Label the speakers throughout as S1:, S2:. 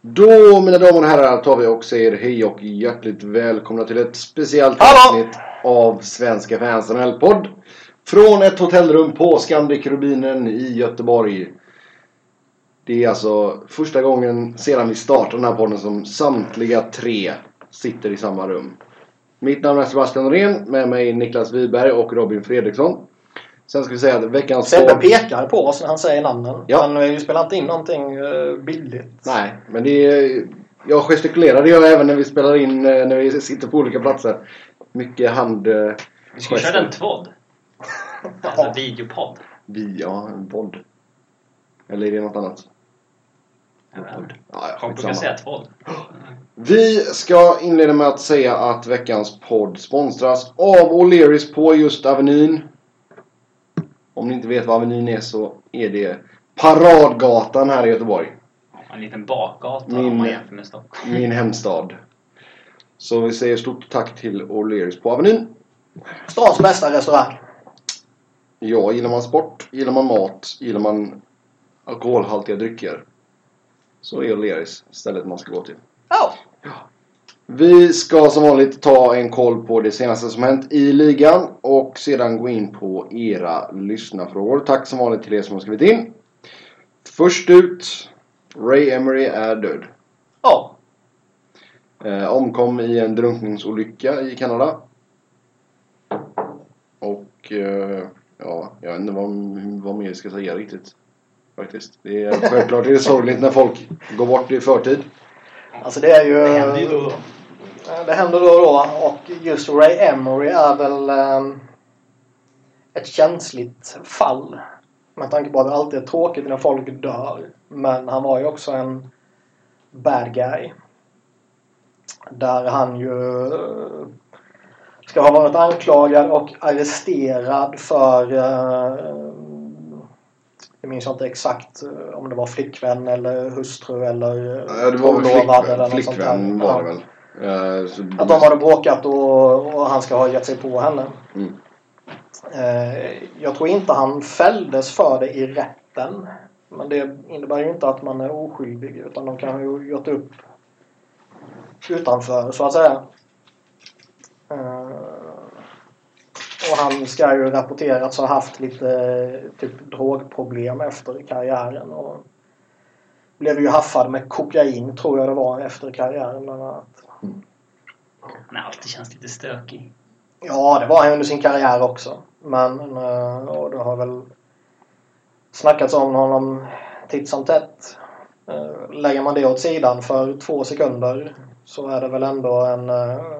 S1: Då mina damer och herrar tar vi och säger hej och hjärtligt välkomna till ett speciellt
S2: Hallå!
S1: avsnitt av Svenska fans NHL-podd. Från ett hotellrum på Scandic Rubinen i Göteborg. Det är alltså första gången sedan vi startade den här podden som samtliga tre sitter i samma rum. Mitt namn är Sebastian Norén, med mig Niklas Wiberg och Robin Fredriksson. Sen ska vi säga att veckans
S2: Sebbe pekar på oss när han säger namnen.
S1: Ja.
S2: Han eh, vi spelar inte in någonting eh, bildligt.
S1: Nej, men det är, jag gestikulerar det gör jag även när vi spelar in, eh, när vi sitter på olika platser. Mycket hand... eh,
S3: Vi skulle
S1: gester.
S3: köra en tvådd. Alltså en videopodd.
S1: Vi, ja, en podd. Eller är det något annat?
S3: En podd.
S1: Ja, ja,
S3: Jag brukar
S1: skitsamma.
S3: säga tvådd.
S1: Vi ska inleda med att säga att veckans podd sponsras av O'Learys på just Avenyn. Om ni inte vet vad Avenyn är så är det Paradgatan här i Göteborg.
S3: En liten bakgata
S1: Min-
S3: om man jämför med Stockholm.
S1: min hemstad. Så vi säger stort tack till O'Learys på Avenyn.
S2: Stans bästa restaurang.
S1: Ja, gillar man sport, gillar man mat, gillar man alkoholhaltiga drycker så är O'Learys stället man ska gå till.
S2: Ja.
S1: Vi ska som vanligt ta en koll på det senaste som hänt i ligan och sedan gå in på era lyssnarfrågor. Tack som vanligt till er som har skrivit in. Först ut, Ray Emery är död.
S2: Ja.
S1: Eh, omkom i en drunkningsolycka i Kanada. Och eh, ja, jag vet inte vad, vad mer vi ska säga riktigt. Faktiskt. Det är, självklart är det sorgligt när folk går bort i förtid.
S2: Alltså det är ju...
S3: Det händer ju då och då.
S2: Eh, Det händer då och då. Och just Ray Emery är väl eh, ett känsligt fall. Med tanke på att det alltid är tråkigt när folk dör. Men han var ju också en bad guy. Där han ju eh, ska ha varit anklagad och arresterad för eh, jag minns inte exakt eh, om det var flickvän eller hustru eller eh,
S1: Ja, det var väl
S2: förlovad eller
S1: flickvän,
S2: något
S1: flickvän var det
S2: sånt där. Ja.
S1: väl. Eh, så,
S2: Att de hade bråkat och, och han ska ha gett sig på henne.
S1: Mm.
S2: Eh, jag tror inte han fälldes för det i rätten. Men det innebär ju inte att man är oskyldig utan de kan ju gjort upp utanför så att säga. Eh, och han ska ju rapporterats ha haft lite eh, typ drogproblem efter karriären. Och blev ju haffad med kokain tror jag det var efter karriären bland annat.
S3: Han har alltid känns lite stökig.
S2: Ja, det var han under sin karriär också. Men eh, och det har väl snackats om honom titt som tätt. Eh, Lägger man det åt sidan för två sekunder så är det väl ändå en... eh,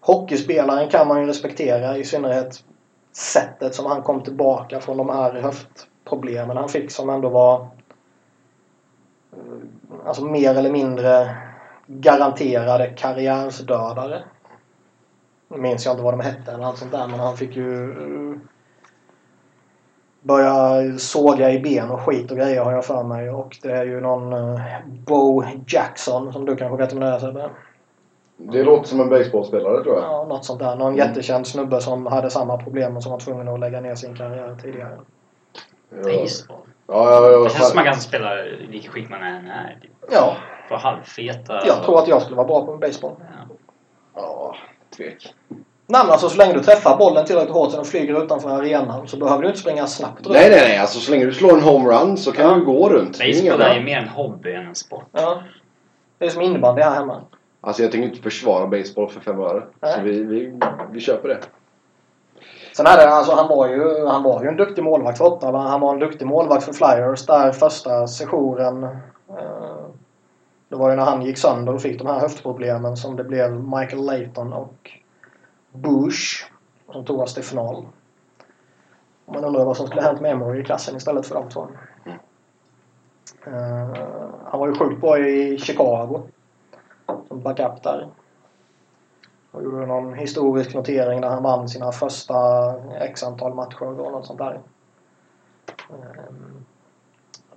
S2: Hockeyspelaren kan man ju respektera i synnerhet sättet som han kom tillbaka från de här höftproblemen han fick som ändå var eh, alltså mer eller mindre garanterade karriärsdödare. Nu minns jag inte vad de hette eller allt sånt där men han fick ju eh, börja såga i ben och skit och grejer har jag för mig. Och det är ju någon eh, Bo Jackson som du kanske vet om det är Sebbe?
S1: det låter som en baseballspelare tror jag.
S2: Ja, Mm. något sånt där. Någon jättekänd snubbe som hade samma problem och som var tvungen att lägga ner sin karriär tidigare.
S1: Jag-
S3: Baseball.
S1: Ja, ja, ja,
S3: Det känns som man
S1: ja.
S3: kan spela vilket skick man än är. typ.
S2: Ja,
S3: För halvfeta...
S2: jag tror att jag skulle vara bra på baseball.
S3: Ja.
S1: ja, tvek.
S2: Nej men alltså så länge du träffar bollen tillräckligt hårt så den flyger utanför arenan så behöver du inte springa snabbt runt.
S1: Nej, nej, nej. Alltså så länge du slår en homerun så kan
S2: Ja.
S1: du gå runt. Det är inga
S3: Baseball är ju
S1: problem.
S3: mer en hobby än en sport.
S2: Ja. Det är som innebandy här hemma.
S1: Alltså jag tänker inte försvara baseball för fem öre. Så
S2: Nej.
S1: vi, vi, vi köper det.
S2: Sen är det, alltså, han, var ju, han var ju en duktig målvakt för Ottawa. Han var en duktig målvakt för Flyers där första sessionen. Eh, det var ju när han gick sönder och fick de här höftproblemen som det blev Michael Layton och Bush som tog oss till final. Man undrar vad som skulle ha hänt med Emory i klassen istället för de två. Eh, han var ju sjukt bra i Chicago. Som backup där. Och gjorde någon historisk notering där han vann sina första x antal matcher och något sånt där. Ehm,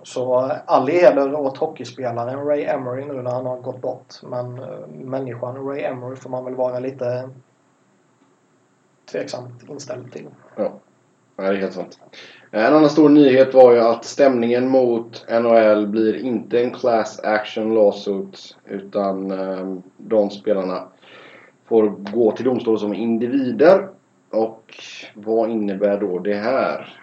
S2: Så all heder åt hockeyspelaren Ray Emery nu när han har gått bort. Men eh, människan Ray Emery får man väl vara lite tveksamt inställd till.
S1: Ja. Nej, det är helt sant. En annan stor nyhet var ju att stämningen mot NHL blir inte en class action lawsuit utan eh, de spelarna får gå till domstol som individer. Och vad innebär då det här?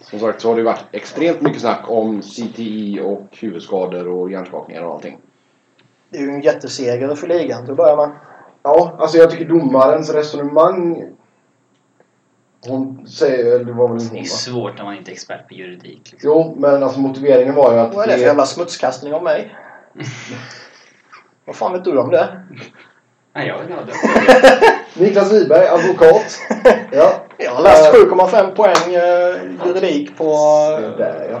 S1: Som sagt så har det varit extremt mycket snack om CTI och huvudskador och hjärnskakningar och allting.
S2: Det är ju en jätteseger för ligan till att börja med.
S1: Ja, alltså jag tycker domarens resonemang... Hon säger... eller Det var väl
S3: Det är svårt när man inte är expert på juridik. Liksom.
S1: Jo, men alltså motiveringen var ju att...
S2: Vad är det för jävla smutskastning av mig? Vad fan vet du om det?
S3: Nej, jag vet inte.
S1: Niklas Wiberg, advokat. ja.
S2: Jag har läst 7,5 poäng eh, juridik på... eh,
S1: Det där, ja.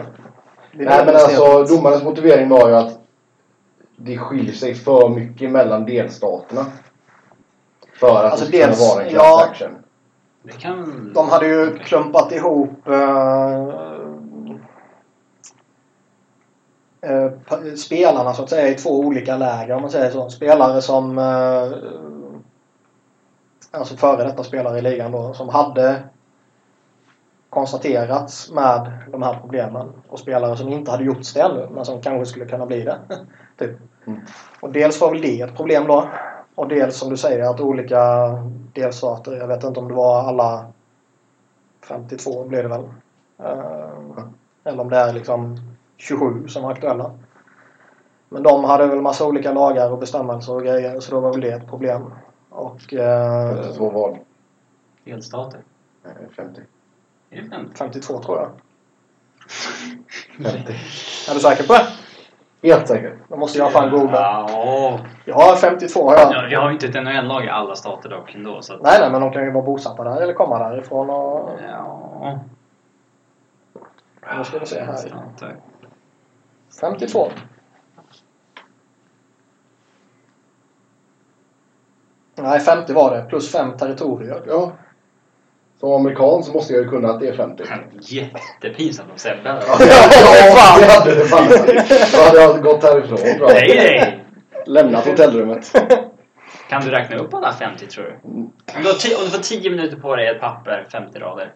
S2: Det är
S1: Nej, men
S2: det jag ser.
S1: alltså domarens motivering var ju att det skiljer sig för mycket mellan delstaterna. För att
S2: Alltså,
S1: det ska
S2: dels-
S1: vara en class
S2: ja.
S1: action.
S3: Det kan...
S2: De hade ju klumpat ihop eh, eh, pa- spelarna så att säga i två olika läger om man säger så. Spelare som eh, alltså före detta spelare i ligan då som hade konstaterats med de här problemen och spelare som inte hade gjorts det ännu men som kanske skulle kunna bli det. typ.
S1: Mm.
S2: Och dels var väl det ett problem då. Och dels som du säger att olika delstater, jag vet inte om det var alla 52 blir det väl. Eh, Eller om det är liksom 27 som är aktuella. Men de hade väl massa olika lagar och bestämmelser och grejer så då var väl det ett problem. Och eh,
S1: Två val.
S3: Delstater.
S1: Nej, 50.
S3: Är det 50?
S2: 52 tror jag.
S1: 50.
S2: Är du säker på det?
S1: Helt säkert.
S2: Då måste jag fan googla.
S3: Ja,
S2: Ja, 52 har jag.
S3: Ja, vi har ju inte ett NHL-lag i alla stater dock ändå. Så att,
S2: Nej, nej, men de kan ju vara bosatta där eller komma därifrån och...
S3: Ja.
S2: Nu ska vi se här.
S3: sant, tack.
S2: 52. Nej, 50 var det. Plus fem territorier.
S1: Ja. Som amerikan så måste jag ju kunna att det är 50.
S3: Jättepinsamt om Sebbe
S1: Ja,
S3: hade-
S1: ja, det hade det fan varit. Då hade jag gått härifrån tror
S3: Nej,
S1: jag.
S3: nej!
S1: Lämnat hotellrummet.
S3: Kan du räkna upp alla 50 tror du? Om du, har ti- om du får 10 minuter på dig i ett papper, 50 rader.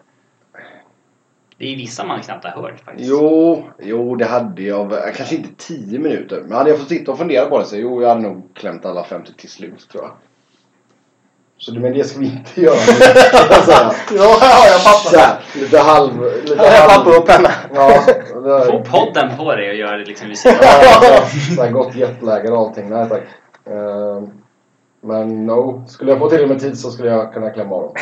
S3: Det är ju vissa man knappt har hört faktiskt.
S1: Jo, jo det hade jag. väl. Kanske inte 10 minuter. Men hade jag fått sitta och fundera på det så jo, jag hade nog klämt alla 50 till slut tror jag. Så det, men det ska vi inte göra. så här,
S2: Ja, här har jag
S1: så
S2: papper.
S1: här, lite halv... Lite
S2: Här har jag papper och penna.
S1: Ja, det här,
S3: Få podden på dig och gör det liksom vid sidan av.
S1: ja, så här gott jetlag och allting. Nej tack. Ehm, men no. Skulle jag få till med tid så skulle jag kunna klämma av dem.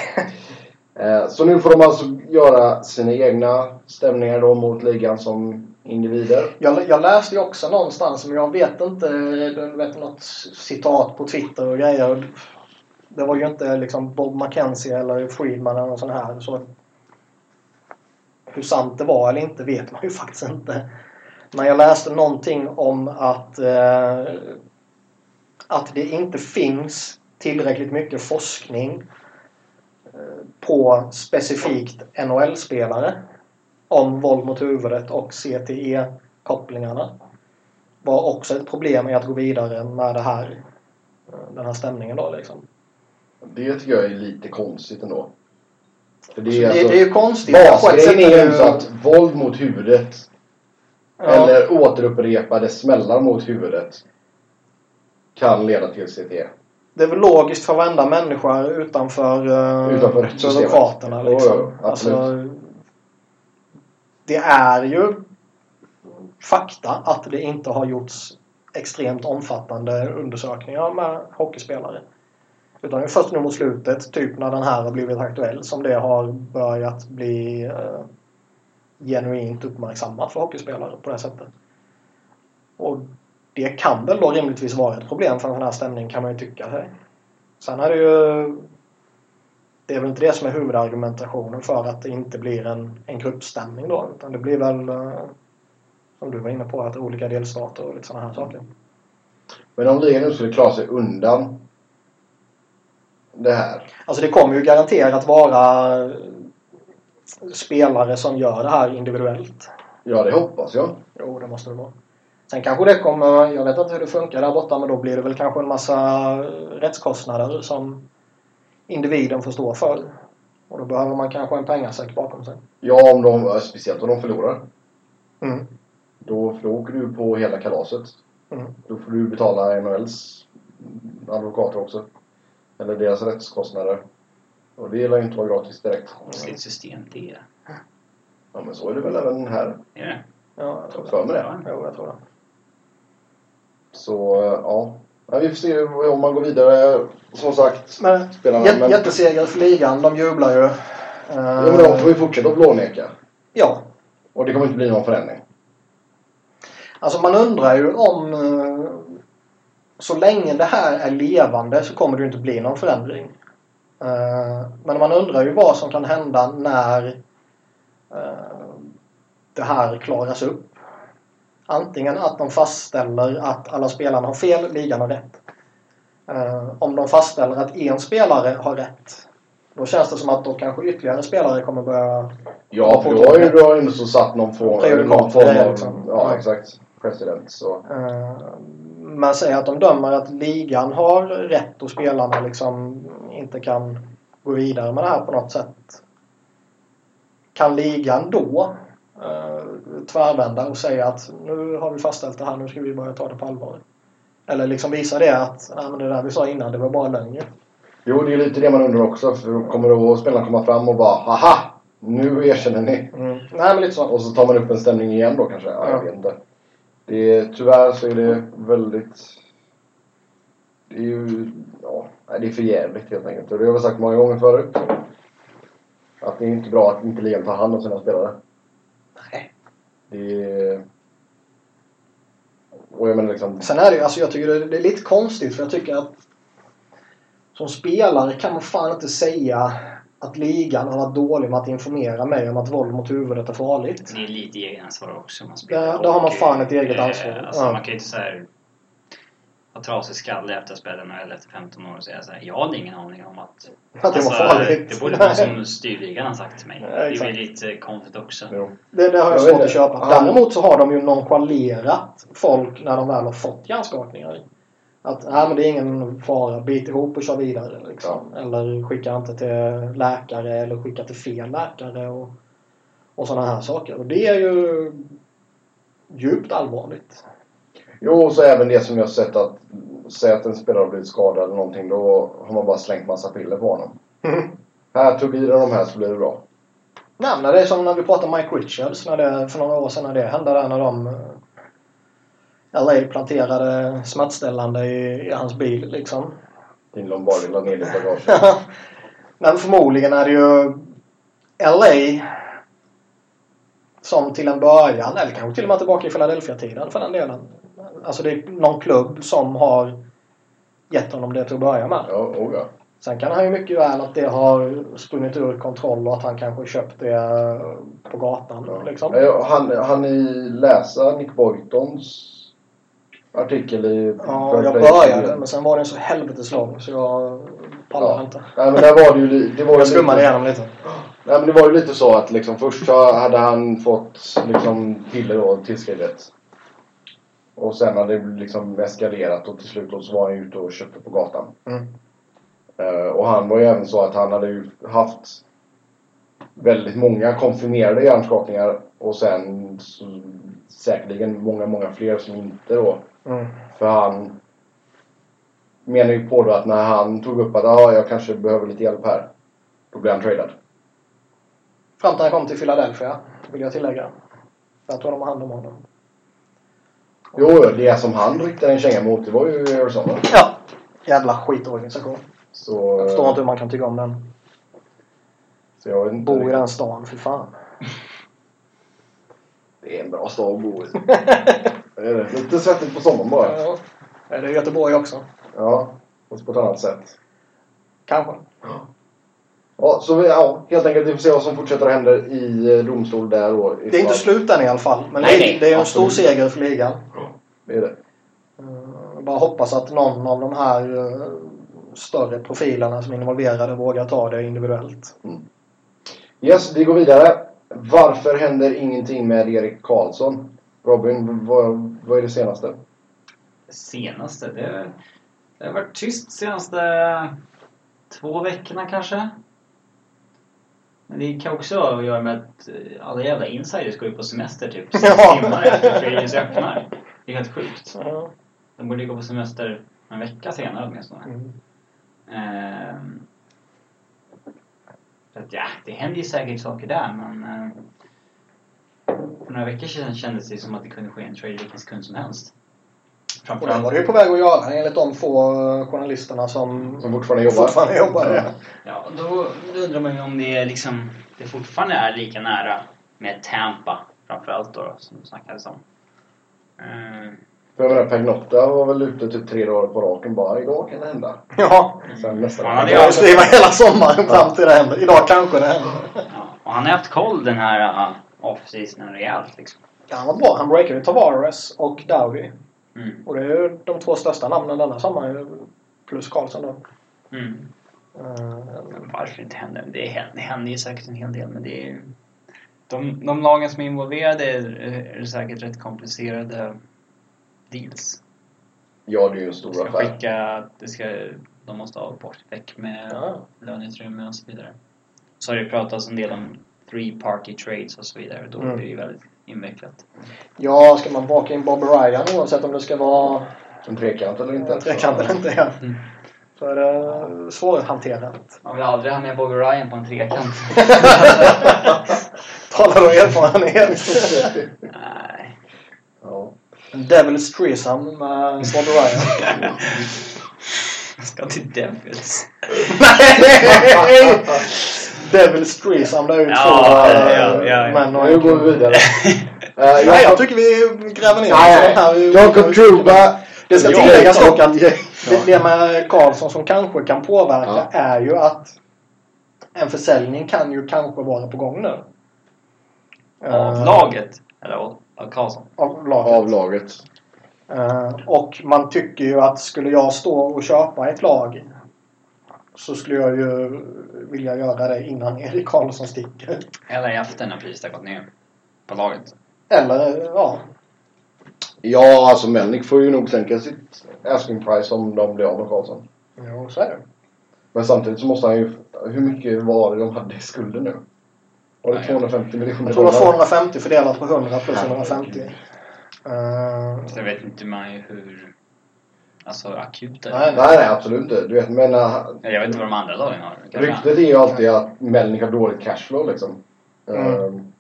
S1: Eh, så nu får de alltså göra sina egna stämningar då mot ligan som individer.
S2: Jag, jag läste ju också någonstans, men jag vet inte, du vet något citat på Twitter och grejer. Det var ju inte liksom Bob McKenzie eller Friedman eller någon sån här. Så hur sant det var eller inte vet man ju faktiskt inte. Men jag läste någonting om att, eh, att det inte finns tillräckligt mycket forskning eh, på specifikt NHL-spelare om våld mot huvudet och CTE-kopplingarna var också ett problem i att gå vidare med det här, eh, den här stämningen. Då, liksom.
S1: Det tycker jag är lite konstigt ändå. För det
S2: det,
S1: är alltså...
S2: det är ju konstigt. På ett sätt
S1: Basgrejen är ju
S2: det
S1: så att våld mot huvudet
S2: ja,
S1: eller återupprepade smällar mot huvudet kan leda till E. CTE.
S2: det är väl logiskt för varenda människa utanför, eh,
S1: Utanför rättssystemet.
S2: byråkraterna.
S1: Jo,
S2: Liksom.
S1: jo, absolut.
S2: alltså, det är ju fakta att det inte har gjorts extremt omfattande undersökningar med hockeyspelare. Utan det är först nu mot slutet, typ när den här har blivit aktuell, som det har börjat bli eh, genuint uppmärksammat för hockeyspelare på det här sättet. Och det kan väl då rimligtvis vara ett problem för en sån här stämning kan man ju tycka. Hej. Sen är det ju... Det är väl inte det som är huvudargumentationen för att det inte blir en, en gruppstämning då. Utan det blir väl, eh, som du var inne på, att olika delstater och lite sådana här saker.
S1: Men om ligan nu skulle klara sig undan det här.
S2: Alltså det kommer ju garanterat vara eh, spelare som gör det här individuellt.
S1: Ja, det hoppas jag.
S2: Jo, det måste det vara. Sen kanske det kommer, jag vet inte hur det funkar där borta, men då blir det väl kanske en massa rättskostnader som individen får stå för. Och då behöver man kanske en pengasäck bakom sig.
S1: Ja, om de, speciellt om de förlorar.
S2: Mm.
S1: Då, för då åker du på hela kalaset.
S2: Mm.
S1: Då får du betala NHLs advokater också. Eller deras rättskostnader. Och det lär ju inte vara gratis direkt.
S3: Vilket system det är.
S1: Ja, men så är det väl även här.
S3: Är det?
S2: Ja, jag tror det.
S1: För mig det.
S2: Jo, jag tror det.
S1: Så eh, ja. ja. Vi får se om man går vidare. Som sagt.
S2: Men,
S1: Spelarna,
S2: jät-
S1: men-
S2: Jätteseger för ligan. De jublar ju. Eh,
S1: Ja, men de får ju fortsätta att blåneka.
S2: ja,
S1: Och det kommer inte bli någon förändring.
S2: Alltså man undrar ju om... eh, Så länge det här är levande så kommer det ju inte bli någon förändring. Eh, Men man undrar ju vad som kan hända när eh, det här klaras upp. Antingen att de fastställer att alla spelarna har fel, ligan har rätt. Eh, Om de fastställer att en spelare har rätt. Då känns det som att då kanske ytterligare spelare kommer börja...
S1: Ja, för du har ju du har ju ändå så satt någon form,
S2: Prejudikat,
S1: någon form
S2: grejer
S1: av...
S2: liksom.
S1: Ja,
S2: Ja.
S1: exakt. President. Så.
S2: Eh, Man säger att de dömer att ligan har rätt och spelarna liksom inte kan gå vidare med det här på något sätt. Kan ligan då eh, tvärvända och säga att nu har vi fastställt det här, nu ska vi börja ta det på allvar? Eller liksom visa det att Nej, men det där vi sa innan, det var bara lögn ju."
S1: Jo, det är lite det man undrar också. För då kommer då spelarna komma fram och bara Haha! Nu erkänner ni!
S2: Nej, men lite så.
S1: Och så tar man upp en stämning igen då kanske. Ja, jag
S2: Ja.
S1: vet inte. Det är, tyvärr så är det väldigt... Det är ju... Ja, nej, det är för jävligt helt enkelt. Och det har jag sagt många gånger förut. Att det är inte bra att inte ligan tar hand om sina spelare.
S2: Nej.
S1: Det är... Och jag menar liksom...
S2: Sen är det ju, alltså jag tycker det det är lite konstigt för jag tycker att som spelare kan man fan inte säga att ligan har varit dålig med att informera mig om att våld mot huvudet är farligt.
S3: Det är lite egenansvar också. Man
S2: Ja, då har man
S3: hockey.
S2: fan ett eget
S3: Eh,
S2: ansvar.
S3: Alltså,
S2: Ja.
S3: Man kan ju inte såhär ha trasig skalle efter att ha spelat NHL efter 15 år och säga såhär. Jag hade ingen aning om att...
S2: Att det var farligt.
S3: Alltså, det borde någon som styr ligan ha sagt till mig.
S2: Ja,
S3: det
S2: exakt.
S3: är ju lite konstigt också.
S1: Jo.
S2: det, det har jag
S1: Jag
S2: svårt
S1: vet
S2: att köpa.
S1: det. Ja.
S2: Däremot så har de ju nonchalerat folk när de väl har fått hjärnskakningar. Att nej, men det är ingen fara, bit ihop och kör vidare. Liksom. Eller skicka inte till läkare eller skicka till fel läkare och, och sådana här saker. Och det är ju djupt allvarligt.
S1: Jo, och så även det som jag har sett att... Säg att en spelare har blivit skadad eller någonting. Då har man bara slängt massa piller på honom. Här, tugg i dig de här så blir det bra.
S2: Nej, men det är som när vi pratar Mike Richards när det, för några år sedan när det hände där när de eh, LA planterade smärtställande i, i hans bil liksom.
S1: Din Lombardi la ner ditt bagage.
S2: Men förmodligen är det ju LA som till en början, eller kanske till och med tillbaka i Philadelphia-tiden för den delen. Alltså det är någon klubb som har gett honom det till att börja med.
S1: Ja, oh ja.
S2: Sen kan han ju mycket väl att det har sprungit ur kontroll och att han kanske köpt det på gatan.
S1: ja.
S2: Liksom.
S1: Ja, Han, han i läsa Nick Boytons artikel i...
S2: Ja, jag började men sen var den så helvetes lång så jag pallade
S1: Ja.
S2: inte.
S1: Nej, men där var det ju... li- Det var ju
S2: Jag skummade
S1: lite-
S2: igenom lite.
S1: Nej men det var ju lite så att liksom först så hade han fått liksom piller då tillskrivet. Och sen hade det liksom eskalerat och till slut då så var han ute och köpte på gatan.
S2: Mm.
S1: Eh, och han var ju även så att han hade ju haft väldigt många konfirmerade hjärnskakningar och sen så, säkerligen många, många fler som inte då.
S2: Mm.
S1: För han menar ju på då att när han tog upp att ah, jag kanske behöver lite hjälp här. Då blev han tradad.
S2: Fram till han kom till Philadelphia, vill jag tillägga. Där tog de hand om honom.
S1: Jo, det som han riktade en känga mot det var ju Arizona.
S2: Ja. Jävla skitorganisation.
S1: Så,
S2: Jag förstår inte hur man kan tycka om den.
S1: så jag vet inte.
S2: Bor i
S1: riktigt.
S2: den stan, för fan.
S1: Det är en bra stad att bo i. Det är det. Lite svettigt på sommaren bara.
S2: Ja. Det är Göteborg också.
S1: Ja, fast på ett annat sätt.
S2: Kanske.
S1: Ja, så vi, ja, helt enkelt vi får se vad som fortsätter att hända i eh, domstol där då.
S2: Det är inte slut än i alla fall. Men
S3: Nej,
S2: det,
S3: nej,
S2: det är ju en stor
S1: absolut.
S2: seger för ligan.
S1: Det är det.
S2: Eh, Bara hoppas att någon av de här eh, större profilerna som är involverade vågar ta det individuellt.
S1: Yes, vi går vidare. Varför händer ingenting med Erik Karlsson? Robin, vad, vad är det senaste?
S3: Det senaste? Det, det har varit tyst senaste två veckorna kanske. Men det kan också ha att göra med att eh, alla jävla insiders går ju på semester typ sex
S2: Ja.
S3: timmar efter Traders öppnar. Det är helt sjukt.
S2: Ja.
S3: De borde ju gå på semester en vecka senare åtminstone.
S2: Mm.
S3: Ehm, så att, ja, det händer ju säkert saker där men eh, för några veckor sedan kändes det som att det kunde ske en trade vilken sekund som helst.
S2: Och det var
S3: Framförallt,
S2: det ju på väg att göra enligt de få eh, journalisterna som
S1: Som fortfarande jobbar.
S2: fortfarande jobbar. Ja.
S3: ja, då, då undrar man ju om det, är liksom, det fortfarande är lika nära med Tampa framförallt då, då som det snackades om. Ehm,
S1: För jag menar, Pagnotta var väl ute typ tre dagar på raken bara. Idag kan det hända.
S2: ja.
S1: Sen nästa
S3: Ja, det
S2: Det var
S3: gör
S1: gång.
S2: skriva hela sommaren fram till det händer. Idag kanske det händer.
S3: ja, och han har haft koll den här uh, off-seasonen rejält liksom.
S2: Ja, han var bra. Han breakade ju Tavares och Dowie.
S3: Mm.
S2: Och det är ju de två största namnen denna sommaren. Plus Karlsson då.
S3: Mm.
S2: Eh,
S3: Men varför inte händer det? händer- Det händer ju säkert en hel del men det är ju... De, de lagen som är involverade är, är säkert rätt komplicerade deals.
S1: Ja, det är ju en
S3: De
S1: stor
S3: ska
S1: affär.
S3: skicka... Det ska, de måste ha bort väck med
S2: Ja.
S3: löneutrymme och så vidare. Så har det pratats en del om three party trades och så vidare. Då
S2: Mm.
S3: blir det ju väldigt invecklat.
S2: Ja, ska man baka in Bob Ryan oavsett om det ska vara
S1: En trekant eller inte.
S2: en trekant eller inte? Ja.
S3: Mm.
S2: Så är det svårhanterat.
S3: Man vill aldrig ha med Bobby Ryan på en trekant.
S2: Talar om erfarenhet.
S3: Nej.
S1: Ja.
S2: Devil's threesome med Bob Ryan.
S3: Jag ska till Devils.
S2: Nej! Devil's threesome, det är ju
S3: Ja,
S2: två
S3: ja,
S2: eh,
S3: ja, ja.
S2: män och
S1: Nu
S2: en
S1: går vi
S2: kvinna.
S1: vidare. Eh,
S2: Nej, jag
S1: Jakob-
S2: tycker vi gräver ner
S1: Nej,
S2: här. Vi-
S1: Jakob Truba.
S2: Det ska
S1: Ja,
S2: tilläggas dock att
S1: ja.
S2: det, det med Karlsson som kanske kan påverka
S1: Ja.
S2: är ju att en försäljning kan ju kanske vara på gång nu.
S3: Av
S2: Eh,
S3: laget. Eller av av Karlsson.
S2: Av laget.
S1: Av laget.
S2: Eh, och man tycker ju att skulle jag stå och köpa ett lag så skulle jag ju vilja göra det innan Erik Karlsson sticker.
S3: Eller i efter när priset har gått ner. På laget.
S2: Eller ja.
S1: Ja, alltså Melnick får ju nog sänka sitt asking price om de blir av med Karlsson.
S2: Jo, så är det.
S1: Men samtidigt så måste han ju... Hur mycket var det de hade i skulden nu? Var det
S3: Nej,
S1: 250 miljoner
S2: Jag tror det var
S1: dollar?
S2: 250 fördelat på 100 plus 150. Eh,
S3: Så jag vet inte man ju hur... Alltså akuta...
S2: Nej,
S1: Nej, nej, absolut inte. Du vet, men äh,
S3: Eller Jag vet inte vad de andra lagen har. Kanske-
S1: ryktet är ju alltid att Melnick har dåligt cashflow liksom.
S2: Mm.
S1: Ehm,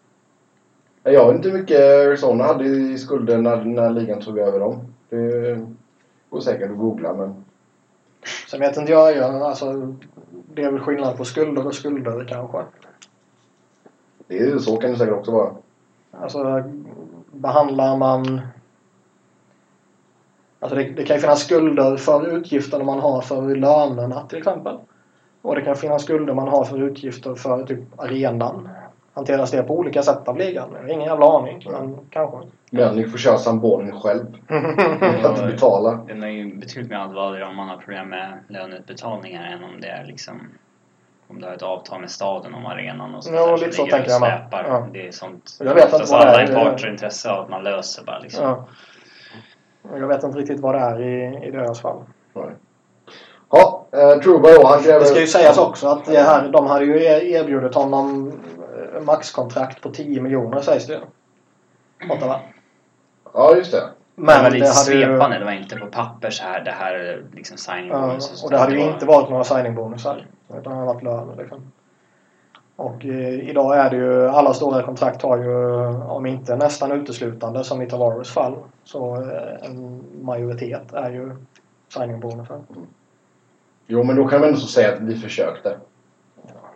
S1: jag vet inte hur mycket Arizona hade i skulden när, när ligan tog över dem. Det går säkert att googla, men...
S2: Sen vet inte jag, jag alltså, det är väl skillnad på skulder och skulder kanske.
S1: Det är, ju- så kan det säkert också vara.
S2: Alltså behandlar man... Alltså det, det kan ju finnas skulder för utgifterna man har för lönerna till exempel. Och det kan finnas skulder man har för utgifter för typ arenan. Hanteras det på olika sätt av ligan? Jag har Ingen jävla aning, men kanske.
S1: Melnick får köra sambonen själv. Att inte betala.
S3: Det är ju betydligt mer allvarligare om man har problem med löneutbetalningar än om det är liksom... Om du har ett avtal med staden om arenan och sånt
S2: Ja,
S3: där
S2: lite så
S3: ligger och
S2: tänker jag med.
S3: släpar.
S2: Ja.
S3: Det är sånt...
S2: Jag vet inte
S3: Oftast
S2: vad det
S3: alla
S2: är.
S3: parter har intresse av att man löser bara liksom.
S2: Ja. Jag vet inte riktigt vad det är i, i deras fall.
S1: Ja, eh, Truba då. Han kräver...
S2: Det ska ju sägas också att det här, de hade ju e- erbjudit honom eh, maxkontrakt på 10 miljoner sägs det ju. Ottawa.
S1: Ja, just det.
S3: Men Mm. det var
S2: Men
S3: lite
S2: det hade ju...
S3: svepande. Det var inte på papper så här. Det här är liksom signing
S2: Ja,
S3: bonus sånt
S2: och det hade ju
S3: där.
S2: inte varit några signingbonusar. Utan det hade varit löner liksom. Och eh, idag är det ju, alla stora kontrakt har ju, om inte nästan uteslutande som i Tavares fall, så eh, en majoritet är ju signingbonusar.
S1: Jo, men då kan man ändå så säga att vi försökte.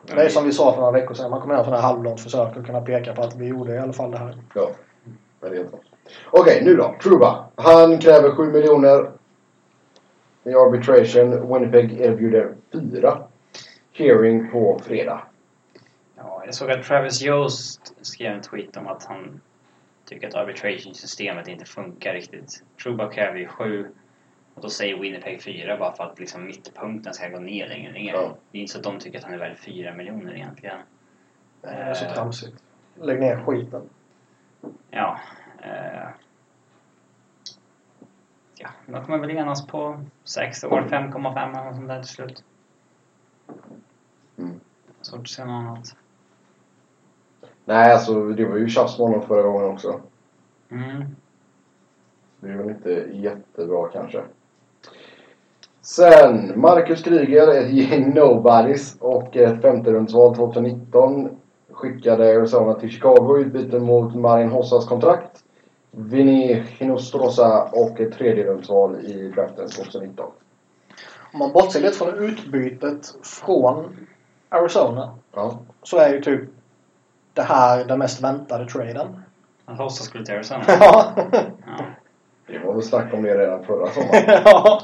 S2: Det
S3: Mm.
S2: är som vi sa för några veckor sedan, man kommer göra sådana här halvlångt försök och kunna peka på att vi gjorde i alla fall det här.
S1: Ja. Men det är inte. Okej, nu då. Truba. Han kräver 7 miljoner i arbitration. Winnipeg erbjuder 4. Hearing på fredag.
S3: Ja, jag såg att Travis Jost skrev en tweet om att han tycker att arbitration-systemet inte funkar riktigt. Truba kräver ju 7 och då säger Winnipeg 4 bara för att liksom mittpunkten ska gå ner längre ner.
S1: Ja.
S3: Det är inte så att de tycker att han är värd 4 miljoner egentligen.
S2: Det
S3: Eh,
S2: är så tramsigt. Lägg ner skiten.
S3: Ja. Eh, ja, de kommer väl enas på 6
S1: Mm.
S3: år, 5,5 eller något sånt där till slut.
S1: Mm.
S3: Svårt att se något annat.
S1: Nej, alltså det var ju tjafs med honom förra gången också.
S3: Mm.
S1: Det är väl inte jättebra kanske. Sen Marcus Kryger, ett gäng nobodies och ett femterumsval 2019 skickade Arizona till Chicago i utbyte mot Marin Hossas kontrakt. Vinny Hinostrosa och ett tredjerumsval i draften 2019.
S2: Om man bortser lite från utbytet från Arizona
S1: Ja.
S2: så är ju typ det här den mest väntade traden.
S3: Att Hossa skulle till Arizona.
S2: Ja.
S3: Ja.
S1: Det var väl snack om det redan förra sommaren.
S2: ja.
S3: De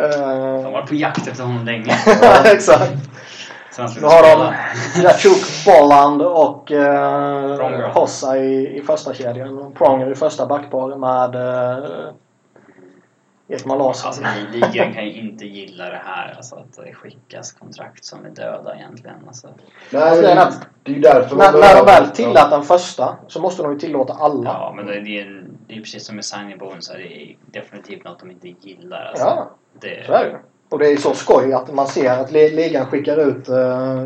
S2: Eh,
S3: var på jakt efter honom länge.
S2: Exakt.
S3: Så
S2: Nu
S3: han slutade
S2: har de
S3: spela.
S2: Datsjuk, Bolland och eh,
S3: Pronger.
S2: Hossa i, i första kedjan. Pronger i första backpar med eh, Ekman Larsson.
S3: Alltså, ni- ligan kan ju inte gilla det här. Alltså, att det skickas kontrakt som är döda egentligen. Alltså,
S1: Nej,
S2: Sen
S1: men
S2: att-
S1: det är ju därför
S2: när, när de väl
S1: tillät
S2: tillät den första så måste de ju tillåta alla.
S3: ja, men det är, det är- det är precis som med signing bonusar. Det är definitivt något de inte gillar. Alltså,
S2: Ja,
S3: det,
S2: så är det Och det är så skoj att man ser att li- ligan skickar ut eh,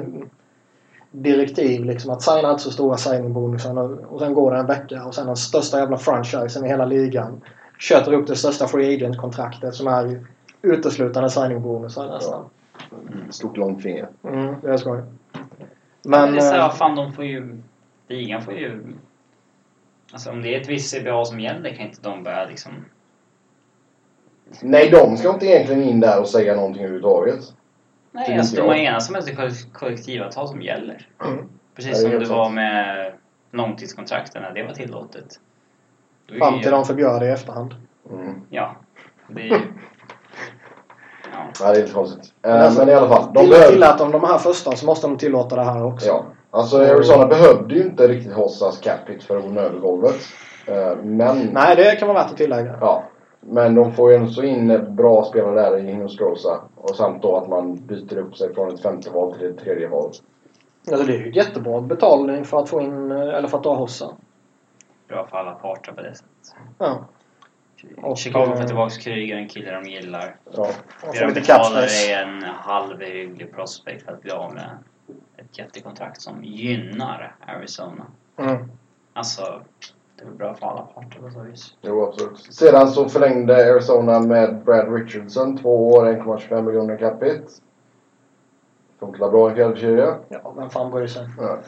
S2: direktiv liksom att signa inte så stora signingbonusar och, och sen går det en vecka och sen den största jävla franchisen i hela ligan köter upp det största free agent-kontraktet som är uteslutande signingbonusar nästan.
S1: Stort långt finger.
S2: Mm, det är skoj.
S3: Men
S2: Men...
S3: det är så här,
S2: eh,
S3: vad fan, de får ju... Ligan får ju... Alltså om det är ett visst CBA som gäller kan inte de börja liksom...
S1: Nej, de ska inte egentligen in där och säga någonting överhuvudtaget. Det
S3: Nej,
S1: är
S3: alltså
S1: inte
S3: de har
S1: jag.
S3: enats om att det är koll- kollektivavtal som gäller.
S2: Mm.
S1: Ja, det
S3: Precis
S1: är
S3: som
S1: helt
S3: det var
S1: sant.
S3: med långtidskontrakten när det var tillåtet. Då är
S2: Fram
S3: ju-
S2: till de förbjöd det i efterhand.
S1: Mm.
S3: Ja. Det är ju... Ja.
S1: Nej, det är inte konstigt. Eh,
S2: Men alltså,
S1: men i alla fall. De
S2: Till,
S1: behöv...
S2: tillät de de här första så måste de tillåta det här också.
S1: ja. Alltså Arizona behövde ju inte riktigt Hossas cap hit för att nå över golvet. Eh, men...
S2: Nej, det kan vara värt att tillägga.
S1: Ja. Men de får ju ändå så in bra spelare där i Hinostrosa. Och samt då att man byter upp sig från ett femte val till ett tredje val.
S2: Alltså, det är ju jättebra betalning för att få in, eh, eller för att ta Hossa.
S3: Bra för alla parter på det sättet.
S2: Ja. Och,
S3: Chicago
S2: eh,
S3: får tillbaka Kryger, en kille de gillar.
S1: Ja.
S2: Och
S3: Det
S2: få
S3: de
S2: lite
S3: betalar
S2: capspace.
S3: är en halv hygglig prospect för att bli av med ett jättekontrakt som gynnar Arizona.
S2: Mm.
S3: Alltså, det är väl bra för alla parter på så vis.
S1: Jo, absolut. Sedan så förlängde Arizona med Brad Richardson. Två år, 1,25 miljoner cap hit. Funkar bra i en fjärdekedja.
S2: Ja, vem fan bryr sig?
S1: Ja.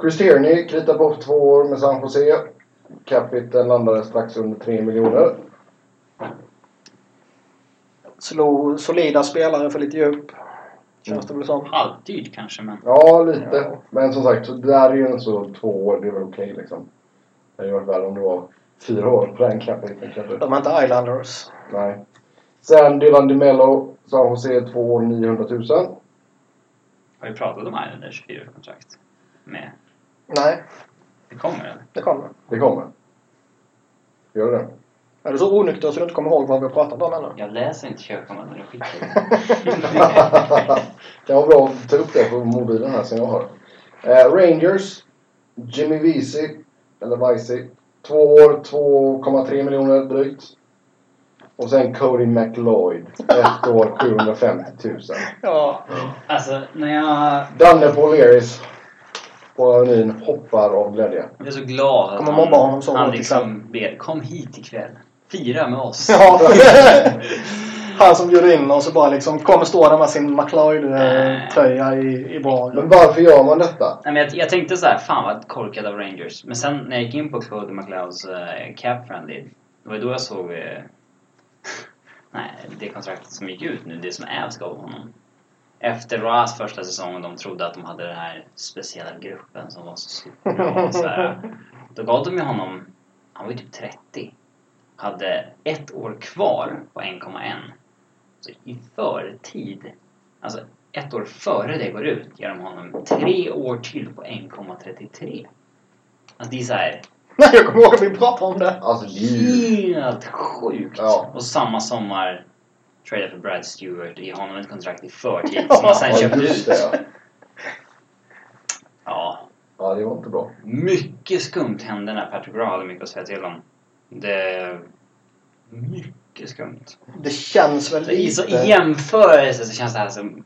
S1: Chris Tierney kritar på två år med San Jose. Capiten landade strax under 3 miljoner.
S2: Slå solida spelare för lite djup. Känns det väl som.
S3: Halvdyrt kanske, men...
S1: Ja, lite.
S2: Ja.
S1: Men som sagt, så där är ju inte så två år. Det är väl okej liksom. Det hade varit värre om det var fyra år på den capiten kanske.
S2: De är inte Islanders.
S1: Nej. Sen Dylan DeMello, San Jose, två år 900 000.
S3: Har vi pratat om Islanders fyraårskontrakt? Med.
S2: Nej,
S3: Det kommer eller?
S2: det kommer.
S1: Det kommer. Gör det?
S2: Är du så onykter så du inte kommer ihåg vad vi har pratat om ännu?
S3: Jag läser inte kyrkomannen, det skiter
S1: det var bra att ta upp det på mobilen här som jag har. Eh, Rangers, Jimmy Vesey, eller Vesey, två år, 2,3 miljoner drygt. Och sen Cody McLeod, ett år, 750 000.
S2: Ja.
S3: Alltså, när jag...
S1: Danne Poleris på Önyn hoppar av glädje.
S3: Jag är så glad att
S2: Kommer mobba honom så
S3: han
S2: hårt
S3: liksom ber kom hit ikväll. Fira med oss.
S2: ja. Han som bjuder in oss och bara liksom kommer stå där med sin McLeod-tröja i, i
S1: Men
S2: baren.
S1: varför gör man detta?
S3: Nej, men jag, jag tänkte så här, fan vad korkad av Rangers. Men sen när jag gick in på Cody McLeods uh, cap friendly, det var då jag såg... eh, nej, det kontraktet som gick ut nu, det som Avs gav honom. Efter Roas första säsong, de trodde att de hade den här speciella gruppen som var så superbra. och så här. Då gav de ju honom, han var ju typ 30, hade ett år kvar på 1,1. Så i förtid, alltså ett år före det går ut ger de honom tre år till på 1,33. Alltså det är så här
S2: Nej, jag kommer ihåg att vi pratade om det.
S1: Alltså det är ju...
S3: helt sjukt!
S1: Ja.
S3: Och samma sommar tradar för Brad Stewart och ger honom ett kontrakt i förtid som han sen
S1: Ja,
S3: köpte
S1: just
S3: ut.
S1: det, ja.
S3: Ja,
S1: ja, det var inte bra.
S3: mycket skumt hände när Patrick Roy hade mycket att säga till om. Det... Mycket skumt.
S2: Det känns väl
S3: I, så,
S2: lite...
S3: I jämförelse så känns det här som
S2: En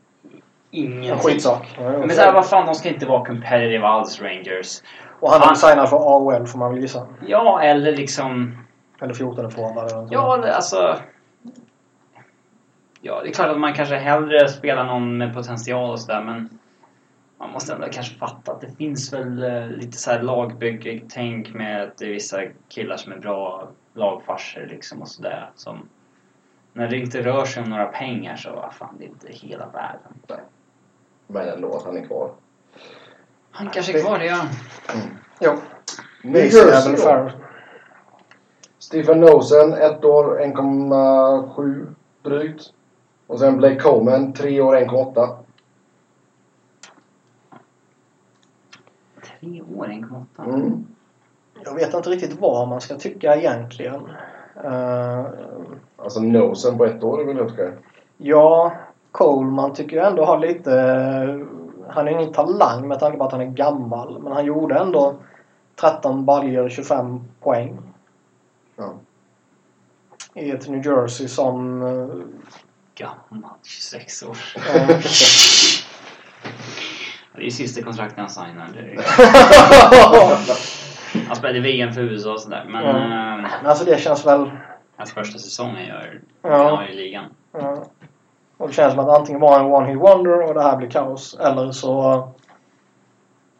S3: ingenting.
S2: skitsak. Ja,
S3: Men
S2: okej.
S3: såhär, vad fan, de ska inte vara competitive alls, Rangers.
S2: och han
S3: han-
S2: signar för AOL får man väl gissa.
S3: Ja, eller liksom...
S2: Eller 14 får han eller något
S3: Ja, eller alltså... Ja, det är klart att man kanske hellre spelar någon med potential och sådär, men... Man måste ändå kanske fatta att det finns väl eh, lite så här lagbygge-tänk med att det är vissa killar som är bra lagfarser liksom och sådär. Som... När det inte rör sig om några pengar så, vad fan, det är inte hela världen.
S1: Men ändå att han är kvar.
S3: Han kanske är kvar, det gör han.
S2: Jo.
S1: New
S2: Mason är
S1: Jersey
S2: väl
S1: då.
S2: fair.
S1: Stephen Nosen, ett år 1,7 drygt. Och sen Blake Coleman, tre år 1,8.
S3: Tre år, 1,8.
S1: Mm.
S2: Jag vet inte riktigt vad man ska tycka egentligen. Eh,
S1: Alltså Nosen på ett år är väl helt okej.
S2: ja, Coleman tycker jag ändå har lite... Han är ingen talang med tanke på att han är gammal. Men han gjorde ändå 13 baljor 25 poäng.
S1: Ja.
S2: I ett New Jersey som... eh,
S3: Gammal, 26 år.
S2: eh,
S3: Det är ju sista kontraktet han signar. Det är ju- Han spelade VM för USA och sådär. Men
S2: Ja.
S3: eh,
S2: Men alltså det känns väl...
S3: hans första säsong han gör, han
S2: Ja.
S3: har ju ligan.
S2: ja. eh, Och det känns som att antingen var han one hit wonder och det här blir kaos. Eller så...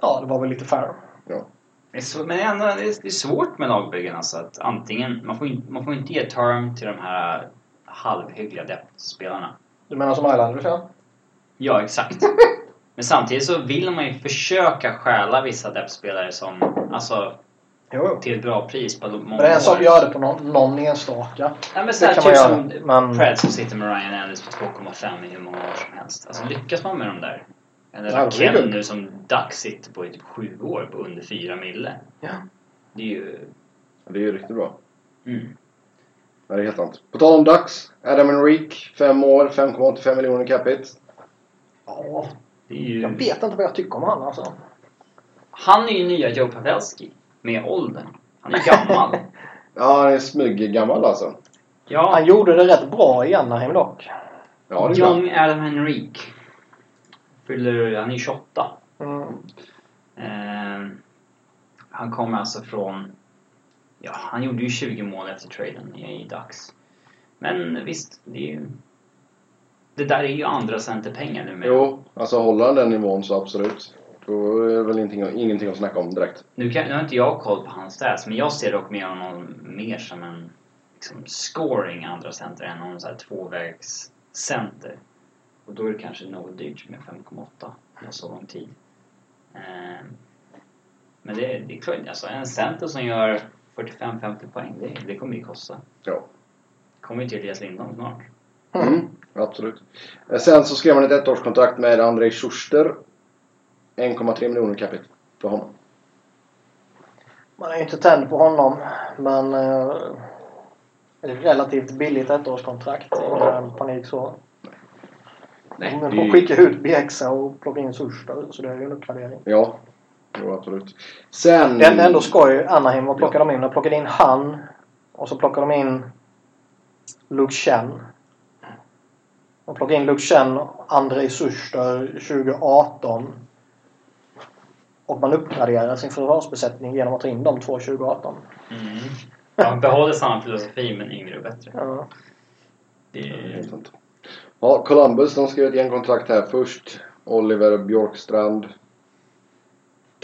S2: Ja, det var väl lite fair.
S3: Det är så, men ändå, det är, det är svårt med lagbyggen alltså. Att antingen, man, får in, man får inte ge term till de här halvhyggliga depth-spelarna.
S2: Du menar som Islanders ja?
S3: Ja, exakt. men samtidigt så vill man ju försöka stjäla vissa depth-spelare som, alltså,
S2: Jo, jo.
S3: till ett bra pris på många
S2: Men det är en sak
S3: år.
S2: att göra det på någon, någon enstaka.
S3: Nej, men sådär,
S2: Det kan
S3: typ
S2: man
S3: som
S2: göra, men-
S3: Preds som sitter med Ryan Ellis på 2,5 i hur många år som helst. Alltså lyckas man med dem där?
S1: Ja, det
S3: Eller
S1: är
S3: Ken
S1: lugnt.
S3: nu som Duck sitter på i typ 7 år på under 4 mille.
S2: Ja.
S3: Det är ju...
S1: Det är ju riktigt bra.
S3: Mm.
S1: Nej, det är helt sant. På tal om Ducks. Adam Enrique, fem år, 5,85 miljoner capita.
S2: Ja,
S3: Det är ju...
S2: jag vet inte vad jag tycker om han alltså.
S3: Han är ju nya Joe Pavelski. Med åldern. Han är gammal.
S1: Ja, han är smyggammal alltså.
S3: ja,
S2: Han gjorde det rätt bra i Anaheim dock.
S1: Ja, det är bra.
S3: Young Adam Henrique. Fyller... Han är 28.
S2: Mm.
S3: Eh, han kommer alltså från... Ja, han gjorde ju 20 mål efter traden i i Ducks. Men visst, det är ju... Det där är ju andra centerpengar nu med.
S1: Jo, alltså håller han den nivån så absolut. Då är det väl ingenting, ingenting att snacka om direkt.
S3: Nu, kan, nu har inte jag koll på hans stats, men jag ser dock mer honom mer som en liksom, scoring andra center än någon så här tvåvägs center. Och då är det kanske något dyrt med 5,8 på så lång tid. Eh, men det, det är klart, alltså en center som gör 45-50 poäng, det, det kommer ju kosta.
S1: Ja.
S3: kommer ju till Elias Lindholm snart.
S1: Mm, absolut. Eh, Sen så skrev man ett ettårskontrakt med Andrei Schuster. 1,3 miljoner capita för honom.
S2: Man är ju inte tänd på honom. Men... Eh, det är ett relativt billigt ettårskontrakt. Ingen panik så.
S1: Nej,
S2: Men
S1: det är
S2: de
S1: ju-
S2: skickar ut Bjäxa och plockar in Sursta så det är ju en uppgradering.
S1: Ja, jo, absolut. Sen...
S2: Det är ändå skoj. Anaheim, vad plockade de in? De plockade in han och så plockade de in Luke Chen. De plockade in Luke Chen och Andrei Surster 2018. Och man uppgraderar sin försvarsbesättning genom att ta in de två 2018.
S3: Mm. Han behåller samma filosofi men yngre och bättre.
S2: Ja.
S3: Det
S1: Det är
S3: är,
S1: helt sant. Ja, Columbus, de skrev ett gängkontrakt här först. Oliver Björkstrand.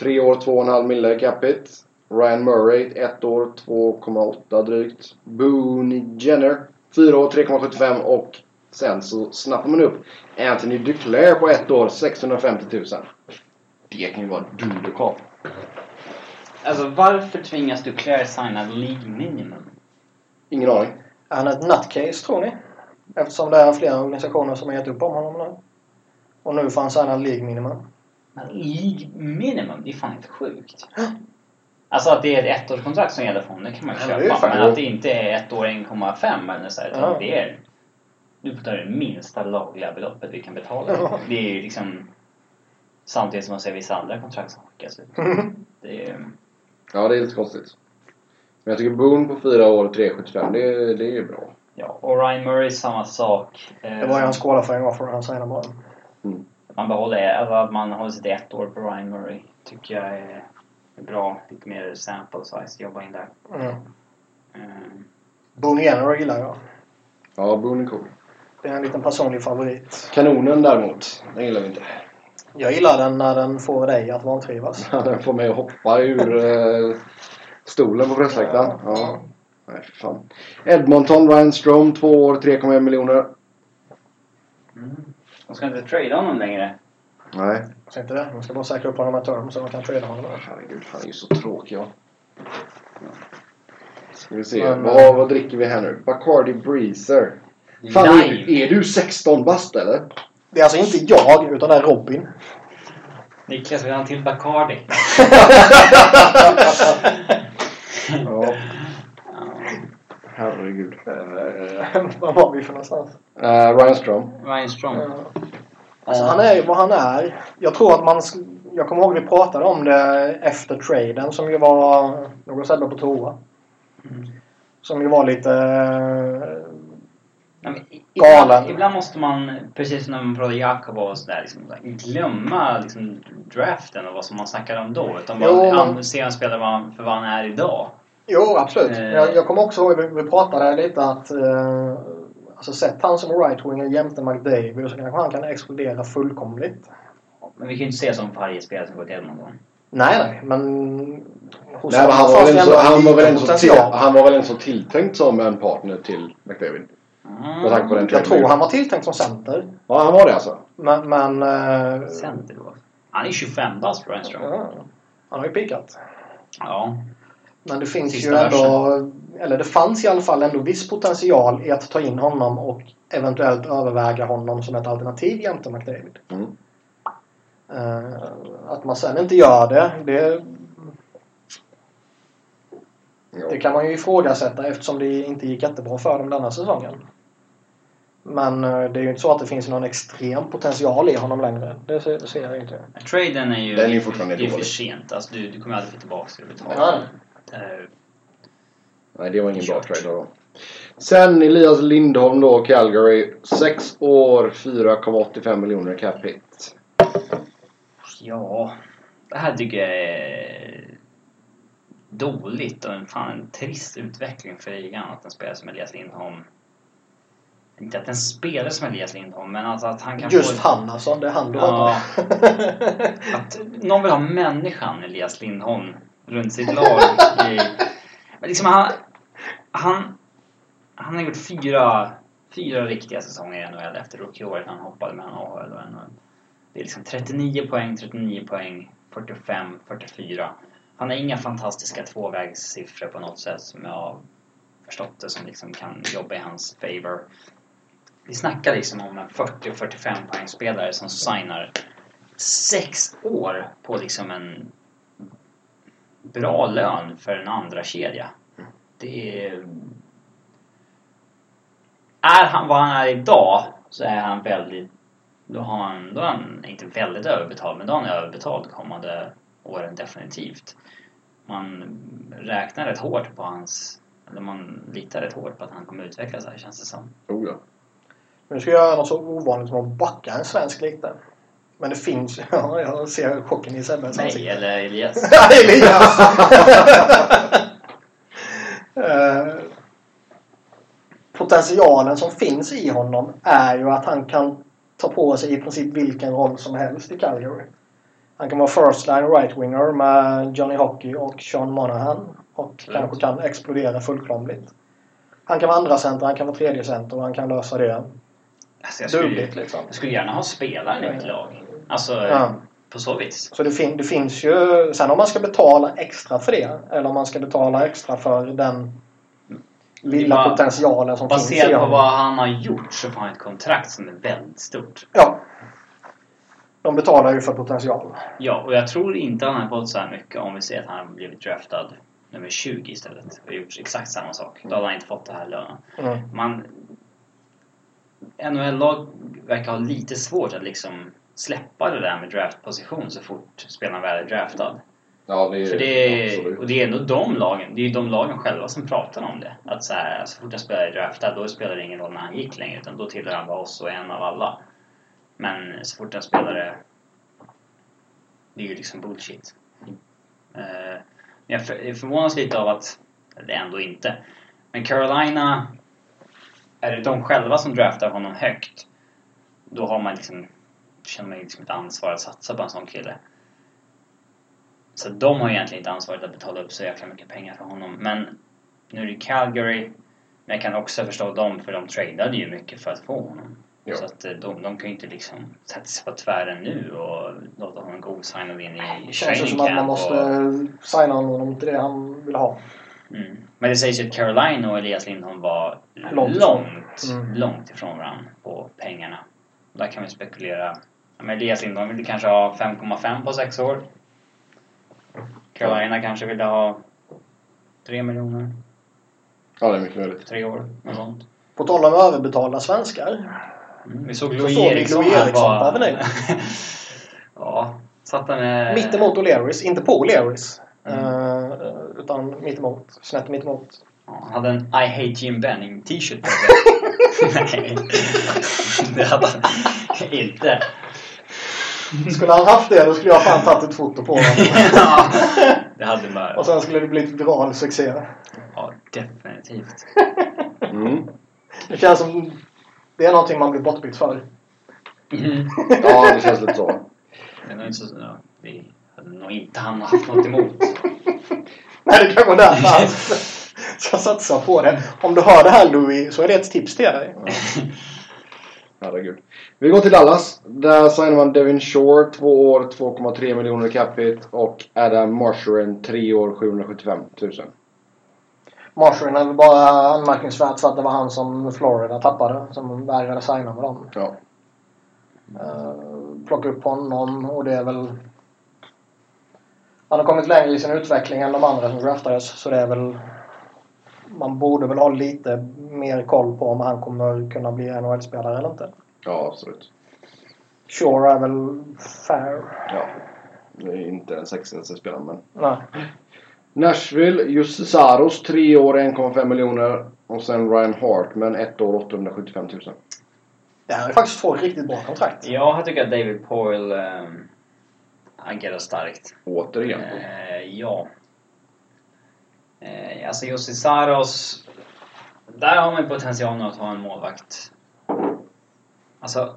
S1: Tre år, 2,5 mille capita. Ryan Murray, ett år, 2,8 drygt. Boone Jenner, fyra år, 3,75 och sen så snappar man upp Anthony Duclair på ett år, 650 000. Det kan ju vara dunderkap.
S3: alltså varför tvingas du Claire signa League Minimum?
S1: Ingen aning.
S2: Är han ett nutcase tror ni? Eftersom det är flera organisationer som har gett upp om honom nu. Och nu får han signa League Minimum.
S3: Men League minimum, det är fan helt sjukt. Alltså att det är ett ettårskontrakt som gäller för honom, det kan man ju
S2: Ja, det är
S3: köpa.
S2: ju fan-
S3: men att det inte är ett år 1,5 eller så här, utan
S2: Ja.
S3: det är... Du får ta det minsta lagliga beloppet vi kan betala.
S2: Ja.
S3: Det är ju liksom... Samtidigt som man ser vissa andra kontrakt som skickas ut. Det är,
S1: Ja, det är lite konstigt. Men jag tycker Boone på fyra år, 3,75, det, det är ju bra.
S3: ja, och Ryan Murray samma sak.
S2: Det var ju hans skålaföring varför han signade bara.
S1: Mm.
S3: Att man behåller, alltså att man håller sig till ett år på Ryan Murray tycker jag är är bra. Lite mer sample size, jobba in där.
S2: Mm.
S3: Ehm,
S2: Boone Jenner gillar jag.
S1: Ja, Boone är cool.
S2: Det är en liten personlig favorit.
S1: Kanonen däremot, den gillar vi inte.
S2: Jag gillar den när den får dig att vantrivas.
S1: Den får mig att hoppa ur eh, stolen på pressläktaren. Ja. Nej, för fan. Edmonton, Ryan Strom, två år, 3,1 miljoner.
S3: Mm. De ska inte trada honom längre.
S1: Nej,
S2: Så inte det. Man ska bara säkra upp honom med term så man kan trada honom.
S1: herregud. Han är ju så tråkig. Ja. Ska vi se.
S2: Men,
S1: vad, vad dricker vi här nu? Bacardi Breezer. Fan, är,
S3: Nej!
S1: är du 16 bast eller?
S2: Det är alltså inte jag, utan det är Robin.
S3: Niklas vill ha en till Bacardi.
S1: Ja. Herregud.
S2: Vad var vi för någonstans?
S1: Eh, Ryan Strom.
S3: Ryan Strong.
S2: Alltså han är ju vad han är. Jag tror att man... sk- Jag kommer ihåg vi pratade om det efter traden som ju var... Jag går sällan på toa.
S3: Mm.
S2: Som ju var lite... eh,
S3: Nej, men i-
S2: Galen.
S3: ibland, ibland måste man, precis som när man pratar Jakob och sådär, liksom, så här, glömma liksom, draften och vad som man snackade om då. Utan bara
S2: Jo,
S3: an-
S2: men-
S3: se en spelare vad han- för vad han är idag.
S2: Jo, absolut.
S3: Eh.
S2: Jag, jag kommer också ihåg vi, vi pratade lite att... Eh, alltså sett han som right-winger jämte McDavid så kanske han kan explodera fullkomligt.
S3: Men vi kan ju inte se som varje spelare som går till Edmonton.
S2: Nej, nej, men... hos
S1: Nej, men
S2: honom
S1: han, var
S2: fanns
S1: väl
S2: det
S1: en så,
S2: ändå
S1: han, var väl en så till,
S2: potential.
S1: han var väl en så tilltänkt som en partner till McDavid. Med tanke på den traden
S2: Jag
S1: vi
S2: tror
S1: gjorde.
S2: han var tilltänkt som center.
S1: Ja, han var det alltså.
S2: Men... men eh,
S3: Ah, Center då. Han är 25 bast, Ryan Strong.
S2: ja, han har ju pikat.
S3: Ja.
S2: Men det finns
S3: Sista
S2: ju ändå, eller det fanns i alla fall ändå viss potential i att ta in honom och eventuellt överväga honom som ett alternativ jämte McDavid.
S1: Mm.
S2: Eh, att man sen inte gör det, det,
S1: Ja.
S2: det kan man ju ifrågasätta eftersom det inte gick jättebra för dem denna säsongen. Men eh, det är ju inte så att det finns någon extrem potential i honom längre. Det ser, det ser jag inte.
S3: Men Traden är ju...
S1: Den är ju fortfarande
S3: Det är för
S1: dålig.
S3: sent. Alltså, du, du kommer aldrig få tillbaka det
S2: Nej.
S3: överhuvudtaget. Eh,
S1: Nej, det var ingen bra trade av dem. Sen Elias Lindholm då, Calgary. 6 år, 4,85 miljoner cap hit.
S3: Ja. Det här tycker jag är dåligt och en, fan, en trist utveckling för ligan att en spelare som Elias Lindholm... Inte att en spelare som Elias Lindholm, men alltså att han kan
S2: Just
S3: få...
S2: han alltså, det är han du
S3: Ja.
S2: hatar.
S3: Att någon vill ha människan Elias Lindholm runt sitt lag. i, men liksom han, han, han har gjort fyra, fyra riktiga säsonger i NHL efter rookieåret när han hoppade mellan AHL och NHL. Det är liksom 39 poäng, 39 poäng, 45, 44. Han har inga fantastiska tvåvägssiffror på något sätt som jag har förstått det som liksom kan jobba i hans favor. Vi snackar liksom om en 40-45 poängspelare som signar sex år på liksom en bra lön för en andra kedja. Det är... Är han vad han är idag så är han väldigt... Då har han, då är han inte väldigt överbetald, men då är han överbetald kommande åren definitivt. Man räknar rätt hårt på hans... Eller man litar rätt hårt på att han kommer utvecklas här känns det som.
S1: Oh, ja.
S2: Nu ska jag göra något så ovanligt som att backa en svensk lite. Men det finns ju. Ja, jag ser chocken i Sebbes
S3: Nej,
S2: ansikte.
S3: eller Elias.
S2: Nej, Elias! Eh, Potentialen som finns i honom är ju att han kan ta på sig i princip vilken roll som helst i Calgary. Han kan vara first line right-winger med Johnny Hockey och Sean Monahan. Och
S3: Mm.
S2: kanske kan explodera fullkomligt. Han kan vara andra center, han kan vara tredje center och han kan lösa det.
S3: Alltså, jag skulle ju
S2: Dubbelt liksom.
S3: Jag skulle gärna ha spelaren i mitt lag. Alltså,
S2: Ja.
S3: på så vis.
S2: Så det, fin- det finns ju... Sen om man ska betala extra för det eller om man ska betala extra för den lilla
S3: Det är bara-
S2: potentialen som finns i
S3: Baserat på
S2: honom.
S3: vad han har gjort så får han ett kontrakt som är väldigt stort.
S2: Ja. De betalar ju för potential.
S3: Ja, och jag tror inte han har fått så här mycket om vi ser att han har blivit draftad nummer 20 istället och gjort exakt samma sak. Då hade han inte fått det här lönen.
S2: Mm.
S3: Man... NHL-lag verkar ha lite svårt att liksom släppa det där med draftposition så fort spelaren väl är draftad.
S1: ja, det är
S3: För det är,
S1: absolut.
S3: och det är ändå de lagen, det är ju de lagen själva som pratar om det. Att så, här, så fort en spelare är draftad, då spelar det ingen roll när han gick längre, utan då tillhör han bara oss och är en av alla. Men så fort en spelare... Det är ju liksom bullshit. Eh, men jag för- jag förvånas lite av att det ändå inte. Men Carolina... Är det de själva som draftar honom högt då har man liksom... Känner man liksom ett ansvar att satsa på en sån kille. Så de har egentligen inte ansvaret att betala upp så jäkla mycket pengar för honom. Men nu är det Calgary. Men jag kan också förstå dem för de tradeade ju mycket för att få honom.
S1: Ja.
S3: Så att eh, de, de kan ju inte liksom sätta sig på tvären nu och låta honom gå osignad in i
S2: Det känns ju
S3: training
S2: som att man
S3: camp.
S2: måste
S3: Och,
S2: signa honom till det han vill ha.
S3: mm. Men det sägs ju att Caroline och Elias Lindholm var
S2: Långt
S3: långt,
S2: ifrån.
S3: långt,
S2: Mm.
S3: ifrån varandra på pengarna. Där kan vi spekulera. Ja, Men Elias Lindholm ville kanske ha 5,5 på sex år. Carolina kanske ville ha 3 miljoner
S1: Ja, det är mycket möjligt.
S3: på tre år. Något sånt.
S2: På tal om överbetalda svenskar.
S3: Mm, vi såg
S2: Så
S3: Louis
S2: såg vi
S3: Eriksson.
S2: Louis
S3: han
S2: Eriksson
S3: var-
S2: på Avenyn.
S3: ja, satt han med...
S2: Mittemot O'Learys, inte på O'Learys.
S3: Eh. Mm.
S2: Eh, utan mittemot, snett mittemot.
S3: Ja, han hade en I hate Jim Benning t-shirt på sig. Nej, det hade han inte.
S2: Skulle han haft det då skulle jag fan tagit ett foto på honom.
S3: Ja, det hade man.
S2: Och sen skulle det bli ett viral succé.
S3: Ja, definitivt.
S1: Mm.
S2: Det känns som... Det är någonting man blir bortbytt för.
S3: Mm.
S1: Ja, det känns lite så.
S3: Det är nog inte så... ja, Vi hade nog inte han haft något emot.
S2: Nej, det kanske var därför han ska satsa på det. Om du hör det här Louis, så är det ett tips till dig.
S1: Herregud. Vi går till Dallas. Där signar man Devin Shore, två år, 2,3 miljoner capita. Och Adam Marsharen, tre år, 775 000.
S2: Marshallen är väl bara anmärkningsvärt för att det var han som Florida tappade. Som vägrade signa med dem.
S1: Ja.
S2: Eh, plocka upp honom och det är väl... Han har kommit längre i sin utveckling än de andra som draftades så det är väl... Man borde väl ha lite mer koll på om han kommer kunna bli NHL-spelare eller inte.
S1: ja, absolut.
S2: Sure är väl fair.
S1: Ja. Det är inte en sexigare spelare, men...
S2: Nej.
S1: Nashville, Jussi Saros, tre år, 1,5 miljoner. Och sen Ryan Hartman, ett år, 875 000.
S2: Det här är faktiskt två riktigt bra kontrakt.
S3: Ja, jag tycker att David Poyle um, agerar starkt.
S1: Återigen.
S3: Eh, ja. Eh, alltså Jussi Saros. Där har man ju potentialen att ha en målvakt. Alltså...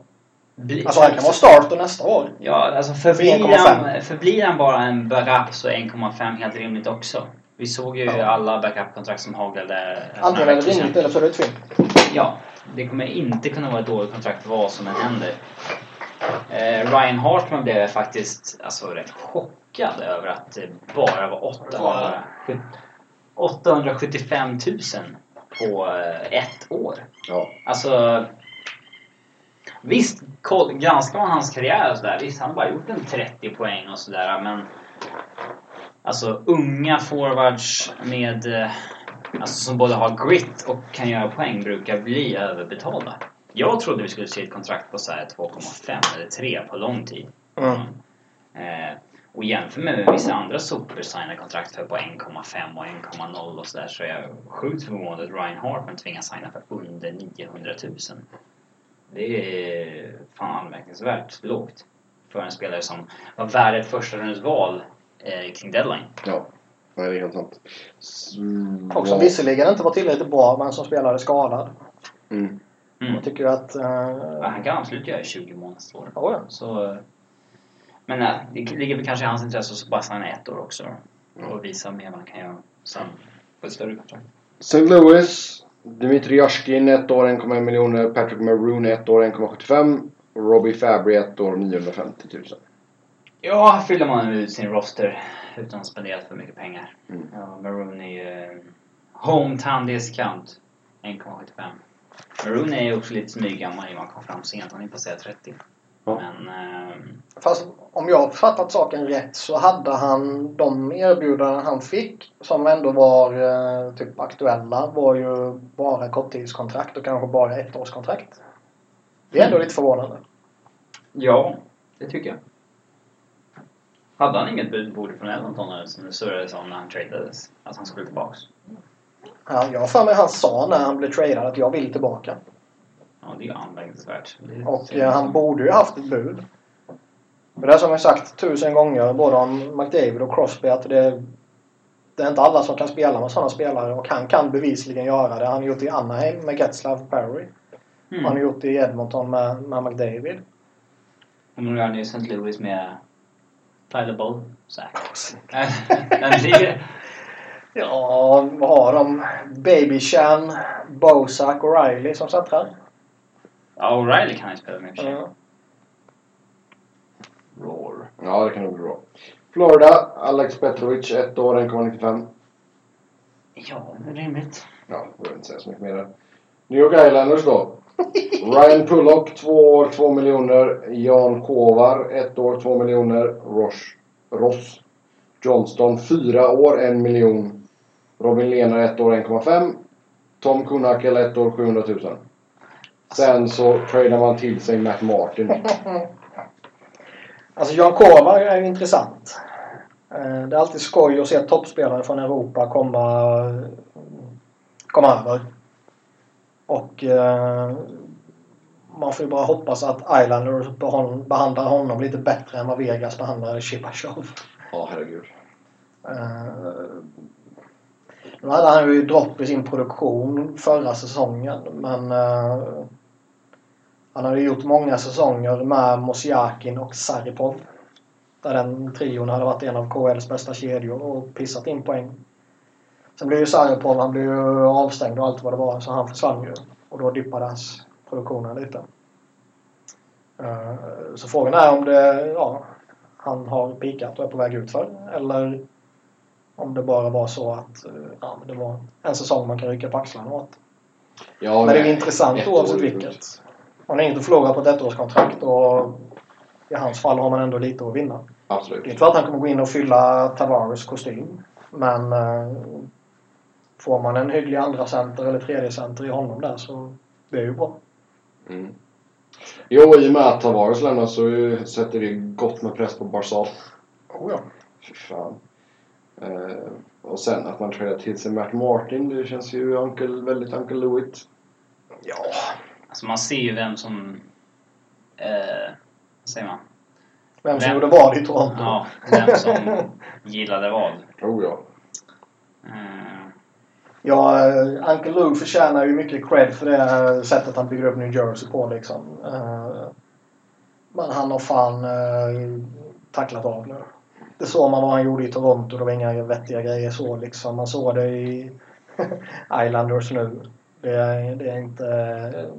S3: Bli,
S2: Alltså han kan vara starter nästa år.
S3: Ja, alltså
S2: För
S3: förblir
S2: 1,5.
S3: han, förblir han bara en backup så är 1,5 helt rimligt också. Vi såg ju
S2: Ja.
S3: alla backupkontrakt som haglade.
S2: Antingen är det rimligt eller så är det ett film.
S3: Ja, det kommer inte kunna vara ett dåligt kontrakt vad som än händer. Eh, Ryan Hartman blev jag faktiskt alltså, rätt chockad över att det bara var 800, 875 000 på eh, ett år.
S1: Ja.
S3: Alltså... Visst, koll, granskar man hans karriär och sådär, visst han har bara gjort en 30 poäng och sådär men... Alltså unga forwards med... eh, Alltså som både har grit och kan göra poäng brukar bli överbetalda. Jag trodde vi skulle se ett kontrakt på såhär 2,5 eller 3 på lång tid. Eh, och jämför med vissa andra sopor signar kontrakt för på 1,5 och 1,0 och sådär så är jag sjukt förvånad att Ryan Hartman tvingas signa för under 900 000. Det är fan anmärkningsvärt lågt. För en spelare som var värd ett första rundesval eh, kring deadline.
S1: Ja. Nej, det är helt sant. S-
S2: Och som Mm. visserligen inte var tillräckligt bra men som spelade skadad.
S1: Mm.
S3: Mm.
S2: Jag tycker att...
S3: Ja,
S2: Eh,
S3: Han kan absolut göra 20 mål nästa år.
S2: ja, ja.
S3: Så, eh, men eh, det ligger väl kanske i hans intresse att bara signa ett år också. då. Och visa mer vad han kan göra sen på ett större kontrakt.
S1: St. Louis. Dmitri Yashkin, ett år, 1,1 miljoner. Patrick Maroon, ett år, 1,75. Robbie Fabry, ett år, 950 000.
S3: Ja, här fyller man ut sin roster utan att spendera för mycket pengar.
S1: Mm.
S3: Ja, Maroon är ju en hometown discount. 1,75. Maroon är ju också lite smyggammal i och med att han kom fram sent. Han är passerat 30.
S1: Ja.
S3: Men... ehm,
S2: Fast om jag har fattat saken rätt så hade han de erbjudanden han fick som ändå var eh, typ aktuella var ju bara korttidskontrakt och kanske bara ettårskontrakt. Det
S3: Mm.
S2: är ändå lite förvånande.
S3: ja, det tycker jag. Hade han inget bud borde från Edmonton eller som det surrades om när han tradades? Att han skulle tillbaks?
S2: Ja, jag har för mig han sa när han blev tradad att jag vill tillbaka.
S3: Ja, det är ju anmärkningsvärt. Det är
S2: Och
S3: synd.
S2: eh, han borde ju haft ett bud. Men det är som jag sagt tusen gånger, både om McDavid och Crosby, att det, det är inte alla som kan spela med sådana spelare. Och han kan bevisligen göra det. Han har gjort det i Anaheim med Getzlav Perry.
S3: Mm.
S2: Han har gjort det i Edmonton med, med McDavid.
S3: Och nu gör han ju St. Louis med Tyler Boll. Så här. Men det är-
S2: Ja, vad har de? Baby Chan, Bosak och Riley som centrar.
S3: Ja, O'Reilly kan ju spela med i och för sig.
S2: Ja.
S3: Roar.
S1: Ja, det kan nog bli bra. Florida, Alex Petrovic, 1 år, 1,95.
S3: Ja, det är rimligt.
S1: Ja, jag behöver inte säga så mycket mer där. New York Islanders då. Ryan Pullock, 2 år, 2 miljoner. Jan Kovar, 1 år, 2 miljoner. Ross, Ross Johnston, 4 år, 1 miljon. Robin Lehner, 1 år, 1,5. Tom Kunakel, 1 år, 700 000. Sen så tradar man till sig Matt Martin.
S2: Alltså Jan Kovar är ju intressant. Eh, Det är alltid skoj att se toppspelare från Europa komma, komma över. Och eh, man får ju bara hoppas att Islanders behåll- behandlar honom lite bättre än vad Vegas behandlar Chipachov.
S1: Ja, herregud.
S2: Eh, Nu hade han ju dropp i sin produktion förra säsongen men eh, han hade gjort många säsonger med Mosiakin och Saripov. Där den trion hade varit en av KHLs bästa kedjor och pissat in poäng. Sen blev ju Saripov han blev ju avstängd och allt vad det var så han försvann ju. Och då dippades produktionen lite. Eh, Så frågan är om det, ja, han har pikat och är på väg utför eller om det bara var så att eh, ja, men det var en säsong man kan rycka på axlarna åt.
S1: Ja,
S2: Men det är ju
S1: nej.
S2: intressant
S1: Ett
S2: oavsett
S1: år.
S2: vilket. Man har inget att förlora på ett ettårskontrakt och i hans fall har man ändå lite att vinna. Det är
S1: Absolut.
S2: inte för att han kommer gå in och fylla Tavares kostym. Men eh, får man en hygglig andra center eller tredje center i honom där så det är ju bra.
S1: Mm. Jo, i och med att Tavares lämnar så eh, sätter det gott med press på Barzal.
S2: Oh ja.
S1: Fy fan. Eh, och sen att man tradar till sig Matt Martin, det känns ju uncle, väldigt Uncle Louis.
S2: Ja.
S3: Alltså man ser ju vem som... Eh, vad säger man?
S2: Vem som
S3: Vem-
S2: gjorde vad i Toronto.
S3: Ja, vem som gillade vad.
S1: Tror jag.
S3: Eh,
S2: Ja, eh, Uncle Lou förtjänar ju mycket cred för det eh, sättet han bygger upp New Jersey på liksom. Eh, Men han har fan eh, tacklat av nu. Det såg man vad han gjorde i Toronto. Det var inga vettiga grejer så liksom. Man såg det i Islanders nu. Det är, det är inte... eh,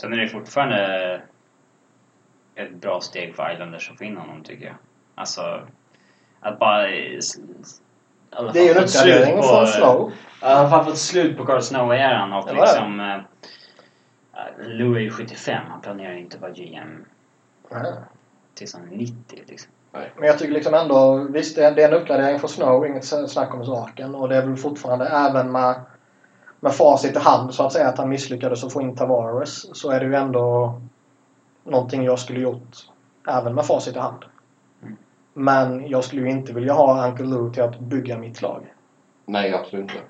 S3: sen är det fortfarande ett bra steg för Islanders att få in honom tycker jag. Alltså, att bara... i alla
S2: Det är ju en uppgradering
S3: fall få ett slut på-
S2: från Slow.
S3: Ja, han har fan fått slut på Carl Snow-eran och
S2: Ja,
S3: liksom... Eh, Lou är ju 75, han planerar ju inte att vara GM tills han är 90 liksom.
S2: Men jag tycker liksom ändå, visst det är det är en uppgradering för Snow, inget snack om saken. Och det är väl fortfarande, även med, med facit i hand så att säga, att han misslyckades att få in Tavares. Så är det ju ändå någonting jag skulle gjort, även med facit i hand.
S3: Mm.
S2: Men jag skulle ju inte vilja ha Uncle Lou till att bygga mitt lag.
S1: Nej, absolut inte.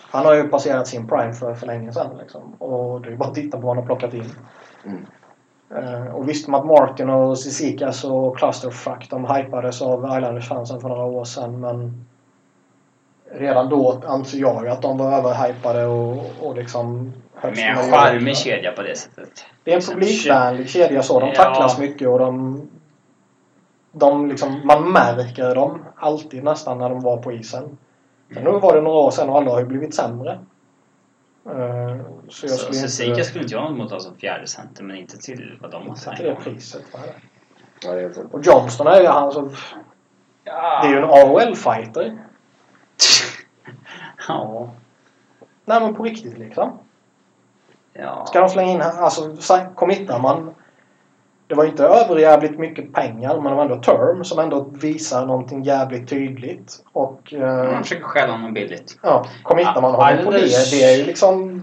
S2: Han har ju passerat sin prime för, för länge sedan. Liksom. Och det är ju bara att titta på vad han har plockat in.
S1: Mm.
S2: Eh, Och visst, Matt Martin och Sissikas och Clusterfuck de hypades av Islanders-fansen för några år sedan men redan då anser jag ju att de var överhypade och, och liksom
S3: Men
S2: högst
S3: en
S2: möjliga.
S3: charmig kedja på det sättet.
S2: Det är en publikvänlig kedja så. De
S3: Ja.
S2: tacklas mycket och de... de liksom, man märker dem alltid nästan när de var på isen. Men nu var det några år sedan och alla har ju blivit sämre. Eh, Så jag
S3: Så
S2: skulle
S3: Cecilia
S2: inte...
S3: skulle inte jag ha något emot att ha som fjärde center men inte till vad de har
S2: Inte
S3: sagt.
S2: till det priset. Vad är det?
S1: Ja, det är helt sant.
S2: Och Johnston är ju han som... Det är ju en AHL-fighter.
S3: Ja.
S2: Nej men på riktigt liksom.
S3: Ja.
S2: Ska de slänga in... Alltså, sa- committar man... Det var ju inte överjävligt mycket pengar men det var ändå term som ändå visar någonting jävligt tydligt. Och... Eh,
S3: Man försöker stjäla honom billigt.
S2: ja, committar man honom på det,
S3: Islanders-
S2: det är ju liksom...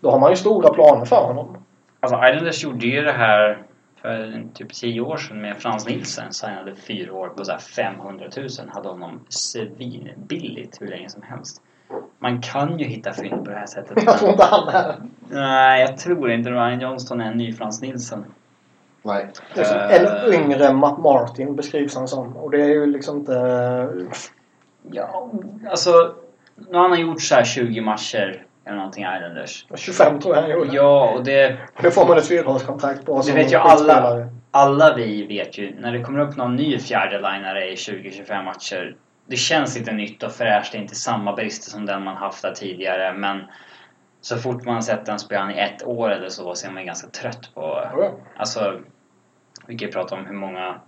S2: Då har man ju stora planer för honom.
S3: Alltså Islanders gjorde ju det här för typ 10 år sedan med Frans Nilsen. Signade fyra år på så här 500 000. Hade honom svinbilligt hur länge som helst. Man kan ju hitta fynd på det här sättet.
S2: Jag tror
S3: Men,
S2: inte han är
S3: nej, jag tror inte Ryan Johnston är en ny Frans Nilsson.
S1: Nej.
S2: det. är som
S3: Eh.
S2: En yngre Matt Martin beskrivs han som. Och det är ju liksom inte...
S3: Ja, alltså... Nu har han gjort så här 20 matcher eller någonting Islanders.
S2: 25 tror jag han gjorde.
S3: Ja, och det...
S2: Det får man ett fyraårskontrakt på.
S3: Det
S2: som
S3: vet ju alla.
S2: skitspelare.
S3: Alla vi vet ju, när det kommer upp någon ny fjärdelinare i 20-25 matcher, det känns lite nytt och fräscht, det är inte samma brister som den man haft där tidigare, men så fort man sett den spelaren i ett år eller så, så är man ganska trött på...
S2: Ja, ja.
S3: Alltså, vi kan ju prata om hur många...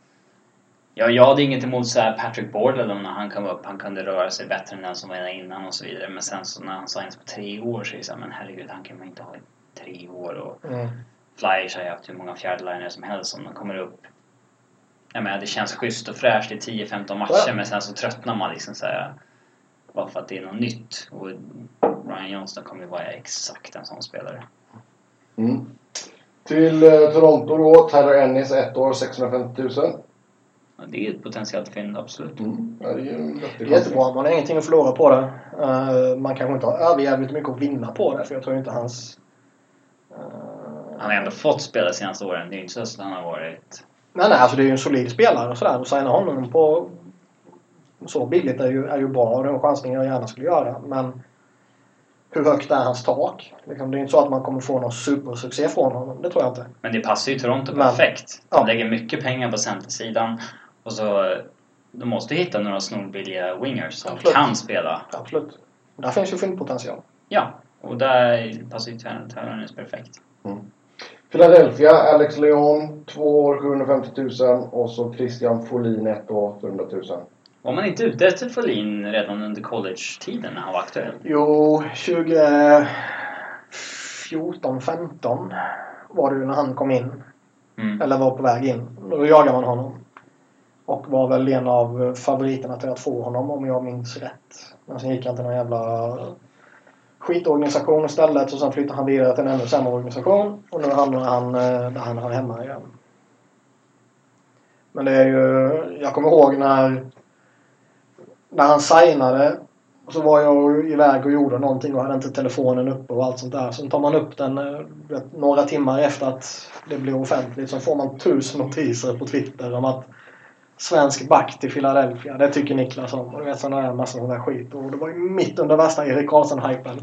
S3: Ja, jag hade inget emot så här Patrick Board eller när han kom upp, han kunde röra sig bättre än den som var där innan och så vidare, men sen så när han signades på tre år så är det så här, men herregud, han kan man inte ha i tre år och...
S2: Mm.
S3: Flyers har ju haft hur många fjärdelinare som helst om de kommer upp. Jag menar, det känns schysst och fräscht i 10-15 matcher
S2: Ja.
S3: men sen så tröttnar man liksom så här, bara för att det är något nytt. Och Ryan Johnston kommer ju vara exakt en sån spelare.
S1: Mm. Till eh, Toronto då. Tyler Ennis, ett år, 650 000.
S3: Och det är ett potentiellt fynd, absolut.
S1: Mm. Ja, det är ju en
S2: Det
S1: vettig
S2: är jättebra. Man har ingenting att förlora på det. Eh, man kanske inte har överjävligt mycket att vinna på det. För jag tror inte hans... eh,
S3: Han har ändå fått spela de senaste åren. Det är ju inte så att han har varit...
S2: Nej, nej, alltså det är ju en solid spelare och sådär. Och signa honom på så billigt är ju, är ju bra och den chansning jag gärna skulle göra. Men hur högt är hans tak? Liksom, det är inte så att man kommer få någon supersuccé från honom. Det tror jag inte.
S3: Men det passar ju Toronto
S2: Men-
S3: perfekt.
S2: ja.
S3: De lägger mycket pengar på centersidan och så... De måste hitta några snorbilliga wingers som
S2: Absolut.
S3: kan spela.
S2: Absolut. Där finns ju fyndpotential.
S3: Ja, och där passar ju Tyler Tyler Ennis perfekt.
S1: Philadelphia, Alex Leon, två år, 750 000. Och så Christian Folin, ett år, 800 000.
S3: Var man inte ute efter Folin redan under college-tiden när han var aktuell?
S2: Jo, 2014, 15 var det ju när han kom in.
S3: Mm.
S2: Eller var på väg in. Då jagade man honom. Och var väl en av favoriterna till att få honom om jag minns rätt. Men sen gick han till någon jävla skitorganisation istället och sen flyttade han vidare till en ännu sämre organisation. Och nu hamnar han eh, där han hör hemma igen. Men det är ju... Jag kommer ihåg när... När han signade och så var jag iväg och gjorde någonting och hade inte telefonen uppe och allt sånt där. Sen tar man upp den eh, du vet, några timmar efter att det blir offentligt. Så får man tusen notiser på Twitter om att svensk back till Philadelphia. Det tycker Niklas om. Och du vet sådana där massa sån där skit. Och det var ju mitt under värsta Erik Karlsson-hypen.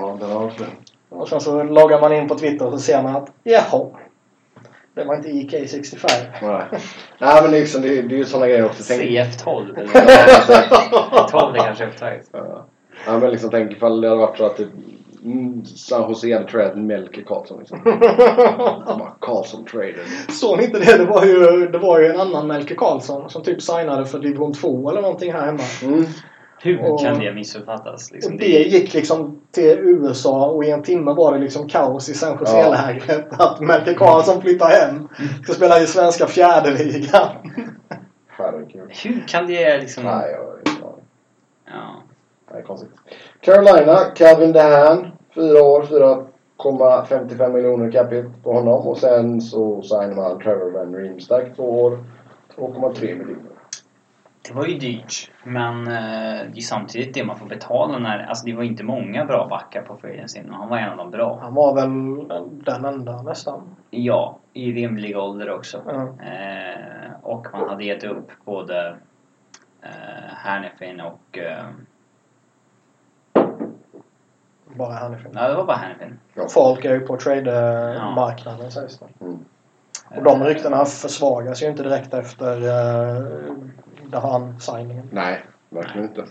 S1: Ja, det var också
S2: och sen så loggar man in på Twitter och så ser man att jaha. Det var inte E IK65.
S1: Nej. Nej, men det är ju liksom, det är- det är ju sådana grejer också. Tänk,
S3: CF12 eller 12 är kanske upptaget.
S1: ja. Ja, men liksom, tänk ifall det hade varit så att typ, mm, San Jose hade tradat Melker Karlsson. Liksom. Han bara, Karlsson traded.
S2: Såg ni inte det? Det var ju, det var ju en annan Melker Karlsson som typ signade för division 2 eller någonting här hemma.
S1: Mm.
S3: Hur
S2: Och-
S3: kan det missuppfattas? Liksom,
S2: Och det gick liksom till USA och i en timme var det liksom kaos i San Jose-lägret. Att Melker Karlsson flyttar hem. Ska spela i svenska fjärdeligan.
S1: Herregud.
S3: Hur kan det liksom...
S1: Nej, jag har ingen aning.
S3: Ja.
S1: Det är konstigt. Carolina, Calvin Dahan. Fyra år, 4,55 miljoner capita på honom. Och sen så signar man Trevor Van Riemsdyk två år, 2,3 miljoner.
S3: Det var ju dyrt, men eh, det är samtidigt det man får betala när... Alltså det var inte många bra backar på Fredensin och han var en av de bra.
S2: Han var väl den enda nästan.
S3: Ja, i rimlig ålder också.
S2: Ja.
S3: Eh, och man hade gett upp både eh, Hannifin och... Eh,
S2: Bara Hannifin.
S3: ja, det var bara Hannifin.
S2: Folk är ju på trade-marknaden sägs det.
S1: Mm.
S2: Och de ryktena försvagas ju inte direkt efter uh, Dahan-signingen.
S1: Nej, verkligen inte.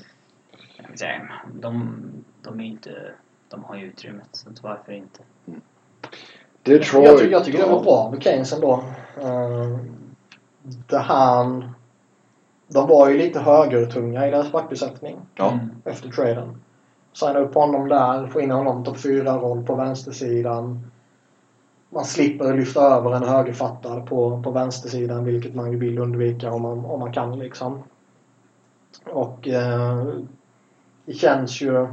S3: Jag vill säga, De, de är ju inte... De har ju utrymmet, så att varför inte?
S1: Detroit.
S2: Jag, tycker- jag tycker det var bra med Keynes ändå. Uh, Dahan... De var ju lite högertunga i deras backbesättning.
S1: Ja.
S3: Mm.
S2: efter traden. Signa upp honom där, få in honom topp 4-roll på vänstersidan. Man slipper lyfta över en högerfattad på, på vänstersidan, vilket man ju vill undvika om man, om man kan liksom. Och eh, det känns ju...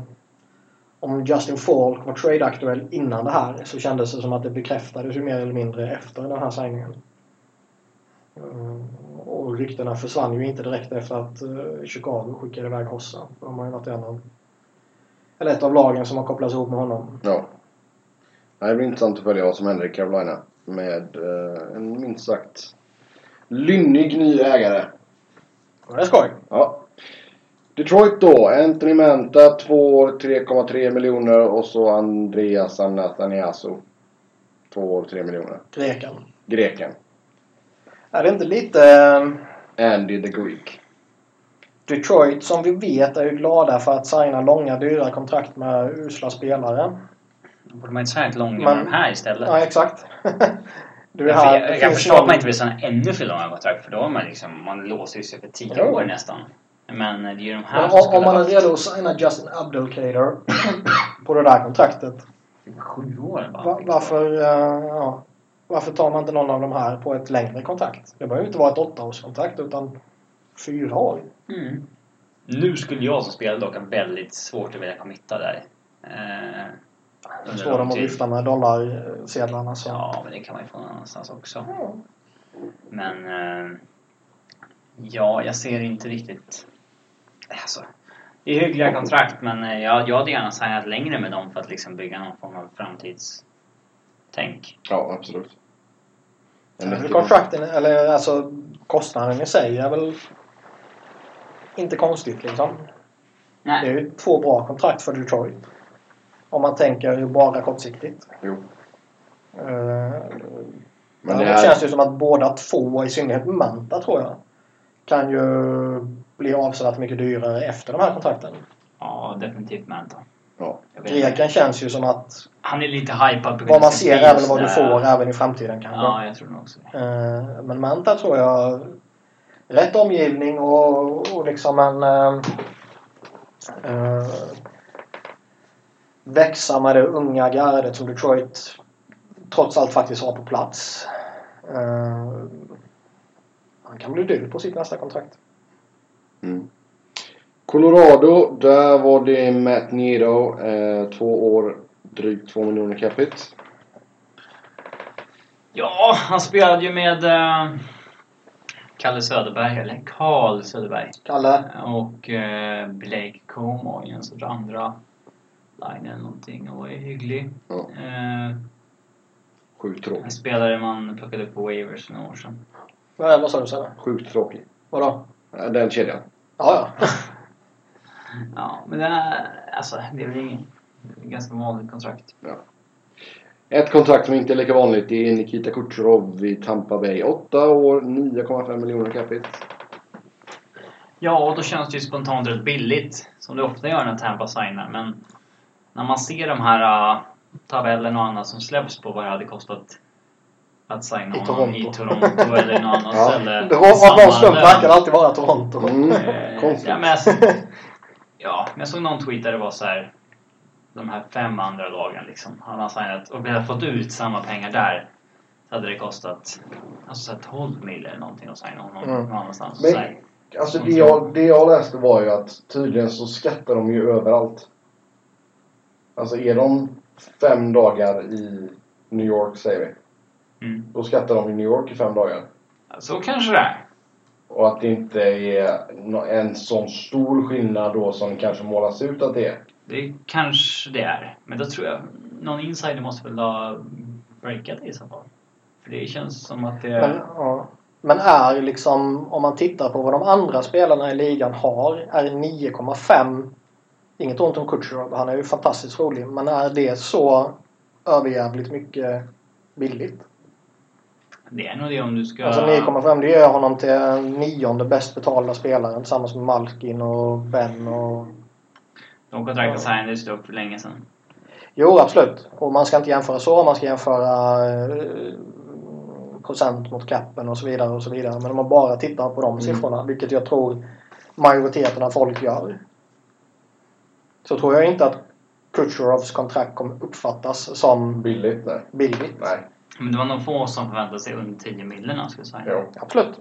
S2: Om Justin Falk var trade-aktuell innan det här så kändes det som att det bekräftades ju mer eller mindre efter den här signingen. Mm, eh, Och ryktena försvann ju inte direkt efter att eh, Chicago skickade iväg Hossa. De har ju varit en av Eller ett av lagen som har kopplats ihop med honom.
S1: Ja. Nej, Det blir intressant att följa vad som händer i Carolina. Med eh, en minst sagt lynnig ny ägare.
S2: Och det är skoj.
S1: Ja. Detroit då. Anthony Manta 2 år 3,3 miljoner och så Andreas Anataniasu. 2 år 3 miljoner.
S2: Grekan.
S1: Greken.
S2: Är det inte lite eh,
S1: Andy the Greek.
S2: Detroit som vi vet är ju glada för att signa långa dyra kontrakt med usla spelare?
S3: Då borde man inte signa ett långt
S2: Man-
S3: med de här istället.
S2: Ja, exakt. du är
S3: jag,
S2: här.
S3: jag,
S2: det
S3: jag kan
S2: finns
S3: förstå att
S2: någon-
S3: man inte vill signa ännu för långa kontrakt för då har man liksom, man låser ju sig för tio
S2: Jo.
S3: år nästan. Men det är ju de här
S2: Men
S3: som
S2: om, om
S3: skulle
S2: man är
S3: haft
S2: redo att signa Justin Abdulkader på det där kontraktet.
S3: typ sju år bara. liksom.
S2: Va, varför, eh, ja, varför tar man inte någon av de här på ett längre kontrakt? Det behöver ju inte vara ett åttaårskontrakt utan fyra år.
S3: Mm. Nu skulle jag som spelare dock ha väldigt svårt att vilja committa där. Eh,
S2: Nu
S3: under
S2: står
S3: lång
S2: de och
S3: tid.
S2: viftar med dollarsedlarna. Så.
S3: Ja, men det kan man ju få någon annanstans också.
S2: Ja.
S3: Men... Eh, ja, jag ser inte riktigt... Alltså, det är hyggliga kontrakt men eh, jag, jag hade gärna signat längre med dem för att liksom bygga någon form av framtidstänk.
S1: Ja, absolut. En
S2: Men
S1: vettig-
S2: kontrakten, eller alltså kostnaden i sig är väl inte konstigt liksom. Det
S3: Nej.
S2: är ju två bra kontrakt för Detroit. Om man tänker ju bara kortsiktigt.
S1: Jo.
S2: Eh,
S1: Men
S2: det,
S1: det är...
S2: känns ju som att båda två, i synnerhet Manta tror jag, kan ju bli avsevärt mycket dyrare efter de här kontrakten.
S3: Ja, definitivt Manta.
S1: Ja.
S3: Jag vet inte.
S2: Greken känns ju som att
S3: Han är lite hypad på grund
S2: vad
S3: av
S2: man
S3: sin
S2: ser
S3: stil
S2: är väl vad du
S3: och sådär.
S2: får även i framtiden kanske.
S3: Ja, jag tror nog också det.
S2: Eh, Men Manta tror jag... Rätt omgivning och, och liksom en... eh, eh, växa med det unga gardet som Detroit trots allt faktiskt har på plats. Eh, han kan bli dyr på sitt nästa kontrakt.
S1: Mm. Colorado, där var det Matt Nero. Eh, två år, drygt 2 miljoner capita.
S3: Ja, han spelade ju med eh, Kalle Söderberg, eller Karl Söderberg.
S2: Kalle?
S3: Och eh, Blake Como i en sorts andra line eller någonting och var ju hygglig.
S1: Ja.
S3: Eh,
S1: Sjukt
S3: en
S1: tråkig.
S3: spelare man plockade upp på waivers för några år sedan.
S2: Vad är- vad sa du Sebbe?
S1: Sjukt tråkig.
S2: Vadå?
S1: Eh, Den kedjan.
S2: Ja, ja.
S3: Ja, men det är, alltså, det är väl ingen, det är ett ganska vanligt kontrakt.
S1: Ett kontrakt som inte är lika vanligt det är Nikita Kucherov i Tampa Bay. 8 år, 9,5 miljoner capita.
S3: Ja, och då känns det ju spontant rätt billigt. Som det ofta gör när Tampa signar. Men när man ser de här äh, tabellerna och annat som släpps på vad det hade kostat att signa
S2: I
S3: honom
S2: Toronto.
S3: i Toronto eller någon annan
S1: Ja.
S3: ställe.
S2: Det var av någon slump
S3: Samma
S2: verkar
S3: lön.
S2: det alltid vara Toronto.
S1: Mm. Konstigt.
S3: Eh, Ja, men jag, såg- ja, men jag såg någon tweet där det var så här. De här fem andra lagen liksom. Han har signat och vi har fått ut samma pengar där. Så hade det kostat alltså, så här 12 mil eller någonting att signa honom
S2: Mm.
S3: någon annanstans.
S1: Men-
S3: Så här,
S1: Alltså det jag, det jag läste var ju att tydligen så skattar de ju överallt. Alltså är de fem dagar i New York säger vi.
S3: mm.
S1: Då skattar de i New York i fem dagar.
S3: Så kanske det är.
S1: Och att det inte är nå- en sån stor skillnad då som det kanske målas ut att det är.
S3: Det kanske det är. Men då tror jag någon insider måste väl ha breakat det i så fall. För det känns som att det...
S1: Mm.
S2: Men, ja. Men är liksom, om man tittar på vad de andra spelarna i ligan har, är 9,5. Inget ont om Kutjerov, han är ju fantastiskt rolig. Men är det så överjävligt mycket billigt?
S3: det är nog det om du ska...
S2: Alltså 9,5 det gör honom till den nionde bäst betalda spelaren tillsammans med Malkin och Ben och...
S3: de kontrakten signades ju upp för länge sedan.
S2: Jo, absolut. Och man ska inte jämföra så. Man ska jämföra eh, procent mot kappen och så vidare och så vidare. Men om man bara tittar på de siffrorna, vilket jag tror majoriteten av folk gör. Så tror jag inte att Kutjerovs kontrakt kommer uppfattas som
S1: Billigt? Nej.
S2: billigt.
S1: Nej.
S3: Men det var nog få som förväntade sig under 10 miljoner han skulle signa.
S1: Jo.
S2: Absolut.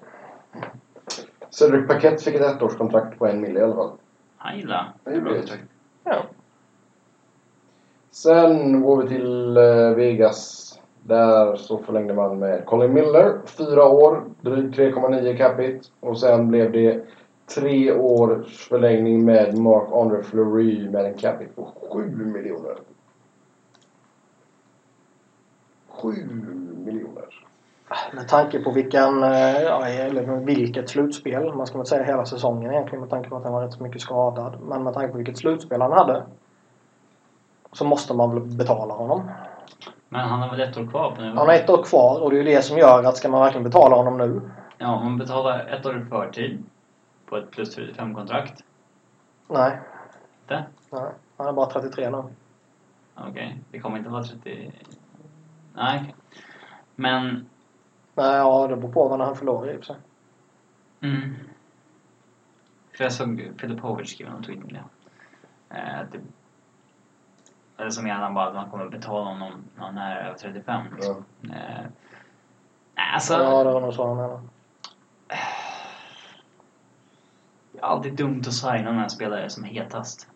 S1: Cedric Paquette fick ett ettårskontrakt på en mil i alla fall.
S3: Han gillar.
S1: Det är bra.
S2: Ja.
S1: Sen går vi till eh, Vegas. Där så förlängde man med Colin Miller, fyra år, drygt 3,9 capita. Och sen blev det Tre år förlängning med Mark Andre Fleury med en capita på 7 miljoner. 7 miljoner.
S2: Med tanke på vilken, eh, ja, eller vilket slutspel, man ska väl säga hela säsongen egentligen med tanke på att han var rätt så mycket skadad. Men med tanke på vilket slutspel han hade så måste man väl betala honom.
S3: Men han har väl ett år kvar på nu?
S2: Han har ett år kvar och det är ju det som gör att ska man verkligen betala honom nu?
S3: Ja, han betalar ett år i förtid. På ett plus 45-kontrakt.
S2: Nej,
S3: Inte?
S2: nej. Han är bara 33 nu.
S3: Okej, det kommer inte vara 30... Nej, okej. Men...
S2: Nej, ja det beror på vad han förlorar i och för sig.
S3: Mm. För jag såg Filipovic skriva någon tweet om det. Eh, att det eller som menar han bara att man kommer betala honom när han är över 35. Liksom. Eh, nej, alltså...
S2: Ja, det var nog så han menade.
S3: Det är alltid dumt att signa när en spelare som är hetast.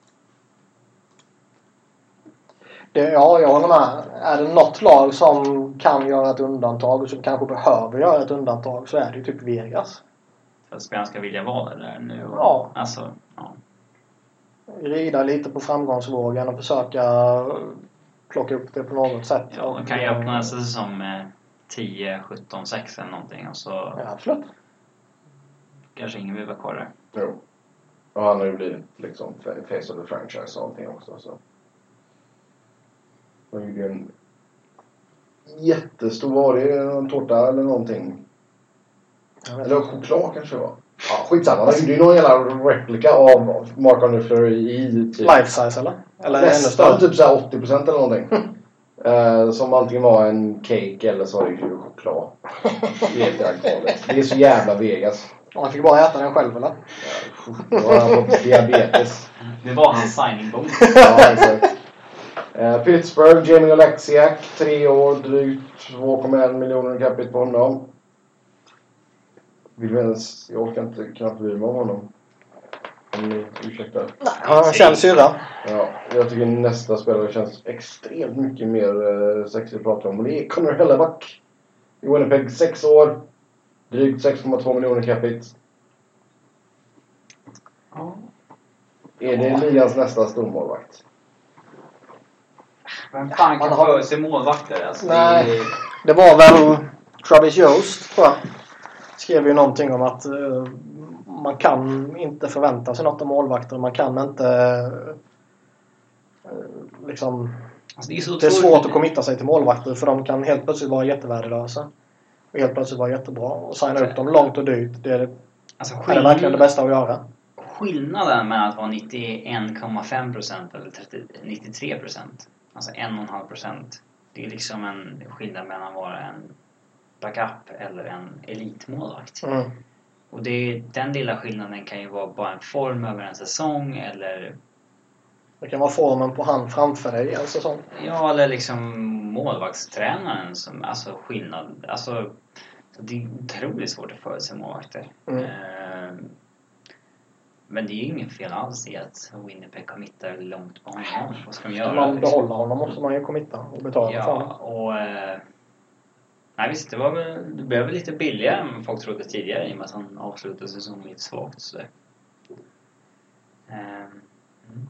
S2: Det, ja, jag håller med. Är det något lag som kan göra ett undantag och som kanske behöver göra ett undantag så är det ju typ Vegas.
S3: För att spelaren ska vilja vara där nu. Och,
S2: Ja.
S3: Alltså, ja.
S2: Rida lite på framgångsvågen och försöka plocka upp det på något sätt.
S3: ja man kan ju öppna eh, nästa säsong med 10, 17, 6 eller någonting och så
S2: Ja, absolut.
S3: kanske ingen vill vara kvar där.
S1: Jo. Och han har ju blivit liksom face of the franchise och allting också. Så. Han gjorde ju en jättestor, var det en tårta eller någonting?
S2: Jag vet
S1: Eller
S2: inte.
S1: choklad kanske det var? Ja, skitsamma. Han gjorde ju någon jävla replika av Mark Andre Fleury i typ...
S2: Life size eller? Eller ännu
S1: Nästan
S2: större?
S1: typ såhär 80% eller någonting. Eh, som antingen var en cake eller så var det ju choklad. I det alkoholet. Det är så jävla Vegas.
S2: Ja, Han fick bara äta den själv eller?
S1: Då har han fått diabetes.
S3: Det var hans signingbok.
S1: Ja, exakt. Eh, Pittsburgh, Jamie Oleksiak. Tre år, drygt 2,1 miljoner i capita på honom. Vill vi ens... Jag orkar inte knappt bry mig om honom. Om ni ursäktar.
S2: Nej, han är en känd syrra.
S1: Ja, jag tycker nästa spelare känns extremt mycket mer eh, sexig att prata om. Och det är Connor Hellebuck. I Winnipeg, sex år. Drygt 6,2 miljoner i capita.
S3: Ja.
S1: Är det ligans nästa stormålvakt?
S3: Vem fan kan
S2: Man har-
S3: för sig målvakter? Alltså, det är-
S2: Nej. Det var väl Travis Jost tror jag. Skrev ju någonting om att eh, man kan inte förvänta sig något av målvakter. Man kan inte eh, liksom...
S3: Alltså, det är så
S2: Det är svårt att
S3: otroligt-
S2: committa sig till målvakter för de kan helt plötsligt vara jättevärdelösa. Och helt plötsligt vara jättebra. Och signa upp dem långt och dyrt. Det är,
S3: Alltså,
S2: är det verkligen det
S3: skillnaden,
S2: bästa att göra.
S3: skillnaden mellan att vara 91,5% eller 30, 93%. Alltså 1,5%. Det är liksom en skillnad mellan att vara en backup eller en elitmålvakt.
S2: Mm.
S3: Och det, den lilla skillnaden kan ju vara bara en form över en säsong eller
S2: Det kan vara formen på han framför dig en säsong.
S3: Ja, eller liksom målvaktstränaren som, alltså skillnad, alltså så det är otroligt svårt att förutse målvakter.
S2: Mm.
S3: Ehm, men det är ju inget fel alls i att Winnipeg committar långt på honom. Vad ska de
S2: Ska
S3: göra?
S2: man
S3: liksom?
S2: behålla honom måste man ju committa och betala för
S3: Ja,
S2: honom.
S3: och... eh, Nej visst, det, var väl, det blev väl lite billigare än vad folk trodde tidigare i och med att han avslutade säsongen lite svagt. Så. där. Ehm, mm.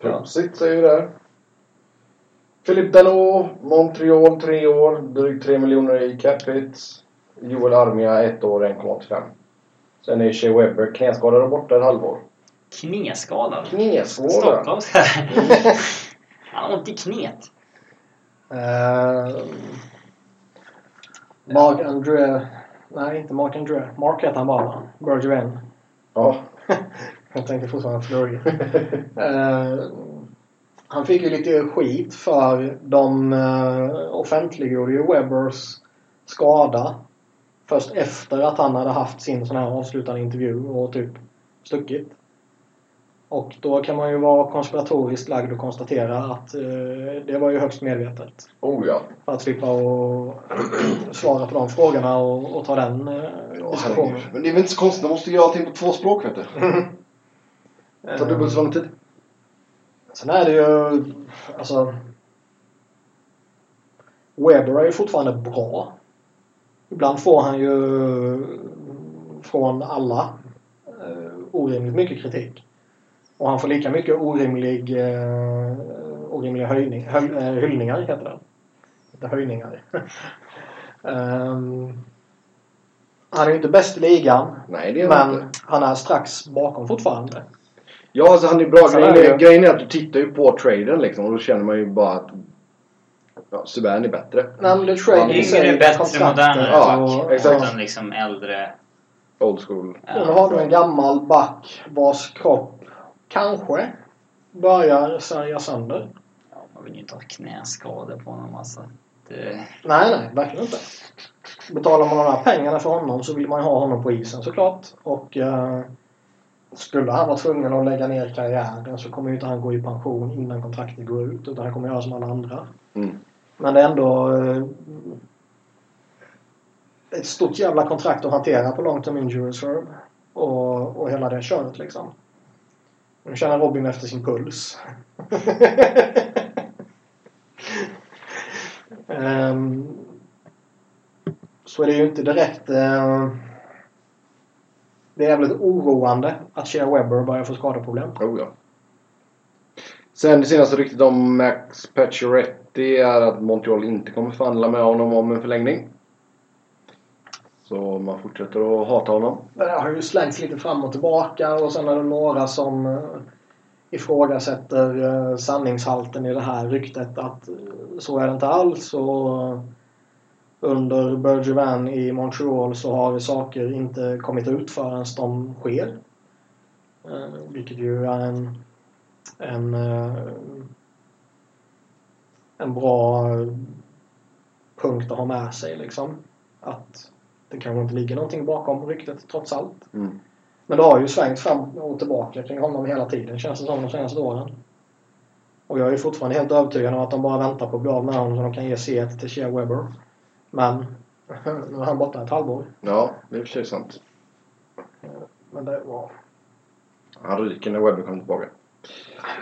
S1: Prosit säger ju där. Philip Dano, Montreal, tre år, drygt 3 miljoner i capita. Joel Armia, ett år, 1,85. Sen är Shea Weber knäskadad och borta ett halvår.
S3: Knäskadad.
S1: Knäskadad?
S3: Stockholms Han har ont i knet.
S2: Eh, Mark Andre... Nej, inte Mark Andre. Mark heter han bara. Bergevin.
S1: Ja.
S2: Jag tänker fortfarande Flurry. Eh, han fick ju lite skit för de eh, offentliggjorde ju Webbers skada först efter att han hade haft sin sån här avslutande intervju och typ stuckit. Och då kan man ju vara konspiratoriskt lagd och konstatera att eh, det var ju högst medvetet.
S1: oh ja.
S2: För att slippa och svara på de frågorna och, och ta den eh, diskussionen.
S1: Men det är väl inte så konstigt, de måste göra allting på två språk vet du. Det tar dubbelt så lång tid.
S2: Sen är det ju... Alltså... Weber är ju fortfarande bra. Ibland får han ju från alla eh, orimligt mycket kritik. Och han får lika mycket orimlig, eh, orimliga höjning, höj, eh, hyllningar heter det. Inte höjningar. Ehm, han är ju inte bäst i ligan.
S1: Nej, det är han
S2: Men
S1: inte.
S2: han är strax bakom fortfarande.
S1: Ja, alltså han är bra.
S2: Så
S1: Grejen
S2: är det.
S1: är, grejen är att du tittar ju på traden liksom och då känner man ju bara att ja, Subban är bättre.
S2: Nej, men det trade
S1: Han är
S2: i sig,
S3: Yngre, bättre,
S2: kontraktet
S3: modernare
S1: Ja,
S2: och-
S1: exakt.
S3: Utan liksom äldre...
S1: Old school.
S3: ja.
S2: Ja, Nu har du en gammal back vars kropp kanske börjar särja sönder.
S3: Ja, man vill ju inte ha knäskador på honom alltså. Det...
S2: Nej, nej, verkligen inte. Betalar man de här pengarna för honom så vill man ju ha honom på isen såklart. Och eh, skulle han vara tvungen att lägga ner karriären så kommer ju inte han gå i pension innan kontraktet går ut. Utan han kommer göra som alla andra.
S1: Mm.
S2: Men det är ändå eh, ett stort jävla kontrakt att hantera på long term injury reserve. Och, och hela det köret liksom. Nu känner Robin efter sin puls. Ehm, så är det ju inte direkt... eh, det är jävligt oroande att Shea Webber börjar få skadeproblem.
S1: Oh, ja. Sen det senaste ryktet om Max Pacioretty är att Montreal inte kommer förhandla med honom om en förlängning. Så man fortsätter att hata honom.
S2: Det där har ju slängts lite fram och tillbaka och sen är det några som eh, ifrågasätter eh, sanningshalten i det här ryktet att eh, så är det inte alls och eh, under Bergevin i Montreal så har saker inte kommit ut förrän de sker. Eh, Vilket ju är en, en, eh, en bra eh, punkt att ha med sig liksom. Att det kanske inte ligger någonting bakom ryktet trots allt.
S1: Mm.
S2: Men det har ju svängt fram och tillbaka kring honom hela tiden känns det som de senaste åren. Och jag är fortfarande helt övertygad om att de bara väntar på att bli av med honom så de kan ge C1 till Shea Weber. Men nu är han borta ett halvår.
S1: Ja, det är i och för sig sant.
S2: Men det, var...
S1: Han ryker när Webber kommer tillbaka.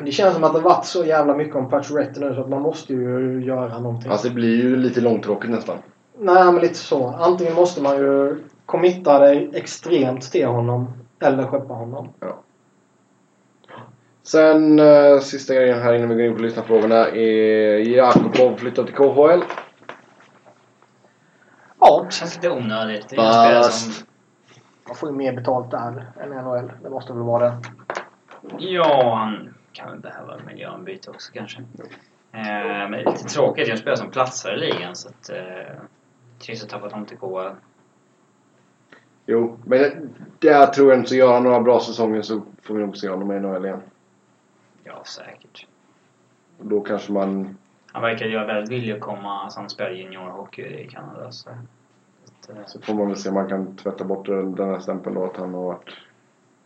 S2: det känns som att det varit så jävla mycket om Pacioretty nu så att man måste ju göra någonting.
S1: Alltså det blir ju lite långtråkigt nästan.
S2: Nej, men lite så. Antingen måste man ju committa dig extremt till honom eller skeppa honom.
S1: Sen eh, sista grejen här innan vi går in på lyssnarfrågorna är Jakobov flyttar till KHL.
S2: Ja,
S3: Det känns lite onödigt. Det är en
S1: Fast-
S3: spelare som...
S2: man får ju mer betalt där än i NHL. Det måste väl vara det.
S3: Ja, han kan väl behöva miljöombyte också kanske. Eh, men det är lite tråkigt. Det är en spelare som platsar i ligan så att... Eh, trist att tappa honom till KHL.
S1: Jo, men det- där tror jag inte så gör han några bra säsonger så får vi nog se honom i NHL igen.
S3: Ja, säkert.
S1: Och Då kanske man...
S3: Han verkar ju vara väldigt villig att komma. Alltså, han spelar juniorhockey i Kanada så... så att, eh,
S1: Så får man väl se om man kan tvätta bort den den här stämpeln då att han har varit...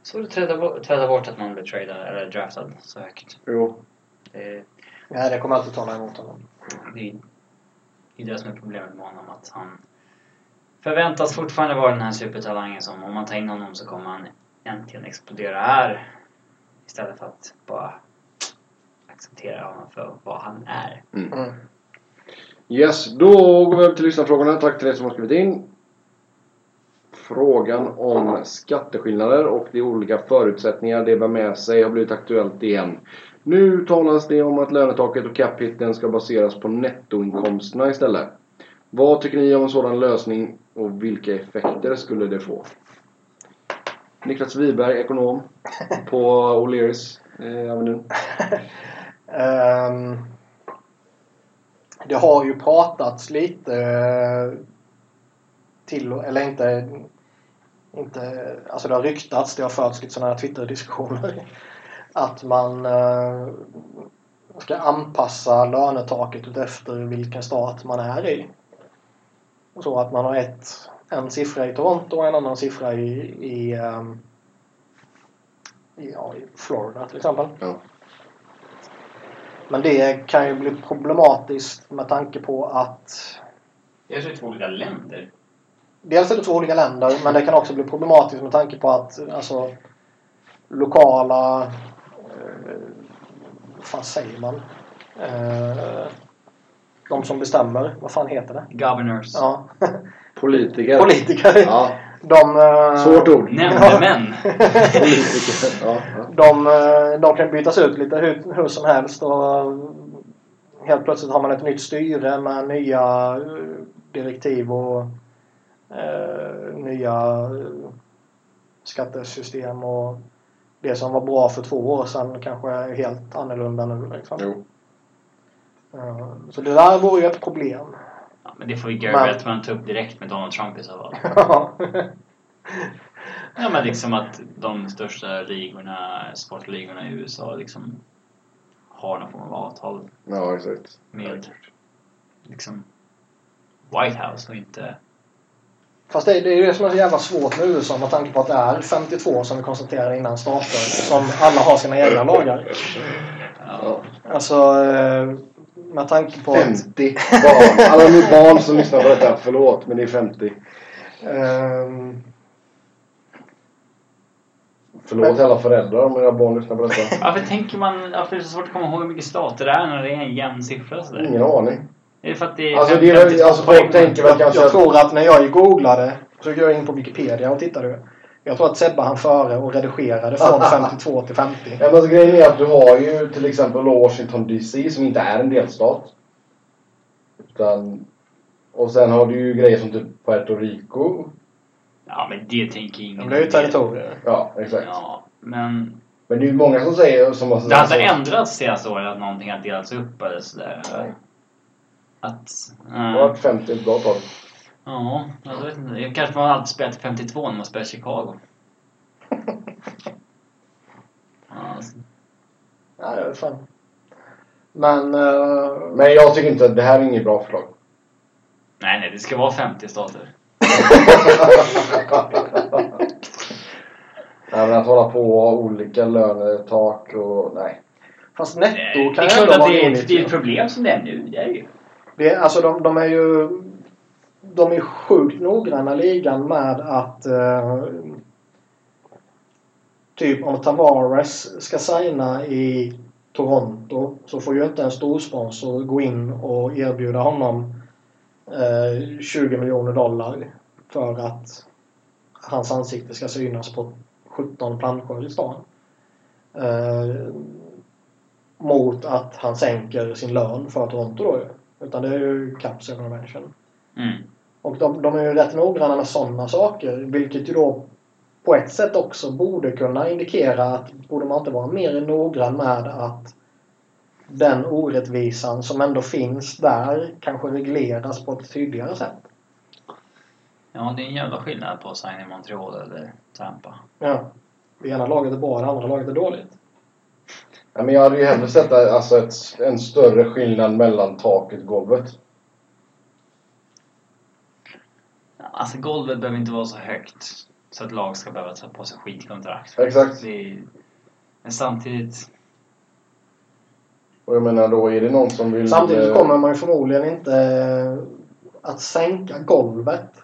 S3: Så du träda, bo- träda bort att man blir tradad eller draftad säkert.
S1: Jo.
S3: Det,
S2: Nej, det kommer alltid tala emot honom.
S3: det, det är det som är problemet med honom. Att han förväntas fortfarande vara den här supertalangen som om man tar in honom så kommer han äntligen explodera här. Istället för att bara acceptera honom för vad han är.
S2: Mm.
S1: Yes, då går vi över till lyssnarfrågorna. Tack till er som har skrivit in. Frågan om skatteskillnader och de olika förutsättningar det bär med sig har blivit aktuellt igen. Nu talas det om att lönetaket och capiten ska baseras på nettoinkomsterna istället. Vad tycker ni om en sådan lösning och vilka effekter skulle det få? Niklas Wiberg, ekonom på O'Learys eh, Avenyn.
S2: Ehm, det har ju pratats lite eh, till och- eller inte, inte alltså det har ryktats, det har förts lite sådana här Twitter-diskussioner att man eh, ska anpassa lönetaket efter vilken stat man är i. Så att man har ett, en siffra i Toronto och en annan siffra i, i, ehm, i, ja, i Florida till exempel.
S1: Ja.
S2: Men det kan ju bli problematiskt med tanke på att
S3: Det är så två olika länder.
S2: dels är det två olika länder men det kan också bli problematiskt med tanke på att alltså, lokala... Eh, vad fan säger man? Eh, de som bestämmer, vad fan heter det?
S3: Governors.
S2: Ja.
S1: Politiker.
S2: Politiker.
S1: Ja.
S2: De, eh,
S1: Svårt ord.
S3: Nämndemän!
S1: Politiker. Ja, ja.
S2: de, eh, de kan bytas ut lite hur, hur som helst och eh, helt plötsligt har man ett nytt styre med nya eh, direktiv och eh, nya eh, skattesystem och det som var bra för två år sedan kanske är helt annorlunda nu. Liksom.
S1: Jo.
S2: Eh, Så det där vore ju ett problem.
S3: Ja, men det får ju Gary
S2: Men-
S3: Bettman ta upp direkt med Donald Trump i så fall. Ja men liksom att de största ligorna, sportligorna i USA liksom har någon form av avtal
S1: ja, exakt.
S3: med liksom White House och inte...
S2: Fast det, det är ju det som är så jävla svårt med USA med tanke på att det är 52 som vi konstaterade innan stater som alla har sina egna lagar.
S3: Ja.
S1: Ja.
S2: Alltså eh, med tanke på att
S1: 50 barn. Alla ni barn som lyssnar på detta, förlåt men det är 50.
S2: ehm,
S1: Förlåt
S2: Men-
S1: alla föräldrar om era barn lyssnar på detta.
S3: Varför tänker man... Varför är det så svårt att komma ihåg hur mycket stater det är när det är en jämn siffra sådär?
S1: Ingen aning.
S3: Är det för att det är...
S1: Mm. Alltså, det är väl- alltså, folk tänker väl
S2: jag,
S1: kanske
S2: jag
S1: att...
S2: tror att när jag googlade så gick jag in på Wikipedia och tittade. Jag tror att Sebbe han före och redigerade från 52 till 50.
S1: Ja, men alltså, grejen är att du har ju till exempel då Washington DC som inte är en delstat. Utan... Och sen har du ju grejer som typ Puerto Rico.
S3: Ja men det tänker ingen...
S2: De blev ju territorier.
S1: Ja, exakt. Alltså,
S3: Ja, men...
S1: Men det är ju många som säger... Som har,
S3: Det har inte ändrats senaste året att någonting har delats upp eller sådär?
S1: Nej.
S3: Att...
S1: Det
S3: eh,
S1: har varit 50 ett bra tag.
S3: Ja, jag vet inte. Jag kanske man alltid spelar till 52 när man spelar Chicago. Ja, alltså.
S2: Ja, det är fan. Men eh,
S1: Men jag tycker inte att det här är inget bra förslag.
S3: Nej, nej, det ska vara 50 stater.
S1: Nej, men att hålla på och ha olika lönetak och... Nej.
S2: fast
S3: Nej,
S2: netto
S3: Eh, det
S2: kan
S3: är
S2: ju
S3: klart
S2: ändå
S3: att
S2: vara liksom.
S3: det är,
S2: roligt.
S3: ett, det är
S2: ju.
S3: ett problem som det är nu. Det är det ju.
S2: Det, är- alltså de, de är ju... De är sjukt noggranna ligan med att... Eh, typ om Tavares ska signa i Toronto så får ju inte en storsponsor gå in och erbjuda honom eh, 20 miljoner dollar för att hans ansikte ska synas på 17 planscher i stan. Eh, mot att han sänker sin lön för Toronto då ju. Utan det är ju Caps Convention.
S3: Mm.
S2: Och de, de är ju rätt noggranna med sådana saker. Vilket ju då på ett sätt också borde kunna indikera att borde man inte vara mer noggrann med att den orättvisan som ändå finns där kanske regleras på ett tydligare sätt.
S3: Ja, det är en jävla skillnad på att signa i Montreal eller Tampa.
S2: Ja. Det ena laget är bra, det andra laget är dåligt.
S1: Nej, men jag hade ju hellre sett alltså, ett, en större skillnad mellan taket och golvet.
S3: Alltså, golvet behöver inte vara så högt så att lag ska behöva ta på sig skitkontrakt.
S1: Exakt.
S3: Det är... Men samtidigt...
S1: Och jag menar då, är det någon som vill...
S2: Samtidigt så
S1: eh,
S2: kommer man ju förmodligen inte eh, att sänka golvet.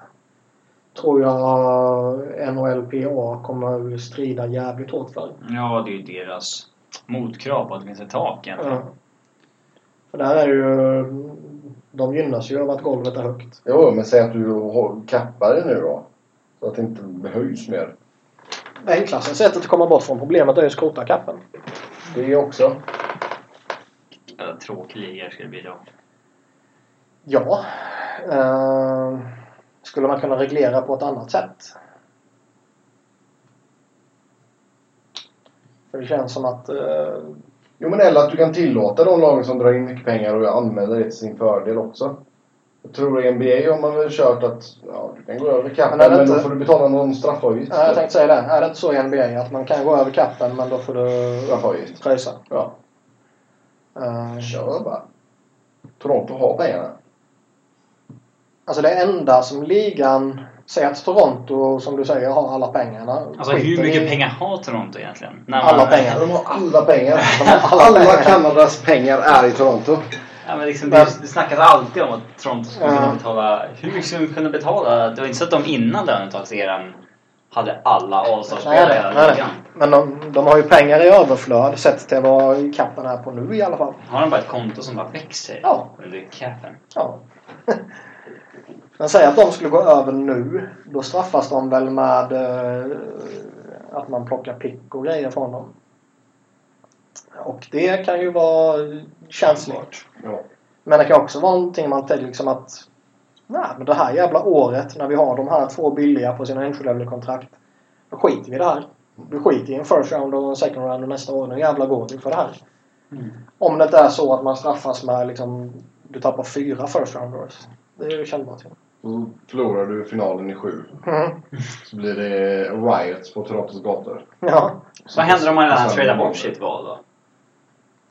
S2: Tror jag NHLPA kommer strida jävligt hårt för.
S3: Ja, det är ju deras motkrav på att det finns ett tak egentligen.
S2: Ja. För där är ju... De gynnas ju av att golvet är högt.
S1: eh, Jo, men säg att du hå- kappar det nu då. Så att det inte höjs mer.
S2: Det enklaste sättet att komma bort från problemet är ju att skrota kappen.
S1: Det är också.
S3: Jävla Tråkig liga skulle det bli då.
S2: Ja. Eh, skulle man kunna reglera på ett annat sätt? För det känns som att... Eh,
S1: Jo, men eller att du kan tillåta de lagen som drar in mycket pengar och använda det till sin fördel också. Jag tror i NBA har man väl kört att ja, du kan gå över kappen
S2: Men är
S1: men,
S2: det
S1: då
S2: inte-
S1: får du betala någon straffavgift.
S2: Ja, jag tänkte säga det. Är det inte så i NBA att man kan gå över kappen men då får du
S1: Straffavgift.
S2: pröjsa?
S1: Ja,
S2: Eh,
S1: kör bara. Toronto har pengarna.
S2: alltså det enda som ligan... Säg att Toronto, som du säger, har alla pengarna.
S3: Alltså hur
S2: Skiter
S3: mycket
S2: i-
S3: pengar har Toronto egentligen? När
S2: Alla
S3: man-
S2: pengar.
S1: De har alla pengar.
S2: Alla
S1: Alla,
S2: pengar.
S1: Kanadas pengar är i Toronto.
S3: Ja, men liksom, det, det snackas alltid om att Toronto skulle
S2: Ja.
S3: kunna betala... Hur mycket skulle de kunna betala? Det var inte så att de innan lönetakseran hade alla
S2: Nej,
S3: All-Star-spelare i
S2: nej,
S3: hela
S2: nej,
S3: ligan.
S2: nej. Men de, de har ju pengar i överflöd sett till vad kappen är på nu i alla fall.
S3: Har de bara ett konto som bara växer
S2: Ja.
S3: under capen?
S2: Ja. Men säg att de skulle gå över nu. Då straffas de väl med eh, att man plockar pick och grejer från dem. Och det kan ju vara känsligt.
S1: Ja.
S2: Men det kan också vara någonting man tänker liksom att Nej, men det här jävla året när vi har de här två billiga på sina entry-level-kontrakt. Då skiter vi i det här. Vi skiter i en first round och en second round och nästa år. Nu jävla går vi för det här. Om det inte är så att man straffas med liksom du tappar fyra first rounders. Det är ju kännbart. ju.
S1: Så förlorar du finalen i sju.
S2: Mm.
S1: Så blir det riots på Torontos gator.
S2: Ja,
S1: Så-
S3: Vad händer om man redan
S2: Alltså-
S1: så-
S3: tradar bort sitt val då?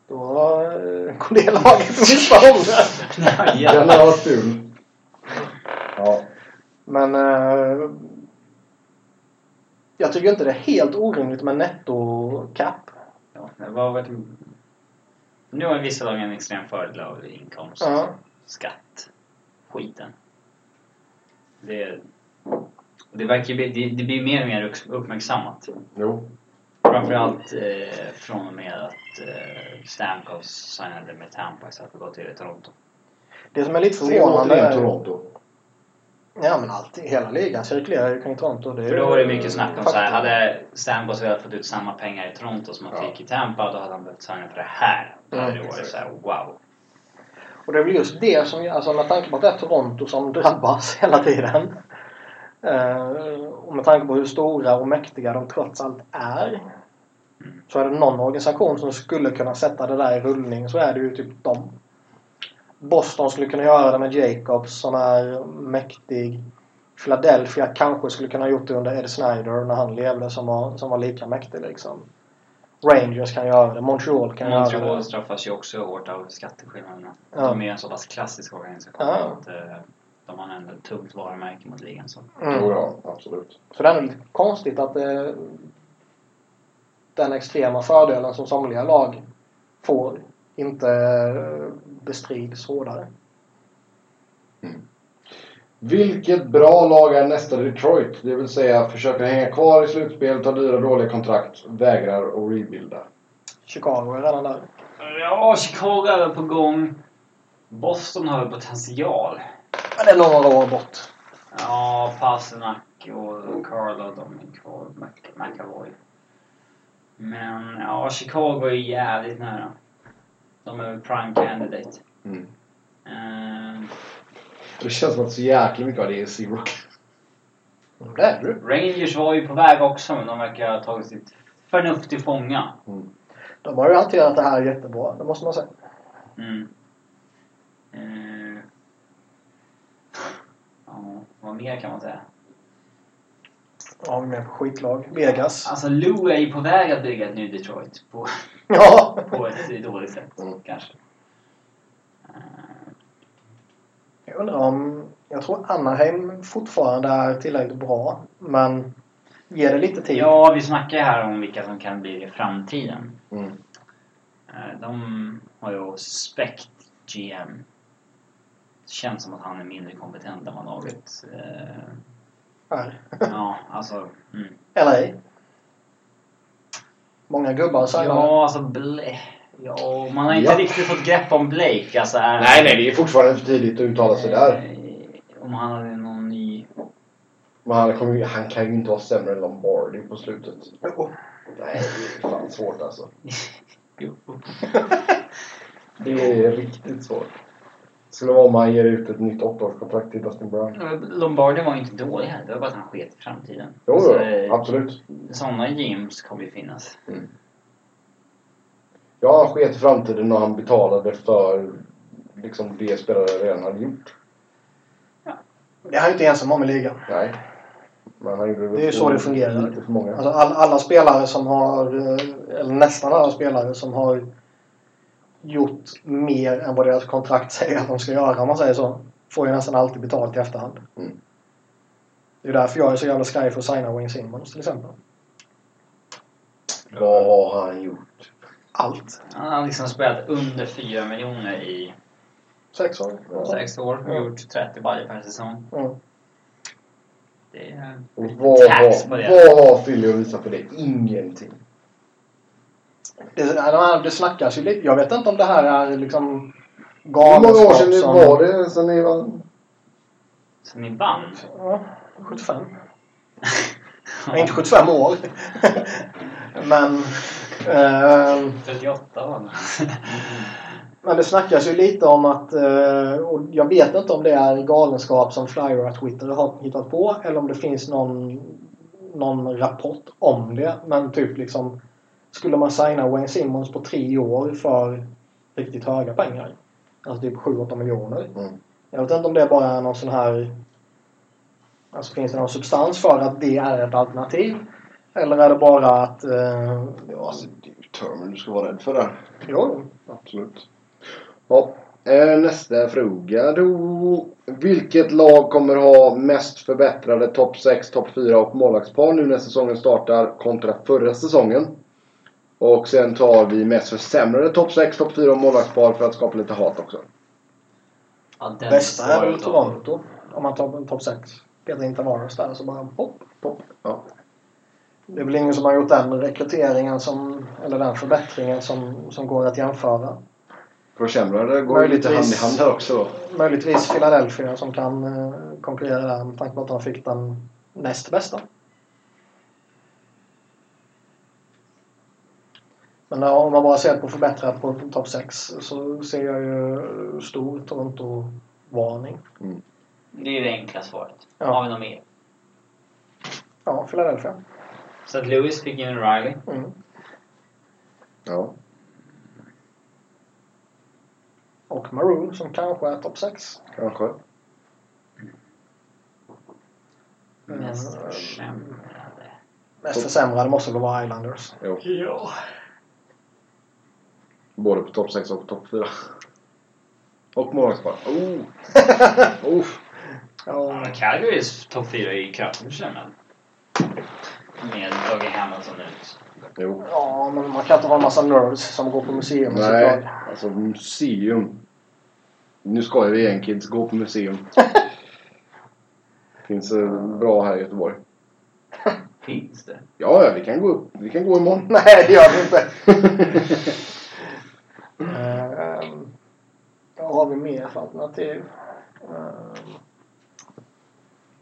S2: då eh, går det laget att missa om det.
S1: Den har varit ful. Ja.
S2: Men eh, jag tycker inte det är helt orimligt med netto-cap.
S3: Ja, det var väl... Nu har vissa lag en extrem fördel av inkomst,
S2: Ja.
S3: skatt, skiten. Det, det verkar ju bli, det, det blir mer och mer upp- uppmärksammat.
S1: Jo.
S3: Framförallt eh, från och med att eh, Stamkos signade med Tampa istället för att gå till Toronto.
S2: Det som är lite
S1: Se
S2: förvånande
S1: återigen
S2: är...
S1: Toronto.
S2: Ja men allt, hela ligan cirkulerar ju kring Toronto. Det är
S3: För då
S2: ju-
S3: var det mycket snack om så här,
S2: faktum.
S3: hade Stamkos velat fått ut samma pengar i Toronto som han
S1: Ja.
S3: fick i Tampa då hade han behövt signa för det här. Då hade
S2: Mm,
S3: det varit
S1: exakt.
S3: så här, wow.
S2: Och det är väl just det som, alltså med tanke på att det är Toronto som drabbas hela tiden. eh, Och med tanke på hur stora och mäktiga de trots allt är. Så är det någon organisation som skulle kunna sätta det där i rullning så är det ju typ dem. Boston skulle kunna göra det med Jacobs som är mäktig. Philadelphia kanske skulle kunna ha gjort det under Ed Snyder när han levde som var, som var lika mäktig liksom. Rangers kan göra det. Montreal kan göra
S3: Montreal
S2: det.
S3: straffas ju också hårt av skatteskillnaderna.
S2: Ja.
S3: De är en så pass klassisk organisation
S2: Ja.
S3: att eh, de har ändå ett tungt varumärke mot ligan. Så.
S2: Mm.
S1: Jo, ja. Absolut.
S2: Så det är nog lite konstigt att eh, den extrema fördelen som somliga lag får inte eh, bestrids hårdare.
S1: Mm. Vilket bra lag är nästa Detroit? Det vill säga försöker hänga kvar i slutspelet, har dyra dåliga kontrakt, vägrar att rebuilda.
S2: Chicago är redan där.
S3: Ja, Chicago är väl på gång. Boston har väl potential.
S2: Men det är några år bort.
S3: Ja, Pasternak och Carlo de är kvar. Mc- McAvoy. Men ja, Chicago är jävligt nära. De är väl prime candidate.
S1: Mm.
S3: Eh,
S1: Det känns som att så jäkla mycket av det är zero.
S2: Mm, Det är du.
S3: Rangers var ju på väg också men de verkar ha tagit sitt förnuft till fånga.
S2: De har ju hanterat det här jättebra, det måste man säga.
S3: Mm. Eh. Ja, vad mer kan man säga?
S2: Ja, vi är med på skitlag. Vegas.
S3: Alltså Lou är ju på väg att bygga ett nytt Detroit på,
S2: Ja!
S3: på ett dåligt sätt
S1: Mm.
S3: kanske. Eh,
S2: Jag undrar om... Jag tror Anaheim fortfarande är tillräckligt bra, men ge det lite tid.
S3: Ja, vi snackar ju här om vilka som kan bli det i framtiden.
S1: Mm.
S3: Eh, De har ju Spect GM. Det känns som att han är mindre kompetent än vad laget... eh,
S2: Här.
S3: Ja, alltså... Mm.
S2: LA. Många gubbar signade.
S3: Ja, alltså Blake... Ja, man har inte
S1: Ja.
S3: riktigt fått grepp om Blake. Alltså, är-
S1: Nej, nej, det är fortfarande för tidigt att uttala sig där.
S3: Eh, Om han hade någon ny...
S1: Men han, kommer, ju- han kan ju inte vara sämre än Lombardi på slutet. Nej, det är fan svårt alltså. Det är riktigt svårt. Skulle vara om han ger ut ett nytt åttaårskontrakt till Dustin Brown.
S3: Lombardi var ju inte dålig här. Det var bara att han sket i framtiden.
S1: Jo,
S3: Alltså,
S1: jo,
S3: eh,
S1: absolut.
S3: Sådana gyms kommer ju finnas.
S1: Ja, han sket i framtiden när han betalade för liksom det spelare redan hade gjort.
S2: Det är han inte ensam om i ligan.
S1: Nej. Men han gjorde
S2: Det är ju så det fungerar.
S1: Lite för många.
S2: Alltså all, alla spelare som har, eh, eller nästan alla spelare som har gjort mer än vad deras kontrakt säger att de ska göra om man säger så. Får ju nästan alltid betalt i efterhand.
S1: Mm.
S2: Det är därför jag är så jävla skraj för att signa Wayne Simmons till exempel.
S1: Vad har han gjort?
S2: Allt.
S3: Han har liksom spelat under 4 miljoner i
S2: Sex år.
S1: Ja.
S3: 6 år och
S2: Ja.
S3: gjort 30 baljor per säsong.
S2: Mm.
S3: Det är... eh,
S1: Och vad,
S3: Tax
S1: har,
S3: på det.
S1: vad har Philly att visa för det? Ingenting.
S2: Det, nej, det snackas ju lite. Jag vet inte om det här är liksom
S1: Hur många år
S2: galenskap
S1: sedan det
S2: som...
S1: var det sen ni vann?
S3: Så ni vann?
S2: Ja, 75. Ja. Inte 75 år. men, eh,
S3: 38 vann
S2: men det snackas ju lite om att, eh, och jag vet inte om det är galenskap som Flyer och Twitter har hittat på eller om det finns någon, någon rapport om det. Men typ liksom, skulle man signa Wayne Simmons på tre år för riktigt höga pengar? Alltså typ 7-8 miljoner.
S1: Mm.
S2: Jag vet inte om det bara är någon sån här... Alltså finns det någon substans för att det är ett alternativ? Eller är det bara att... Eh,
S1: Ja, alltså, det är ju Turner du ska vara rädd för där.
S2: jo,
S1: Absolut. Ja, eh, nästa fråga då. Vilket lag kommer ha mest förbättrade topp 6, topp 4 och målvaktspar nu när säsongen startar kontra förra säsongen? Och sen tar vi mest försämrade topp 6, topp 4 och målvaktspar för att skapa lite hat också.
S3: Ja, den
S2: bästa är
S3: står
S2: väl
S3: ju då.
S2: Toronto. Om man tar en topp 6. Petar in Tavares där så bara hopp.
S1: Pop. Ja.
S2: Det är väl ingen som har gjort den rekryteringen som... Eller den förbättringen som, som går att jämföra.
S1: Försämrade går ju lite hand i
S2: Möjligtvis.
S1: hand här också då.
S2: Möjligtvis Philadelphia som kan eh, konkurrera där med tanke på att de fick den näst bästa. Men ja, om man bara ser på förbättrat på topp 6 så ser jag ju stor Toronto-varning.
S4: Det är ju det enkla svaret.
S2: Ja.
S4: Har vi något mer?
S2: Ja, Philadelphia.
S3: Så att Lewis fick in Riley.
S2: Mm.
S1: Ja.
S2: Och Maroon som kanske är topp 6.
S1: Kanske.
S3: Mest
S2: Mm.
S3: försämrade.
S2: Mest försämrade måste väl vara Islanders.
S1: Jo.
S3: Ja.
S1: Både på topp 6 och topp 4. Och målvaktspar. Oh. oh.
S2: Ja,
S3: Calgarys topp 4 är ju kraftigt försämrad. Med Dougie Hamilton ut.
S1: Jo.
S2: ja, men man kan inte ha en massa nerds som går på museum med sitt
S1: Nej,
S2: lag.
S1: alltså museum. Nu skojar vi igen kids. Gå på museum. Finns eh, bra här i Göteborg.
S4: Finns det?
S1: Ja, ja, vi kan gå upp. Vi kan gå imorgon.
S2: Nej, det gör vi inte. Ehm, Vad har vi mer för alternativ? Ehm,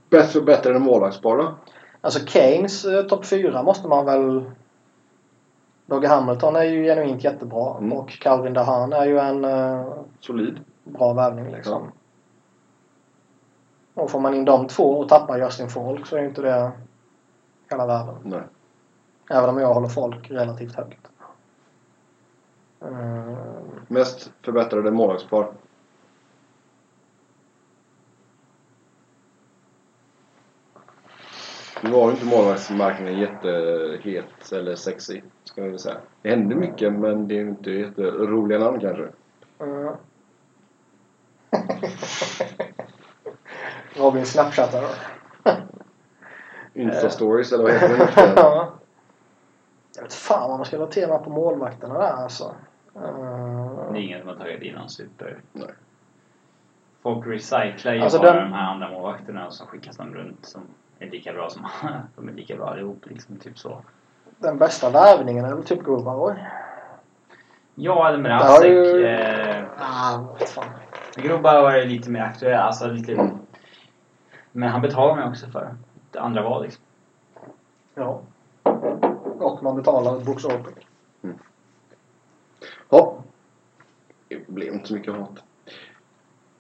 S1: Bäst förbättrade målvaktspar då?
S2: Alltså Keynes eh, topp 4 måste man väl... Dogge Hamilton är ju genuint jättebra
S1: Mm.
S2: och Calvin Dahan är ju en eh,
S1: Solid.
S2: bra värvning liksom. Och får man in de två och tappar Justin Falk så är ju inte det hela världen.
S1: Nej.
S2: Även om jag håller Falk relativt högt. Ehm,
S1: Mest förbättrade målvaktspar? Nu var ju inte målvaktsmarknaden jättehet eller sexy, ska jag väl säga. Det hände mycket, men det är ju inte jätteroliga namn kanske.
S2: Mm. Robin snapchattar då.
S1: Insta-stories eller vad heter det nu för tiden?
S2: Ja. Jag vet fan vad man ska notera på målvakterna där alltså. Eh,
S3: Det är ingen som har tagit in någon super...
S1: Nej.
S3: Folk recyclar ju
S2: Alltså
S3: bara
S2: den-
S3: de här andra målvakterna och så skickas de runt som är lika bra som De är lika bra allihop liksom, typ så.
S2: Den bästa värvningen är väl typ Gubbaroj.
S3: Ja, eller med
S2: Det har
S3: Asek.
S2: ju-
S3: Eh,
S2: Ah, vad fan.
S3: Grubba var ju lite mer aktuell, alltså
S2: Mm.
S3: lite... Men han betalar mig också för det andra var liksom.
S2: Ja. Och man betalar Brooks Open.
S1: Ja. Det blev inte så mycket hat.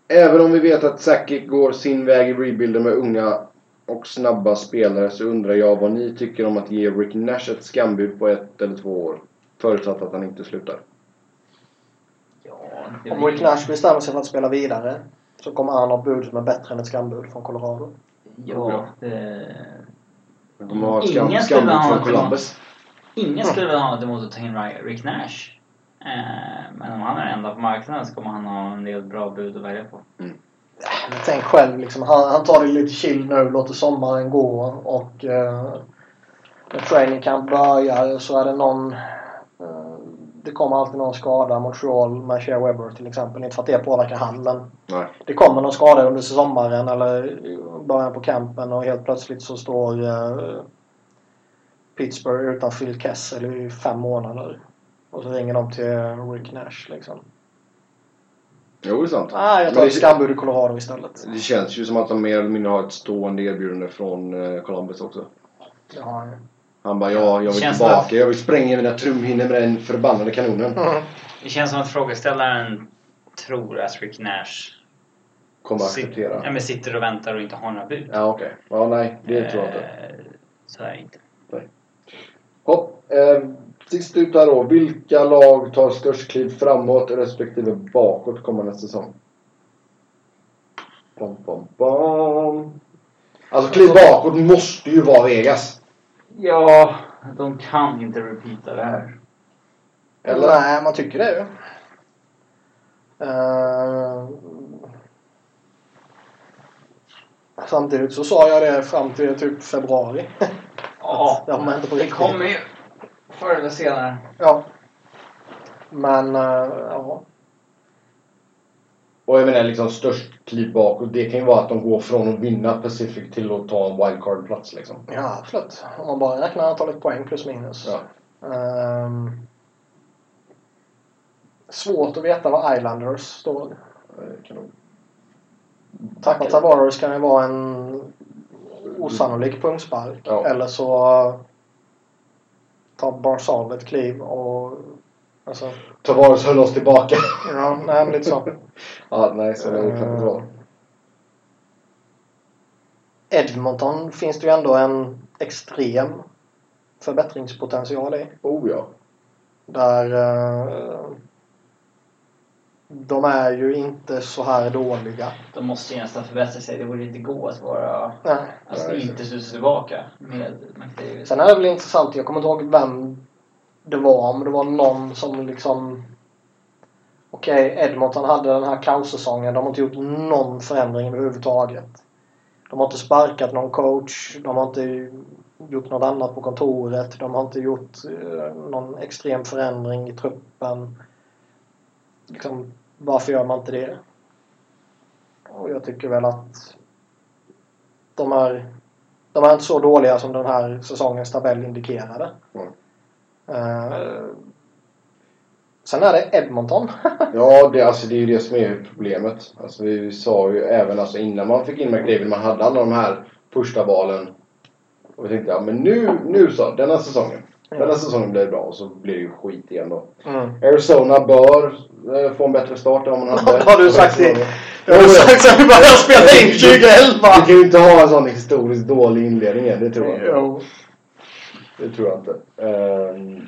S1: Även om vi vet att Sakic går sin väg i rebuilden med unga och snabba spelare så undrar jag vad ni tycker om att ge Rick Nash ett skambud på ett eller två år. Förutsatt att han inte slutar.
S3: Ja, det
S2: Om
S3: blir-
S2: Rick Nash bestämmer sig för att spela vidare så kommer han ha bud som är bättre än ett skambud från Colorado.
S3: Ja, det...
S1: Han kommer ha ett skam,
S3: Ingen
S1: skambud
S3: skulle ha
S1: från
S3: något
S1: Columbus.
S3: Ingen skulle väl ha något emot att ta in Ry- Rick Nash. Eh, men om han är den enda på marknaden så kommer han ha en del bra bud att välja på.
S2: Men Tänk själv liksom, han, han tar det lite chill nu, låter sommaren gå och eh, när training camp börjar så är det någon... Eh, det kommer alltid någon skada. Montreal, Mashia Webber till exempel. Inte för att det påverkar han men
S1: Nej.
S2: det kommer någon skada under sommaren eller början på campen och helt plötsligt så står eh, Pittsburgh utan Phil Kessel i fem månader. Och så ringer de till Rick Nash liksom.
S1: Jo, det är sant.
S2: Nej, jag
S1: Men
S2: tar
S1: det-
S2: ett skambud i Colorado istället.
S1: Det känns ju som att de mer eller mindre har ett stående erbjudande från eh, Columbus också.
S2: Det har han ju.
S1: Han bara ja, jag vill
S3: Känns
S1: tillbaka.
S3: det-
S1: Jag vill spränga mina trumhinnor med den förbannade kanonen.
S3: Det känns som att frågeställaren tror att Rick Nash
S1: Kommer att
S3: sit-
S1: acceptera.
S3: ja, men sitter och väntar och inte har några bud.
S1: Ja, okej. Ja, nej. Det tror jag inte.
S3: Eh, Så är det inte.
S1: Hopp. Eh, sist ut här då. Vilka lag tar störst kliv framåt respektive bakåt kommande säsong? Pom, pom, pom. Alltså kliv bakåt måste ju vara Vegas.
S4: Ja, de kan inte repeata det här.
S1: Eller?
S2: Nej, man tycker det ju. Eh, samtidigt så sa jag det fram till typ februari.
S4: Ja,
S2: det har man inte på
S4: det
S2: riktigt.
S4: kommer ju förr eller senare.
S2: Ja. Men, eh, ja.
S1: Och jag menar liksom störst kliv bakåt. Det kan ju vara att de går från att vinna Pacific till att ta en wildcard-plats liksom.
S2: Ja, absolut. Om man bara räknar antalet poäng plus minus.
S1: Ja.
S2: Ehm, svårt att veta var Islanders står.
S1: Eh, Kan de...
S2: Tappa Tavares kan ju vara en osannolik pungspark.
S1: Ja.
S2: Eller så tar Barzal ett kliv och... Alltså,
S1: Tavares höll oss tillbaka.
S2: ja, nej, men lite så.
S1: ja, nej, så det kan inte vara.
S2: Edmonton finns det ju ändå en extrem förbättringspotential i.
S1: Oh ja.
S2: Där eh, de är ju inte så här dåliga.
S4: De måste ju nästan förbättra sig. Det borde inte gå att vara...
S2: Nej.
S4: Alltså
S1: Nej,
S4: inte studsa tillbaka med McDavid.
S2: Sen är det väl intressant, jag kommer inte ihåg vem det var, men det var någon som liksom... Okej, Edmonton hade den här kaossäsongen. De har inte gjort någon förändring överhuvudtaget. De har inte sparkat någon coach. De har inte gjort något annat på kontoret. De har inte gjort eh, någon extrem förändring i truppen. Liksom, varför gör man inte det? Och jag tycker väl att de här de var inte så dåliga som den här säsongens tabell indikerade.
S1: Mm.
S2: Eh, sen är det Edmonton.
S1: Ja, det, alltså, det är ju det som är problemet. Alltså, vi sa ju även alltså, innan man fick in McDavid, man hade alla de här första valen. Och vi tänkte, ja men nu, nu så, denna säsongen. Denna säsongen blir det bra och så blir det ju skit igen då. Arizona bör eh, få en bättre start än vad man hade.
S2: Har du sagt det?
S1: Jo, jo.
S2: sen vi började spela in 2011!
S1: Du kan ju inte ha en sån historiskt dålig inledning igen, det tror jag inte.
S2: Jo.
S1: Det tror jag inte. Ehm,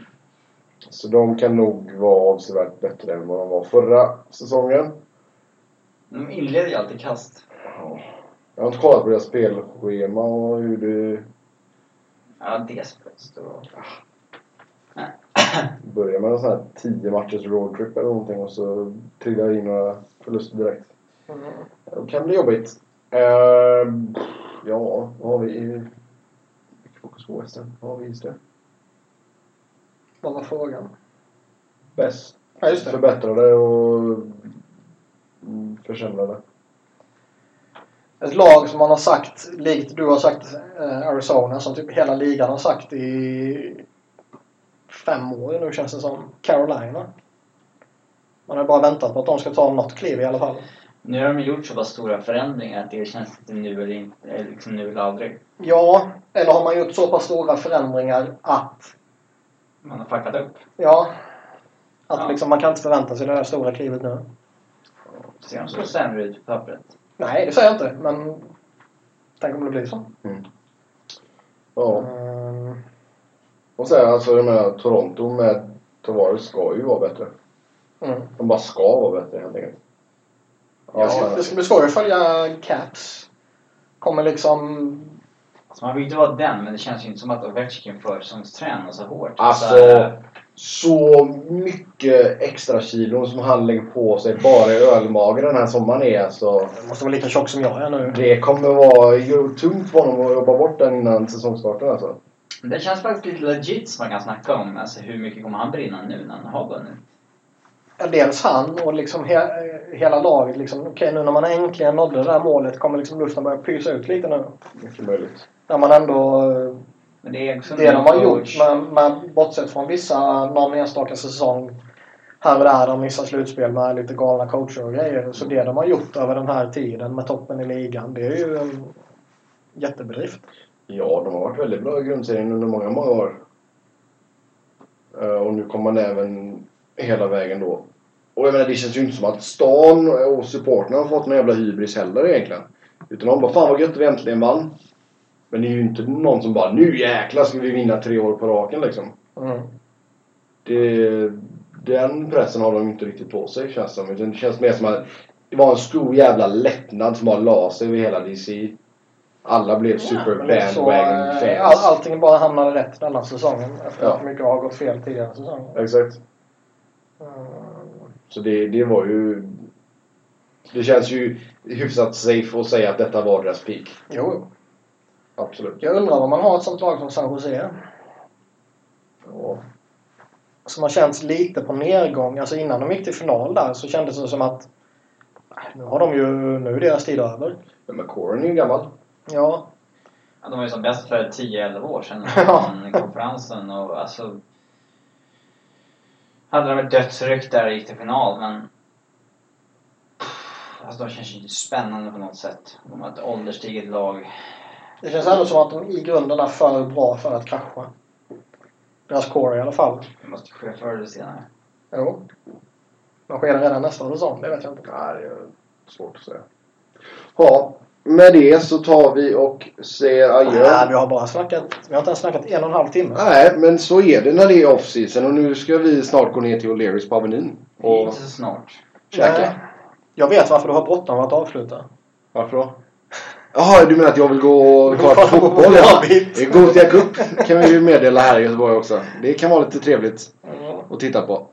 S1: så de kan nog vara avsevärt bättre än vad de var förra säsongen.
S4: De inleder ju alltid kast.
S1: Jag har inte kollat på deras spelschema och hur det
S4: Ja, det spelas då.
S1: börjar med en sån här 10 matchers roadtrip eller någonting och så trillar det in några förluster direkt.
S2: Mm.
S1: Det kan bli jobbigt. Ehm, ja, vad har vi i... vilket Fokus på Western. Vad har vi i det?
S2: Vad var frågan?
S1: Bäst.
S2: Ja, just det.
S1: Förbättrade och mm, försämrade.
S2: Ett lag som man har sagt, likt du har sagt eh, Arizona, som typ hela ligan har sagt i fem år nu känns det som. Carolina. Man har bara väntat på att de ska ta något kliv i alla fall.
S4: Nu har de gjort så pass stora förändringar att det känns inte nu eller, inte, eller liksom nu eller aldrig.
S2: Ja, eller har man gjort så pass stora förändringar att...
S4: Man har fuckat upp.
S2: Ja. Att
S4: Ja.
S2: Liksom, man kan inte förvänta sig det här stora klivet nu.
S4: Ser de så sämre ut på pappret?
S2: Nej, det säger jag inte. Men... Tänk om det blir så.
S1: Ja.
S2: Ehm,
S1: Och sen alltså jag menar Toronto med Tavares ska ju vara bättre.
S2: Mm.
S1: De bara ska vara bättre helt enkelt.
S2: det, ska, det ska bli svårt att följa Caps. Kommer liksom...
S4: Alltså man vill ju inte vara den, men det känns ju inte som att Ovechkin försäsongstränar så hårt.
S1: Alltså,
S4: Så här,
S1: så mycket extra kilon som han lägger på sig bara i ölmagen den här sommaren är alltså.
S2: Jag måste vara lika tjock som jag är nu.
S1: Det kommer vara ju- tungt för honom att jobba bort den innan säsongstarten alltså.
S4: det känns faktiskt lite legit som man kan snacka om. Alltså hur mycket kommer han brinna nu när han har vunnit?
S2: Ja, Dels han och liksom he, hela laget. Liksom, Okej, nu när man äntligen nådde det där målet kommer liksom luften börja pysa ut lite nu.
S1: Mycket möjligt.
S2: När man ändå... eh,
S4: Men det är också en
S2: Det
S4: ny
S2: de har
S4: coach.
S2: gjort, men, men bortsett från vissa, någon enstaka säsong här och där om vissa slutspel med lite galna coacher och grejer. Så det de har gjort över den här tiden med toppen i ligan, det är ju en jättebedrift.
S1: Ja, de har varit väldigt bra i grundserien under många, många år. Eh, Och nu kommer man även hela vägen då. Och jag menar, det känns ju inte som att stan och supporterna har fått någon jävla hybris heller egentligen. Utan de bara, fan vad gött vi äntligen vann. Men det är ju inte någon som bara, nu jäklar ska vi vinna tre år på raken liksom. Det, den pressen har de inte riktigt på sig känns det som. Utan Det känns mer som att det var en stor jävla lättnad som bara la sig över hela DC. Alla blev super
S2: Men lite så,
S1: bandwagon fans.
S2: eh, all, allting bara hamnade rätt denna säsongen efter
S1: Ja.
S2: att mycket har gått fel tidigare säsonger.
S1: Exakt.
S2: Mm.
S1: Så det, det var ju... Det känns ju hyfsat safe att säga att detta var deras peak.
S2: Jo,
S1: Absolut.
S2: jag undrar om man har ett sånt lag som San Jose.
S1: Ja.
S2: som har känts lite på nedgång. Alltså innan de gick till final där så kändes det som att "Nej, nu har de ju, nu är deras tid över.
S1: Men Coren är ju gammal.
S2: Ja,
S3: Ja, de var ju som bäst för 10-11 år sedan.
S2: Ja.
S3: Den konferensen och alltså... Hade de ett dödsryck där och gick till final men... Alltså de känns ju inte spännande på något sätt. De har ett ålderstiget lag.
S2: det känns ändå som att de i grunden är för bra för att krascha. Deras core i alla fall.
S3: Det måste ske förr eller senare.
S2: Jo. De sker redan nästa säsong, det vet jag inte.
S1: Nej, det är svårt att säga. Ja, med det så tar vi och säger
S2: Nej, vi
S1: adjö.
S2: har bara snackat, vi har inte ens snackat en och en halv timme.
S1: Nej, men så är det när det är off-season och nu ska vi snart gå ner till O'Learys på Avenyn
S3: Det är
S1: och
S3: inte så snart.
S2: Nej.
S1: käka.
S2: Jag vet varför du har bråttom att avsluta.
S1: Varför då? Jaha, du menar att jag vill gå och kolla på fotboll?
S2: Ja,
S1: Ja.
S2: visst.
S1: Det är Gothia Cup kan vi ju meddela här i Göteborg också. Det kan vara lite trevligt. och titta på.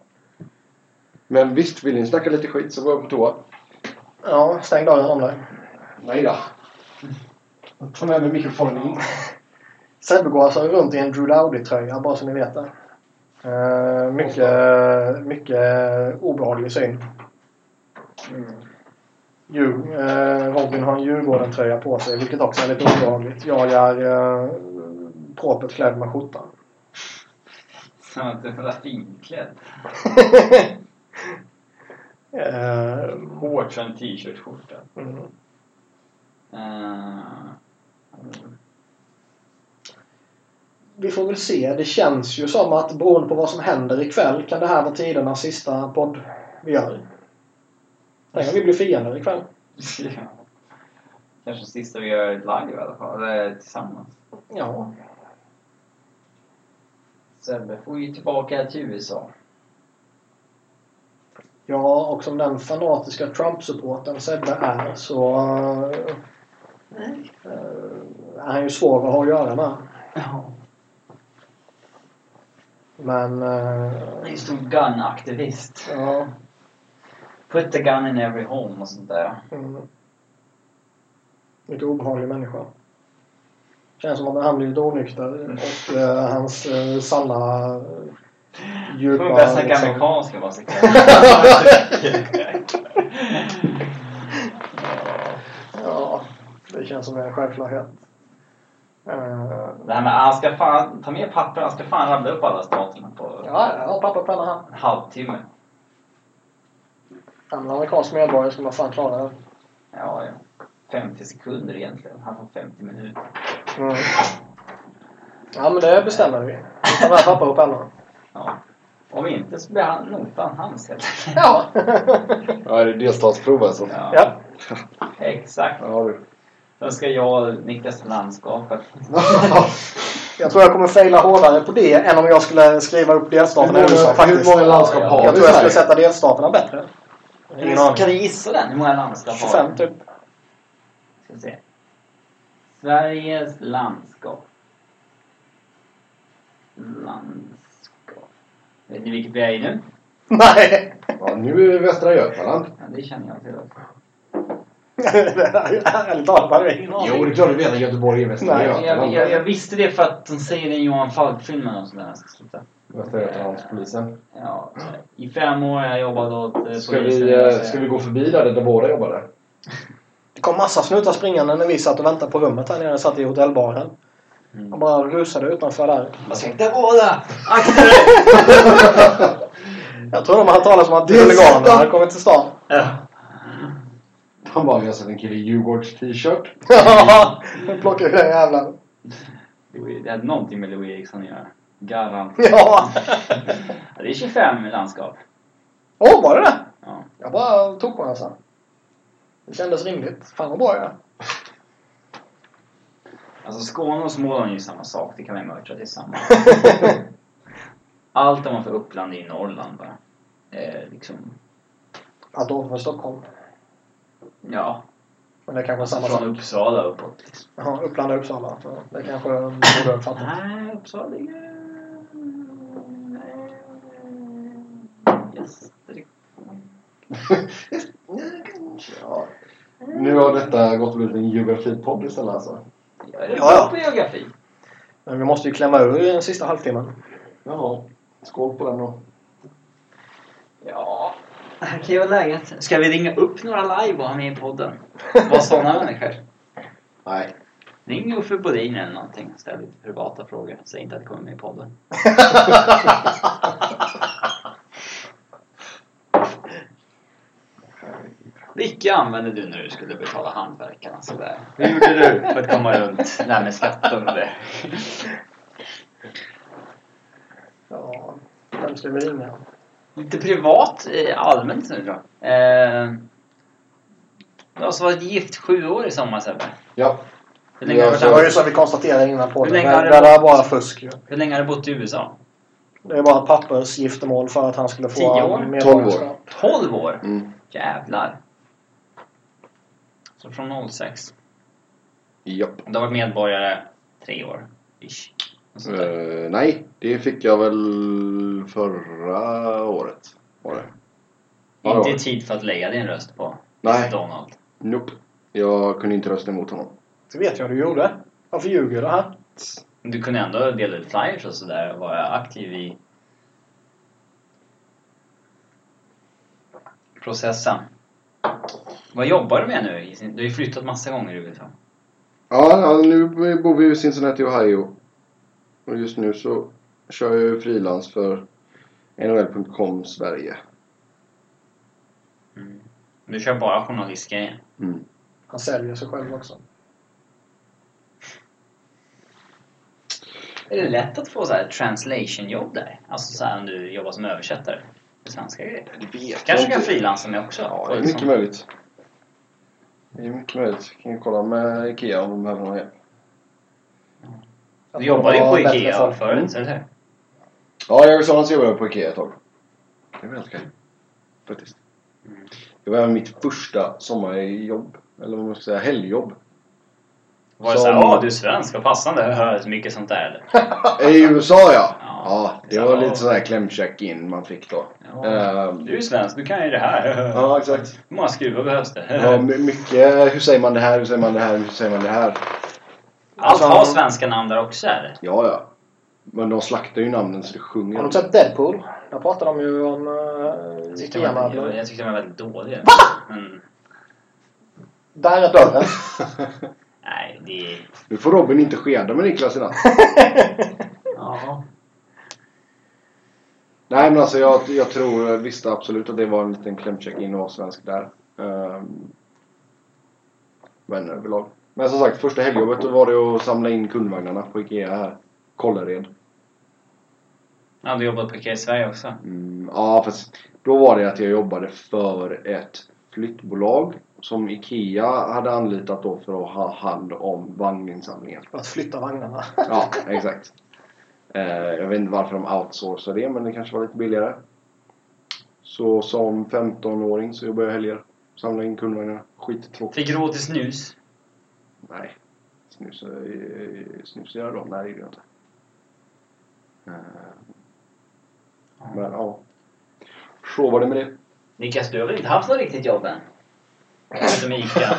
S1: Men visst, vill ni snacka lite skit så går jag på toa.
S2: Ja, stäng dörren om dig.
S1: Nej då. Ta med mig mikrofonen in.
S2: Sebbe går alltså runt i en Drew Dowdy-tröja, bara så ni vet det. Eh, mycket, mycket obehaglig syn. Djur, eh, Robin har en Djurgården-tröja på sig, vilket också är lite obehagligt. Jag är eh, propert klädd med skjorta.
S3: Som att du var finklädd.
S2: Eh,
S3: Hårt för en t-shirt-skjorta.
S2: mm.
S3: Eh,
S2: vi får väl se. Det känns ju som att beroende på vad som händer ikväll kan det här vara tidernas sista podd vi gör. Tänk om vi blir fiender ikväll.
S3: ja. Kanske sista vi gör live i alla fall. Eller tillsammans.
S2: Ja.
S3: Sebbe får ju tillbaka till USA.
S2: Ja, och som den fanatiska Trump-supporten Sebbe är så eh, eh, är han ju svår att ha att göra med.
S3: Ja.
S2: Men...
S3: Han är
S2: eh,
S3: ju stor gun-aktivist.
S2: ja.
S3: Put the gun in every home och sånt där.
S2: Mm. Mycket obehaglig människa. Känns som att han blivit onykter och eh, hans eh, sanna eh,
S3: Du
S2: djupa...
S3: kommer börja snacka
S2: liksom-
S3: amerikanska bara så
S2: Ja, det känns som en självklarhet. Eh,
S3: Det här med han ska fan ta med papper, han ska fan rabbla upp alla staterna på
S2: ja, jag har pappa och penna här.
S3: en halvtimme.
S2: Han är amerikansk medborgare skulle man fan klara det.
S3: Ja, ja. 50 sekunder egentligen. Han får 50 minuter.
S2: Mm. Ja, men det bestämmer vi. Vi tar med papper och penna.
S3: Ja. Om inte så blir han notan hans helt enkelt.
S2: Ja.
S1: Ja, det är delstatsprov alltså.
S2: ja.
S3: Exakt.
S1: Ja, du.
S3: Sen ska jag Niklas till landskapet.
S2: Jag tror jag kommer faila hårdare på det än om jag skulle skriva upp delstaterna i
S1: Hur många-
S2: USA faktiskt.
S1: hur många landskap har
S2: Jag
S1: vi
S2: tror jag
S1: i
S2: skulle
S1: Sverige?
S2: sätta delstaterna bättre. Ingen
S3: Ska
S2: aning.
S3: du gissa den? Hur många landskap har
S2: 25 typ.
S3: Ska vi se. Sveriges landskap. Landskap. Vet ni vilket vi är i nu?
S2: Nej!
S1: ja, nu är det Västra Götaland.
S3: Ja, det känner jag till också.
S2: Ärligt talat hade jag ingen
S1: Jo, det
S2: aning.
S1: är klart du vet att Göteborg är Västra
S2: Nej,
S3: Jag, jag,
S1: Götaland.
S3: jag, jag visste det för att de säger det i Johan Falk-filmen och sådär. Ska sluta. Eh,
S1: Västra Götalandspolisen.
S3: Ja, I fem år har jag jobbat åt eh, polisen.
S1: Ska vi, eh, ska vi gå förbi där, där båda jobbade?
S2: Det kom massa snutar springande när vi satt och väntade på rummet här nere. Satt i hotellbaren.
S3: Mm.
S2: Och bara rusade utanför där.
S3: Alltså, Ursäkta båda! Akta dig!
S2: Jag tror de har hört talas om att
S1: Det är
S2: huliganerna
S1: sant.
S2: har kommit till stan.
S1: Han bara, jag har sett en kille i Djurgårds t-shirt.
S2: Nu plockar vi den jävla...
S3: Louis- Det hade någonting med Louis Eriksson att göra. Garanterat.
S2: Ja!
S3: Ja, Det är 25 landskap.
S2: Åh, var det det?
S3: Ja.
S2: Jag bara tog på den sen. Det kändes rimligt. Fan vad bra jag är.
S3: Alltså Skåne och Småland är ju samma sak. Det kan vi mercha tillsammans. Allt om man får Uppland är ju Norrland bara. Eh, liksom,
S2: Allt ovanför Stockholm.
S3: ja.
S2: Men det är kanske är samma
S3: Alltså
S2: sak.
S3: från Uppsala uppåt. Liksom.
S2: Ja, Uppland och Uppsala. Så Det kanske de borde ha fattat.
S3: Nej, Uppsala ligger... Gästrikland.
S2: Ja.
S1: Nu har detta gått och blivit en geografipodd istället alltså.
S3: Jag är
S2: Ja, ja.
S3: bra på geografi.
S2: Men vi måste ju klämma ur den sista halvtimmen.
S1: Jaha. Skål på den då.
S3: Ja, det här kan ju vara läget. Ska vi ringa upp några live och ha med i podden? Vad sådana människor.
S1: Nej.
S3: Ring Uffe Bodin eller någonting. Ställ lite privata frågor. Säg inte att det kommer med i podden. Vilka använde du när du skulle betala hantverkarna sådär? Hur gjorde du för att komma runt det här med skatten och det?
S2: Ja, vem ska vi ringa?
S3: Lite privat, eh, allmänt nu då. Eh, du har alltså varit gift sju år i sommar Sebbe.
S1: Ja.
S3: Hur länge,
S1: Ja,
S3: har du varit
S2: Det var ju
S3: här?
S2: som vi konstaterade innan på
S3: Hur
S2: det.
S3: länge
S2: Det
S3: har det
S2: det var bara fusk ju.
S3: Hur länge har du bott i USA?
S2: Det är bara pappersgiftermål för att han skulle få
S3: Tio år?
S1: Tolv
S2: medborgarskap.
S3: 12 år?
S1: Mm.
S3: Jävlar! Så från 06.
S1: Japp.
S3: Du har varit medborgare tre år, ish. Och sånt där.
S1: Eh, nej, det fick jag väl förra året. Var det? ja, det var
S3: Inte i
S1: det.
S3: tid för att lägga din röst på Alltså,
S1: Nej.
S3: Donald.
S1: Nope. Jag kunde inte rösta emot honom.
S2: Det vet jag du gjorde. Varför ljuger du här?
S3: Du kunde ändå dela ut flyers och sådär och vara aktiv i processen. Vad jobbar du med nu? i sin- Du har ju flyttat massa gånger i USA.
S1: Ja, ja, nu bor vi i Cincinnati, Ohio. Och just nu så kör jag ju frilans för NHL.com Sverige.
S3: Du kör bara journalistgrejen.
S1: Mm.
S2: Han säljer sig själv också.
S3: Är det lätt att få så här translation-jobb där? Alltså så här om du jobbar som översättare till svenska grejer.
S1: Det vet
S3: Kanske kan frilansa med också?
S1: Ja,
S3: Få
S1: det är
S3: liksom-
S1: mycket möjligt. Det är mycket möjligt. Kan ju kolla med IKEA om de behöver någon hjälp.
S3: Du jobbade ju
S2: Ja,
S3: på
S2: bättre
S3: IKEA
S2: folk.
S3: förut, eller hur?
S1: Ja, jag sa att jag jobbade på IKEA ett tag. Det var helt okej. Faktiskt. Det var även mitt första sommarjobb. Eller vad man ska säga, helgjobb.
S3: Var det
S1: Som-
S3: såhär ”Åh, du är svensk, vad passande”? Hör så mycket sånt där eller?
S1: I USA ja!
S3: Ja.
S1: Ja, det var lite sån här klämcheck-in man fick då. Ehm,
S3: Du är svensk, du kan ju det här.
S1: ja, exakt.
S3: Hur många skruvar behövs det?
S1: Ja, my- mycket hur säger man det här, hur säger man det här, hur säger man det här?
S3: Allt
S2: Alltså-
S3: har svenska namn där också eller?
S1: Ja, ja. Men de slaktar ju namnen så det sjunger.
S2: Har du sett Deadpool? Där pratar de ju om uh,
S3: Jag tyckte den var, jag,
S2: Ikea-möbler.
S3: jag tyckte den var väldigt dålig. Men,
S2: Där är dörren.
S3: nej, det...
S1: nu får Robin inte skeda med Niklas i natt.
S3: Ja.
S1: Nej men alltså jag, jag tror visst absolut att det var en liten klämcheck in och vara svensk där. Ehm, men överlag. Men som sagt, första helgjobbet då var det att samla in kundvagnarna på Ikea här. Kållered.
S3: Ja, du jobbat på IKEA i Sverige också?
S1: Mm, ja fast då var det att jag jobbade för ett flyttbolag som Ikea hade anlitat då för att ha hand om vagninsamlingen.
S2: För att flytta vagnarna.
S1: Ja, exakt. Eh, jag vet inte varför de outsourcade det, men det kanske var lite billigare. Så som 15-åring så jobbade jag helger. Samlade in kundvagnar. Skittråkigt.
S3: Fick råd till snus?
S1: Nej. Snus, eh, snus gör jag då? Nej, det gör jag inte. Eh, men ja. Så var det med det.
S3: Niklas, du har väl inte haft något riktigt jobb än? Förutom ICA.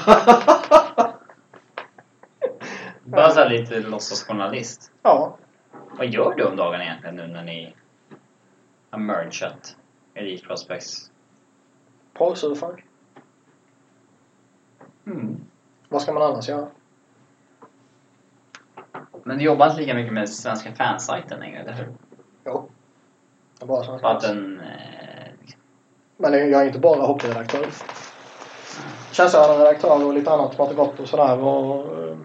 S3: Bara så här lite låtsasjournalist.
S2: Ja.
S3: Vad gör du om dagarna egentligen nu när ni har mergat Elite Prospects?
S2: Porrsurfar.
S3: Mm.
S2: Vad ska man annars göra?
S3: Men du jobbar inte lika mycket med svenska fansajten längre, eller hur?
S2: Jo. Det är bara som
S3: För att den eh,
S2: Men jag är inte bara hockeyredaktör. Tjänstgörande redaktör och lite annat pratade gott och sådär. Och, eh,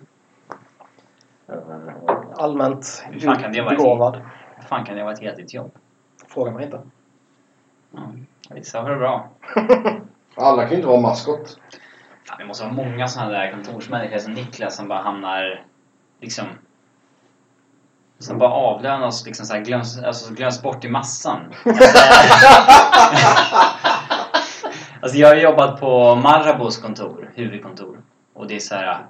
S2: allmänt
S3: Hur fan kan det
S2: djupt
S3: vara ett
S2: begåvad.
S3: Vad fan kan det vara ett heltidsjobb?
S2: Frågar mig inte.
S3: Ja. Vissa har det bra.
S4: Alla kan ju inte vara maskot.
S3: Fan, det måste vara många sådana där kontorsmänniskor som Niklas som bara hamnar liksom... Som bara avlönas liksom så här glöms, alltså, glöms bort i massan. alltså jag har jobbat på Marabos kontor, huvudkontor. Och det är så här...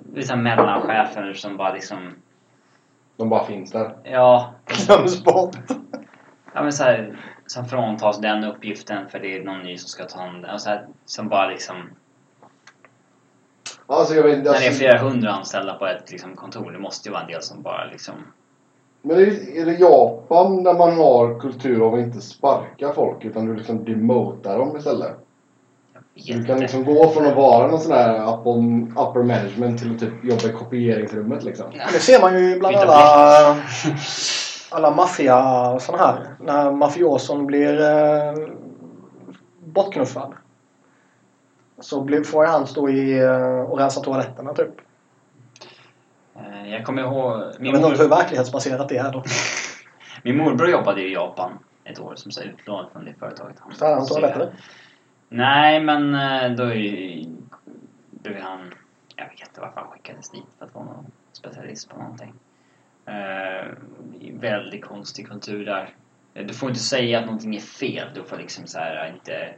S3: Det är så här mellanchefer som bara liksom...
S4: De bara finns där.
S3: Ja,
S2: Glöms bort.
S3: Ja men så här, som fråntas den uppgiften för det är någon ny som ska ta hand om den. Som bara liksom...
S4: Alltså jag vet inte.
S3: När det är
S4: Alltså,
S3: flera hundra anställda på ett liksom, kontor, det måste ju vara en del som bara liksom...
S4: men är det, är det Japan där man har kultur av att inte sparka folk utan du liksom demotar dem istället? Du kan liksom gå från att vara någon sån här upper, upper management till att typ jobba i kopieringsrummet liksom.
S2: Det ser man ju bland
S3: Byta
S2: alla, alla maffia och såna här. När mafioson blir eh, bortknuffad. Så blir, får ju han stå i, eh, och rensa toaletterna typ.
S3: Eh, Jag kommer ihåg...
S2: Jag
S3: Min,
S2: vet inte hur
S3: mor,
S2: verklighetsbaserat det är då.
S3: min morbror jobbade ju i Japan ett år som så här utlånad från det företaget. Han,
S2: Så hade han toaletter.
S3: Nej, men eh, då är ju- blev han... Jag vet inte varför han skickades dit för att vara någon specialist på någonting. Eh, väldigt konstig kultur där. Eh, Du får inte säga att någonting är fel. Du får liksom så här eh, inte...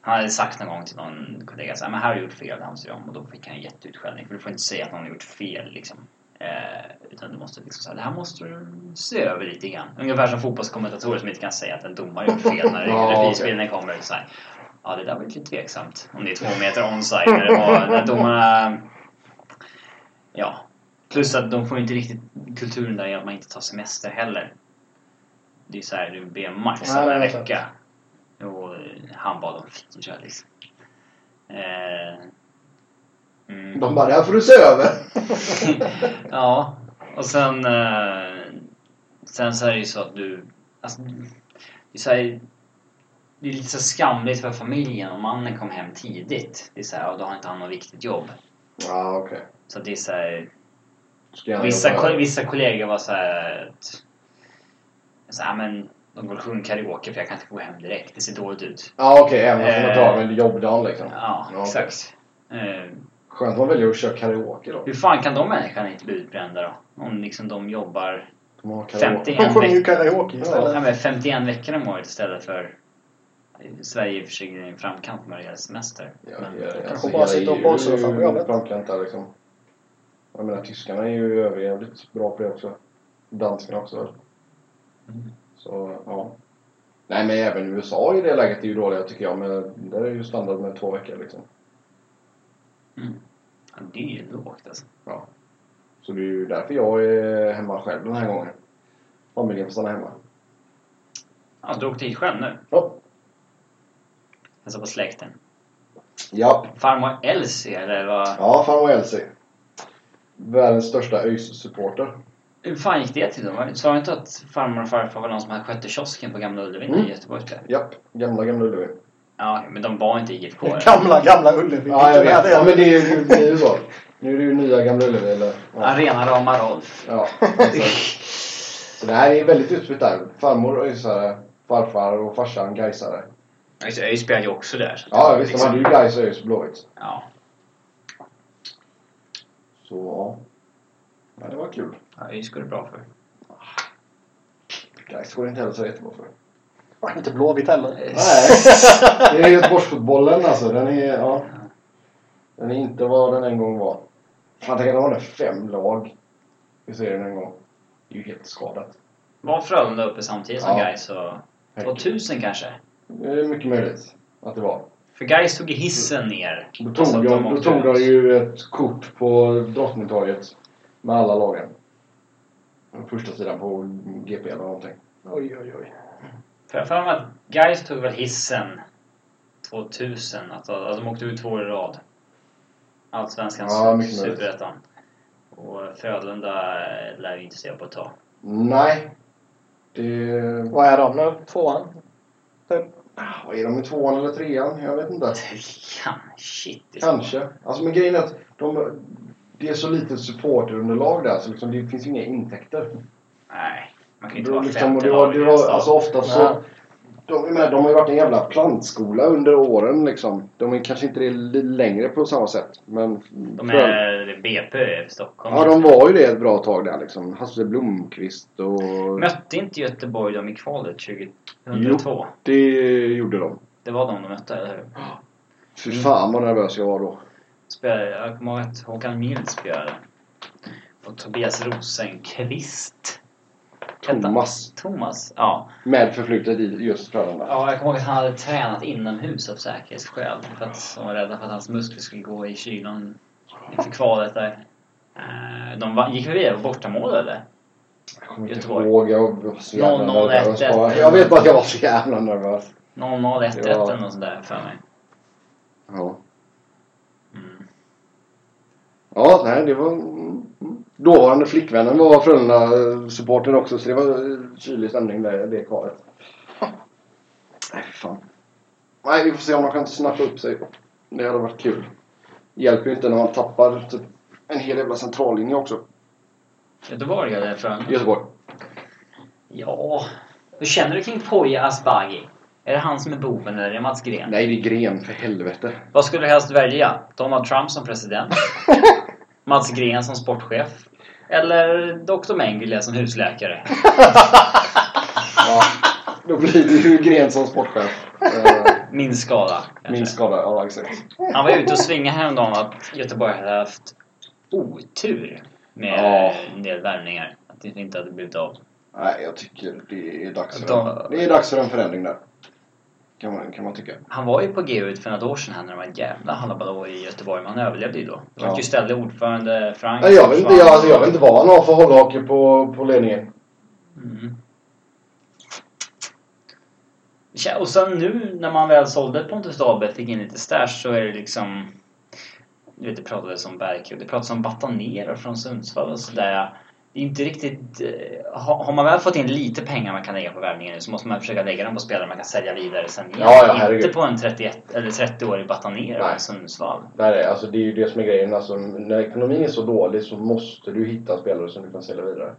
S3: Han hade sagt någon gång till någon kollega så här, men här har du gjort fel, det här måste du göra om. Och då fick han jätteutskällning. För du får inte säga att någon har gjort fel liksom. Eh, utan du måste liksom säga, det här måste du se över lite grann. Ungefär som fotbollskommentatorer som inte kan säga att en domare har gjort fel när
S4: Ja, okej.
S3: reprispelningen kommer. Så här, ja, det där var ju lite tveksamt. Om det är två meter onside när det var, när domarna... Ja. Plus att de får ju inte riktigt kulturen där i att man inte tar semester heller. Det är ju så här, du ber max
S2: Nej,
S3: om en
S2: det är sant.
S3: vecka. Och han bad om fyra liksom. Eh, mm.
S4: De bara, det här får du se över.
S3: Ja, och sen... eh, Sen så är det ju så att du... Alltså, det, är så här, det är lite så skamligt för familjen om mannen kom hem tidigt. Det är så här, och då har inte han något viktigt jobb.
S4: Ja, okej.
S3: Så det är så här,
S4: Ska jag
S3: vissa,
S4: jobba
S3: ko-
S4: över?
S3: vissa kollegor var så här... att- Så här men, de går och sjunger karaoke för jag kan inte gå hem direkt. Det ser dåligt ut.
S4: Ja, okej. Även om man
S3: Eh.
S4: tar en jobbdag liksom.
S3: Ja,
S4: okej.
S3: exakt. Eh,
S4: Skönt att man väljer att köra karaoke då.
S3: hur fan kan de människorna inte bli utbrända då? Om liksom de jobbar
S4: De har karaoke.
S3: 51
S2: De sjunger ju
S3: veckor.
S2: karaoke
S3: Ja,
S2: istället.
S3: men 51 veckor om året istället för Sverige är i och för sig i framkant när det gäller semester.
S4: Ja,
S3: Men-
S4: ja, alltså,
S2: kanske bara sitta och bollsurfa på jobbet.
S4: Framkant där liksom. Jag menar tyskarna är ju överjävligt bra på det också. Danskarna också.
S3: Mm.
S4: Så ja. Nej men även USA i det läget är ju dåliga tycker jag. Men där är ju standard med två veckor liksom.
S3: Mm. Ja, det är ju lågt alltså.
S4: Ja. Så det är ju därför jag är hemma själv den här gången. Familjen får stanna hemma.
S3: Ja, du åkte hit själv nu.
S4: Ja.
S3: Hälsade på släkten.
S4: Ja.
S3: Farmor Elsie eller vad?
S4: Ja, farmor Elsie. Världens största ÖIS-supporter.
S3: Hur fan gick det till då? Sa du inte att farmor och farfar var någon som hade skött kiosken på Gamla Ullevi
S4: Mm.
S3: i Göteborg? tror jag?
S4: Japp. Gamla, gamla Ullevi.
S3: Ja, okej, men de var inte IFK? eller?
S2: Gamla, gamla Ullevi.
S4: Ja, jag
S2: Vilken
S4: vet.
S2: är
S4: Ja, men det är ju, det är ju så. Nu är det ju nya Gamla Ullevi. Eller, ja.
S3: Arena Rama Rolf.
S4: ja. Så, så det här är väldigt utspritt där. Farmor öisare, farfar och farsan gaisare.
S3: Ja, just det, ÖIS spelade ju också där. så det
S4: Ja,
S3: var
S4: visst. De
S3: liksom-
S4: hade ju gais och öis och blåvitt.
S3: Ja,
S4: Så ja. ja. Det var kul.
S3: ja, ÖIS går det bra för.
S4: Gais går inte heller så jättebra för.
S2: Och Inte Blåvitt heller.
S4: Nej. Det är Göteborgsfotbollen alltså. Den är, ja. Den är inte vad den en gång var. Man tänker att de hade fem lag i serien en gång. Det är ju helt skadat.
S3: Var Frölunda uppe samtidigt som
S4: Ja.
S3: Gais och... 2000 kanske?
S4: Det är mycket möjligt att det var.
S3: För Gais tog ju hissen ner.
S4: Då
S3: Och så
S4: tog, jag, då
S3: åkte
S4: tog
S3: ut.
S4: jag ju ett kort på Drottningtorget med alla lagen. Den första sidan på GP eller någonting.
S2: Oj, oj, oj.
S3: För jag har för mig att Gais tog väl hissen 2000. Att, att de åkte ut två år i rad. Allsvenskan,
S4: Ja, mycket möjligt.
S3: Superettan. Och Frölunda eh, lär ju inte se på ett tag.
S4: Nej. Det...
S2: Vad är de nu? Tvåan? Typ.
S4: Ah, Är de i tvåan eller trean? Jag vet inte.
S3: Trean? Shit. det är så-
S4: Kanske. Alltså men grejen är att de, det är så litet supporterunderlag där så liksom, det finns ju inga intäkter.
S3: Nej. Man kan ju inte
S4: Du,
S3: vara
S4: liksom, och
S3: femte
S4: det var,
S3: lag i
S4: det
S3: en
S4: var,
S3: stad.
S4: alltså ofta
S2: Nej.
S4: så... De, är med, de har ju varit en jävla plantskola under åren liksom. De är kanske inte det li- längre på samma sätt. Men
S3: De
S4: Fröl-
S3: är BP i Stockholm.
S4: Ja, de var ju det ett bra tag där liksom. Hasse Blomqvist och...
S3: Mötte inte Göteborg dem i kvalet 2002?
S4: Det gjorde de.
S3: Det var de de mötte, eller hur?
S4: Fy fan vad nervös jag var då.
S3: Spelade, jag kommer ihåg att Håkan Mild spelade. Och Tobias Rosenqvist. hette han.
S4: Thomas.
S3: Thomas, ja.
S4: Med förflutet i just Frölunda.
S3: Ja, jag kommer ihåg att han hade tränat inomhus av säkerhetsskäl. För att de var rädda för att hans muskler skulle gå i kylan inför kvalet där. Eh, De va- gick förbi det bortamålade.
S4: Jag kommer inte
S3: Göteborg.
S4: ihåg. Jag var så jävla
S3: 0-0-1-1.
S4: nervös bara. Jag vet bara att jag var så jävla nervös.
S3: 0-0, 1-1
S4: Ja.
S3: eller något sånt där för mig.
S4: Ja.
S3: Mm.
S4: Ja, nej det var... mm, mm. Dåvarande flickvännen var Frölunda-supporter också så det var eh, kylig stämning där, det kvaret. Nej, fy fan. Nej, vi får se om de kan snappa upp sig. Det hade varit kul. Hjälper ju inte när man tappar typ en hel jävla centrallinje också.
S3: Göteborg eller Frölunda?
S4: Göteborg.
S3: Ja, hur känner du kring Poya Asbaghi? Är det han som är boven eller är det Mats Gren?
S4: Nej, det är Gren för helvete.
S3: Vad skulle du helst välja? Donald Trump som president? Mats Gren som sportchef? Eller Dr. Mengele som husläkare?
S4: Ja, då blir det ju Gren som sportchef. Eh,
S3: Min skala. kanske.
S4: Min skada, ja exakt.
S3: Han var ute och svingade häromdagen att Göteborg hade haft otur med
S4: Ja.
S3: en del värvningar. Att det inte hade blivit av.
S4: Nej, jag tycker det är dags för,
S3: Då-
S4: det är dags för en förändring där. Kan man, kan man tycka.
S3: Han var ju på GU ut för något år sedan här när det var ett jävla hallabaloo i Göteborg. Men han överlevde ju då. Det var
S4: Ja.
S3: ju istället ordförande Frank.
S4: Nej, jag, vill inte, jag,
S3: försvann.
S4: alltså, jag vill inte vara en av för hållhake på, på ledningen.
S3: Mm. Tja, Och sen nu när man väl sålde Pontus Dahlberg fick in lite stash så är det liksom... Du vet, det pratades om Berke och det pratades om Batanero från Sundsvall och sådär. Det är inte riktigt... eh, Har har man väl fått in lite pengar man kan lägga på värvningen nu så måste man försöka lägga dem på spelare man kan sälja vidare sen igen.
S4: Ja, ja,
S3: inte
S4: herregud.
S3: på en 31 eller 30-årig Batanero
S4: Nej.
S3: i Sundsvall.
S4: Nej, nej, alltså, det är ju det som är grejen. Alltså, när ekonomin är så dålig så måste du hitta spelare som du kan sälja vidare.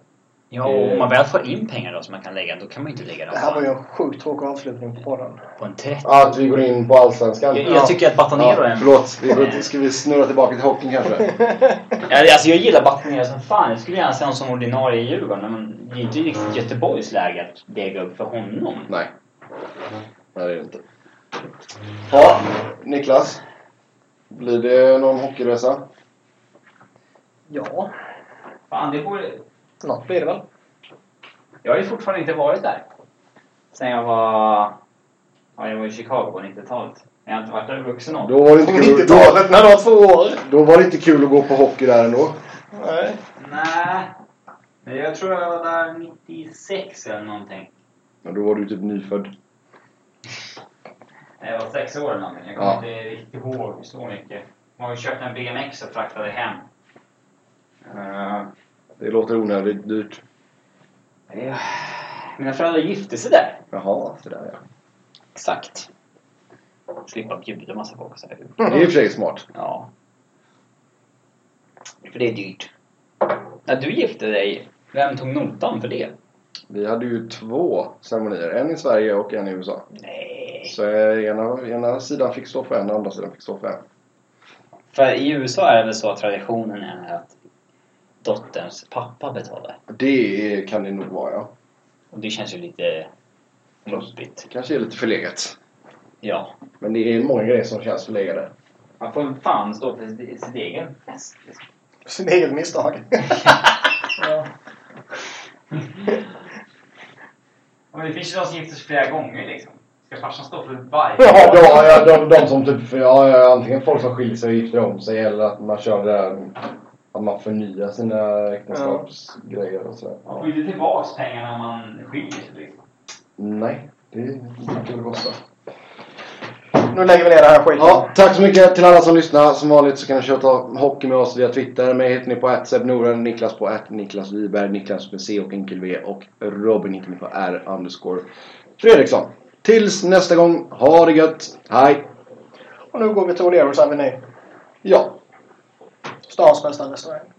S3: Ja, och om
S4: Eh.
S3: man väl får in pengar då som man kan lägga, då kan man ju inte lägga
S2: Det här var
S3: dem
S2: ju
S3: på,
S2: en sjukt tråkig avslutning på podden.
S3: på en 30
S4: Att vi går in på Allsvenskan.
S3: jag, jag tycker att Batanero är
S4: ja,
S3: en
S4: förlåt, vi går, ska vi snurra tillbaka till hockeyn kanske?
S3: Ja, alltså jag gillar Batanero som fan. Jag skulle gärna se honom som ordinarie i Djurgården. Men det är inte
S4: Mm.
S3: riktigt Göteborgs läge att väga upp för honom.
S4: nej. Nej, det är det inte.
S3: Ja.
S4: Niklas? Blir det någon hockeyresa?
S2: Ja,
S3: Fan, det borde...
S2: något blir det väl.
S3: Jag har ju fortfarande inte varit där. Sen jag var... Ja, jag var i Chicago på 90-talet. Men jag har inte varit där vuxen ålder.
S4: Då var det inte
S2: På
S4: kul, då,
S2: 90-talet när det var två år.
S4: då var det inte kul att gå på hockey där ändå.
S2: Nej.
S3: Nej. Men jag tror jag var där 96 eller någonting.
S4: Men då var du typ nyfödd.
S3: Jag var sex år eller någonting. Jag kommer
S4: Ja.
S3: inte riktigt ihåg så mycket. Man har ju köpt en BMX och fraktade hem. Eh,
S4: Det låter onödigt dyrt.
S3: Ja, Mina föräldrar gifte sig där.
S4: Jaha, så där
S3: Exakt. Mm. Slippa bjuda massa folk och så här.
S4: ja. Det är i och för sig smart.
S3: Ja. För det är dyrt. När du gifte dig, vem tog notan för det?
S4: Vi hade ju två ceremonier. En i Sverige och en i USA.
S3: Nej.
S4: Så eh, ena, ena sidan fick stå för en, andra sidan fick stå för en.
S3: För i USA är det väl så att traditionen är att dotterns pappa betalar.
S4: Det är- kan det nog vara ja.
S3: Och det känns ju lite rumpigt.
S4: Kanske är lite förlegat.
S3: Ja.
S4: Men det är många grejer som känns förlegade.
S3: Man får fan stå för sitt, sitt egen fest. liksom.
S2: Sin eget misstag.
S3: Och det finns ju de som gifter sig flera gånger liksom. Ska farsan stå för varje?
S4: Ja, då, ja de, de som typ... Ja, ja, antingen folk som skiljer sig och gifter om sig eller att man kör det där, Att man förnyar sina äktenskapsgrejer och sådär.
S3: Man får ju inte tillbaks pengarna om man skiljer sig liksom.
S4: Nej, det brukar det kosta.
S2: Nu lägger vi ner den här skiten.
S4: Ja, tack så mycket till alla som lyssnar. Som vanligt så kan ni köta hockey med oss via Twitter. Mig hittar ni på @sebnoren, Niklas på Niklas Wiberg, Niklas med C och enkel V och Robin hittar ni på R underscore Fredriksson. Tills nästa gång, ha det gött! Hej!
S2: Och nu går vi till O'Learys Avenue.
S4: Ja.
S2: Stans bästa restaurang.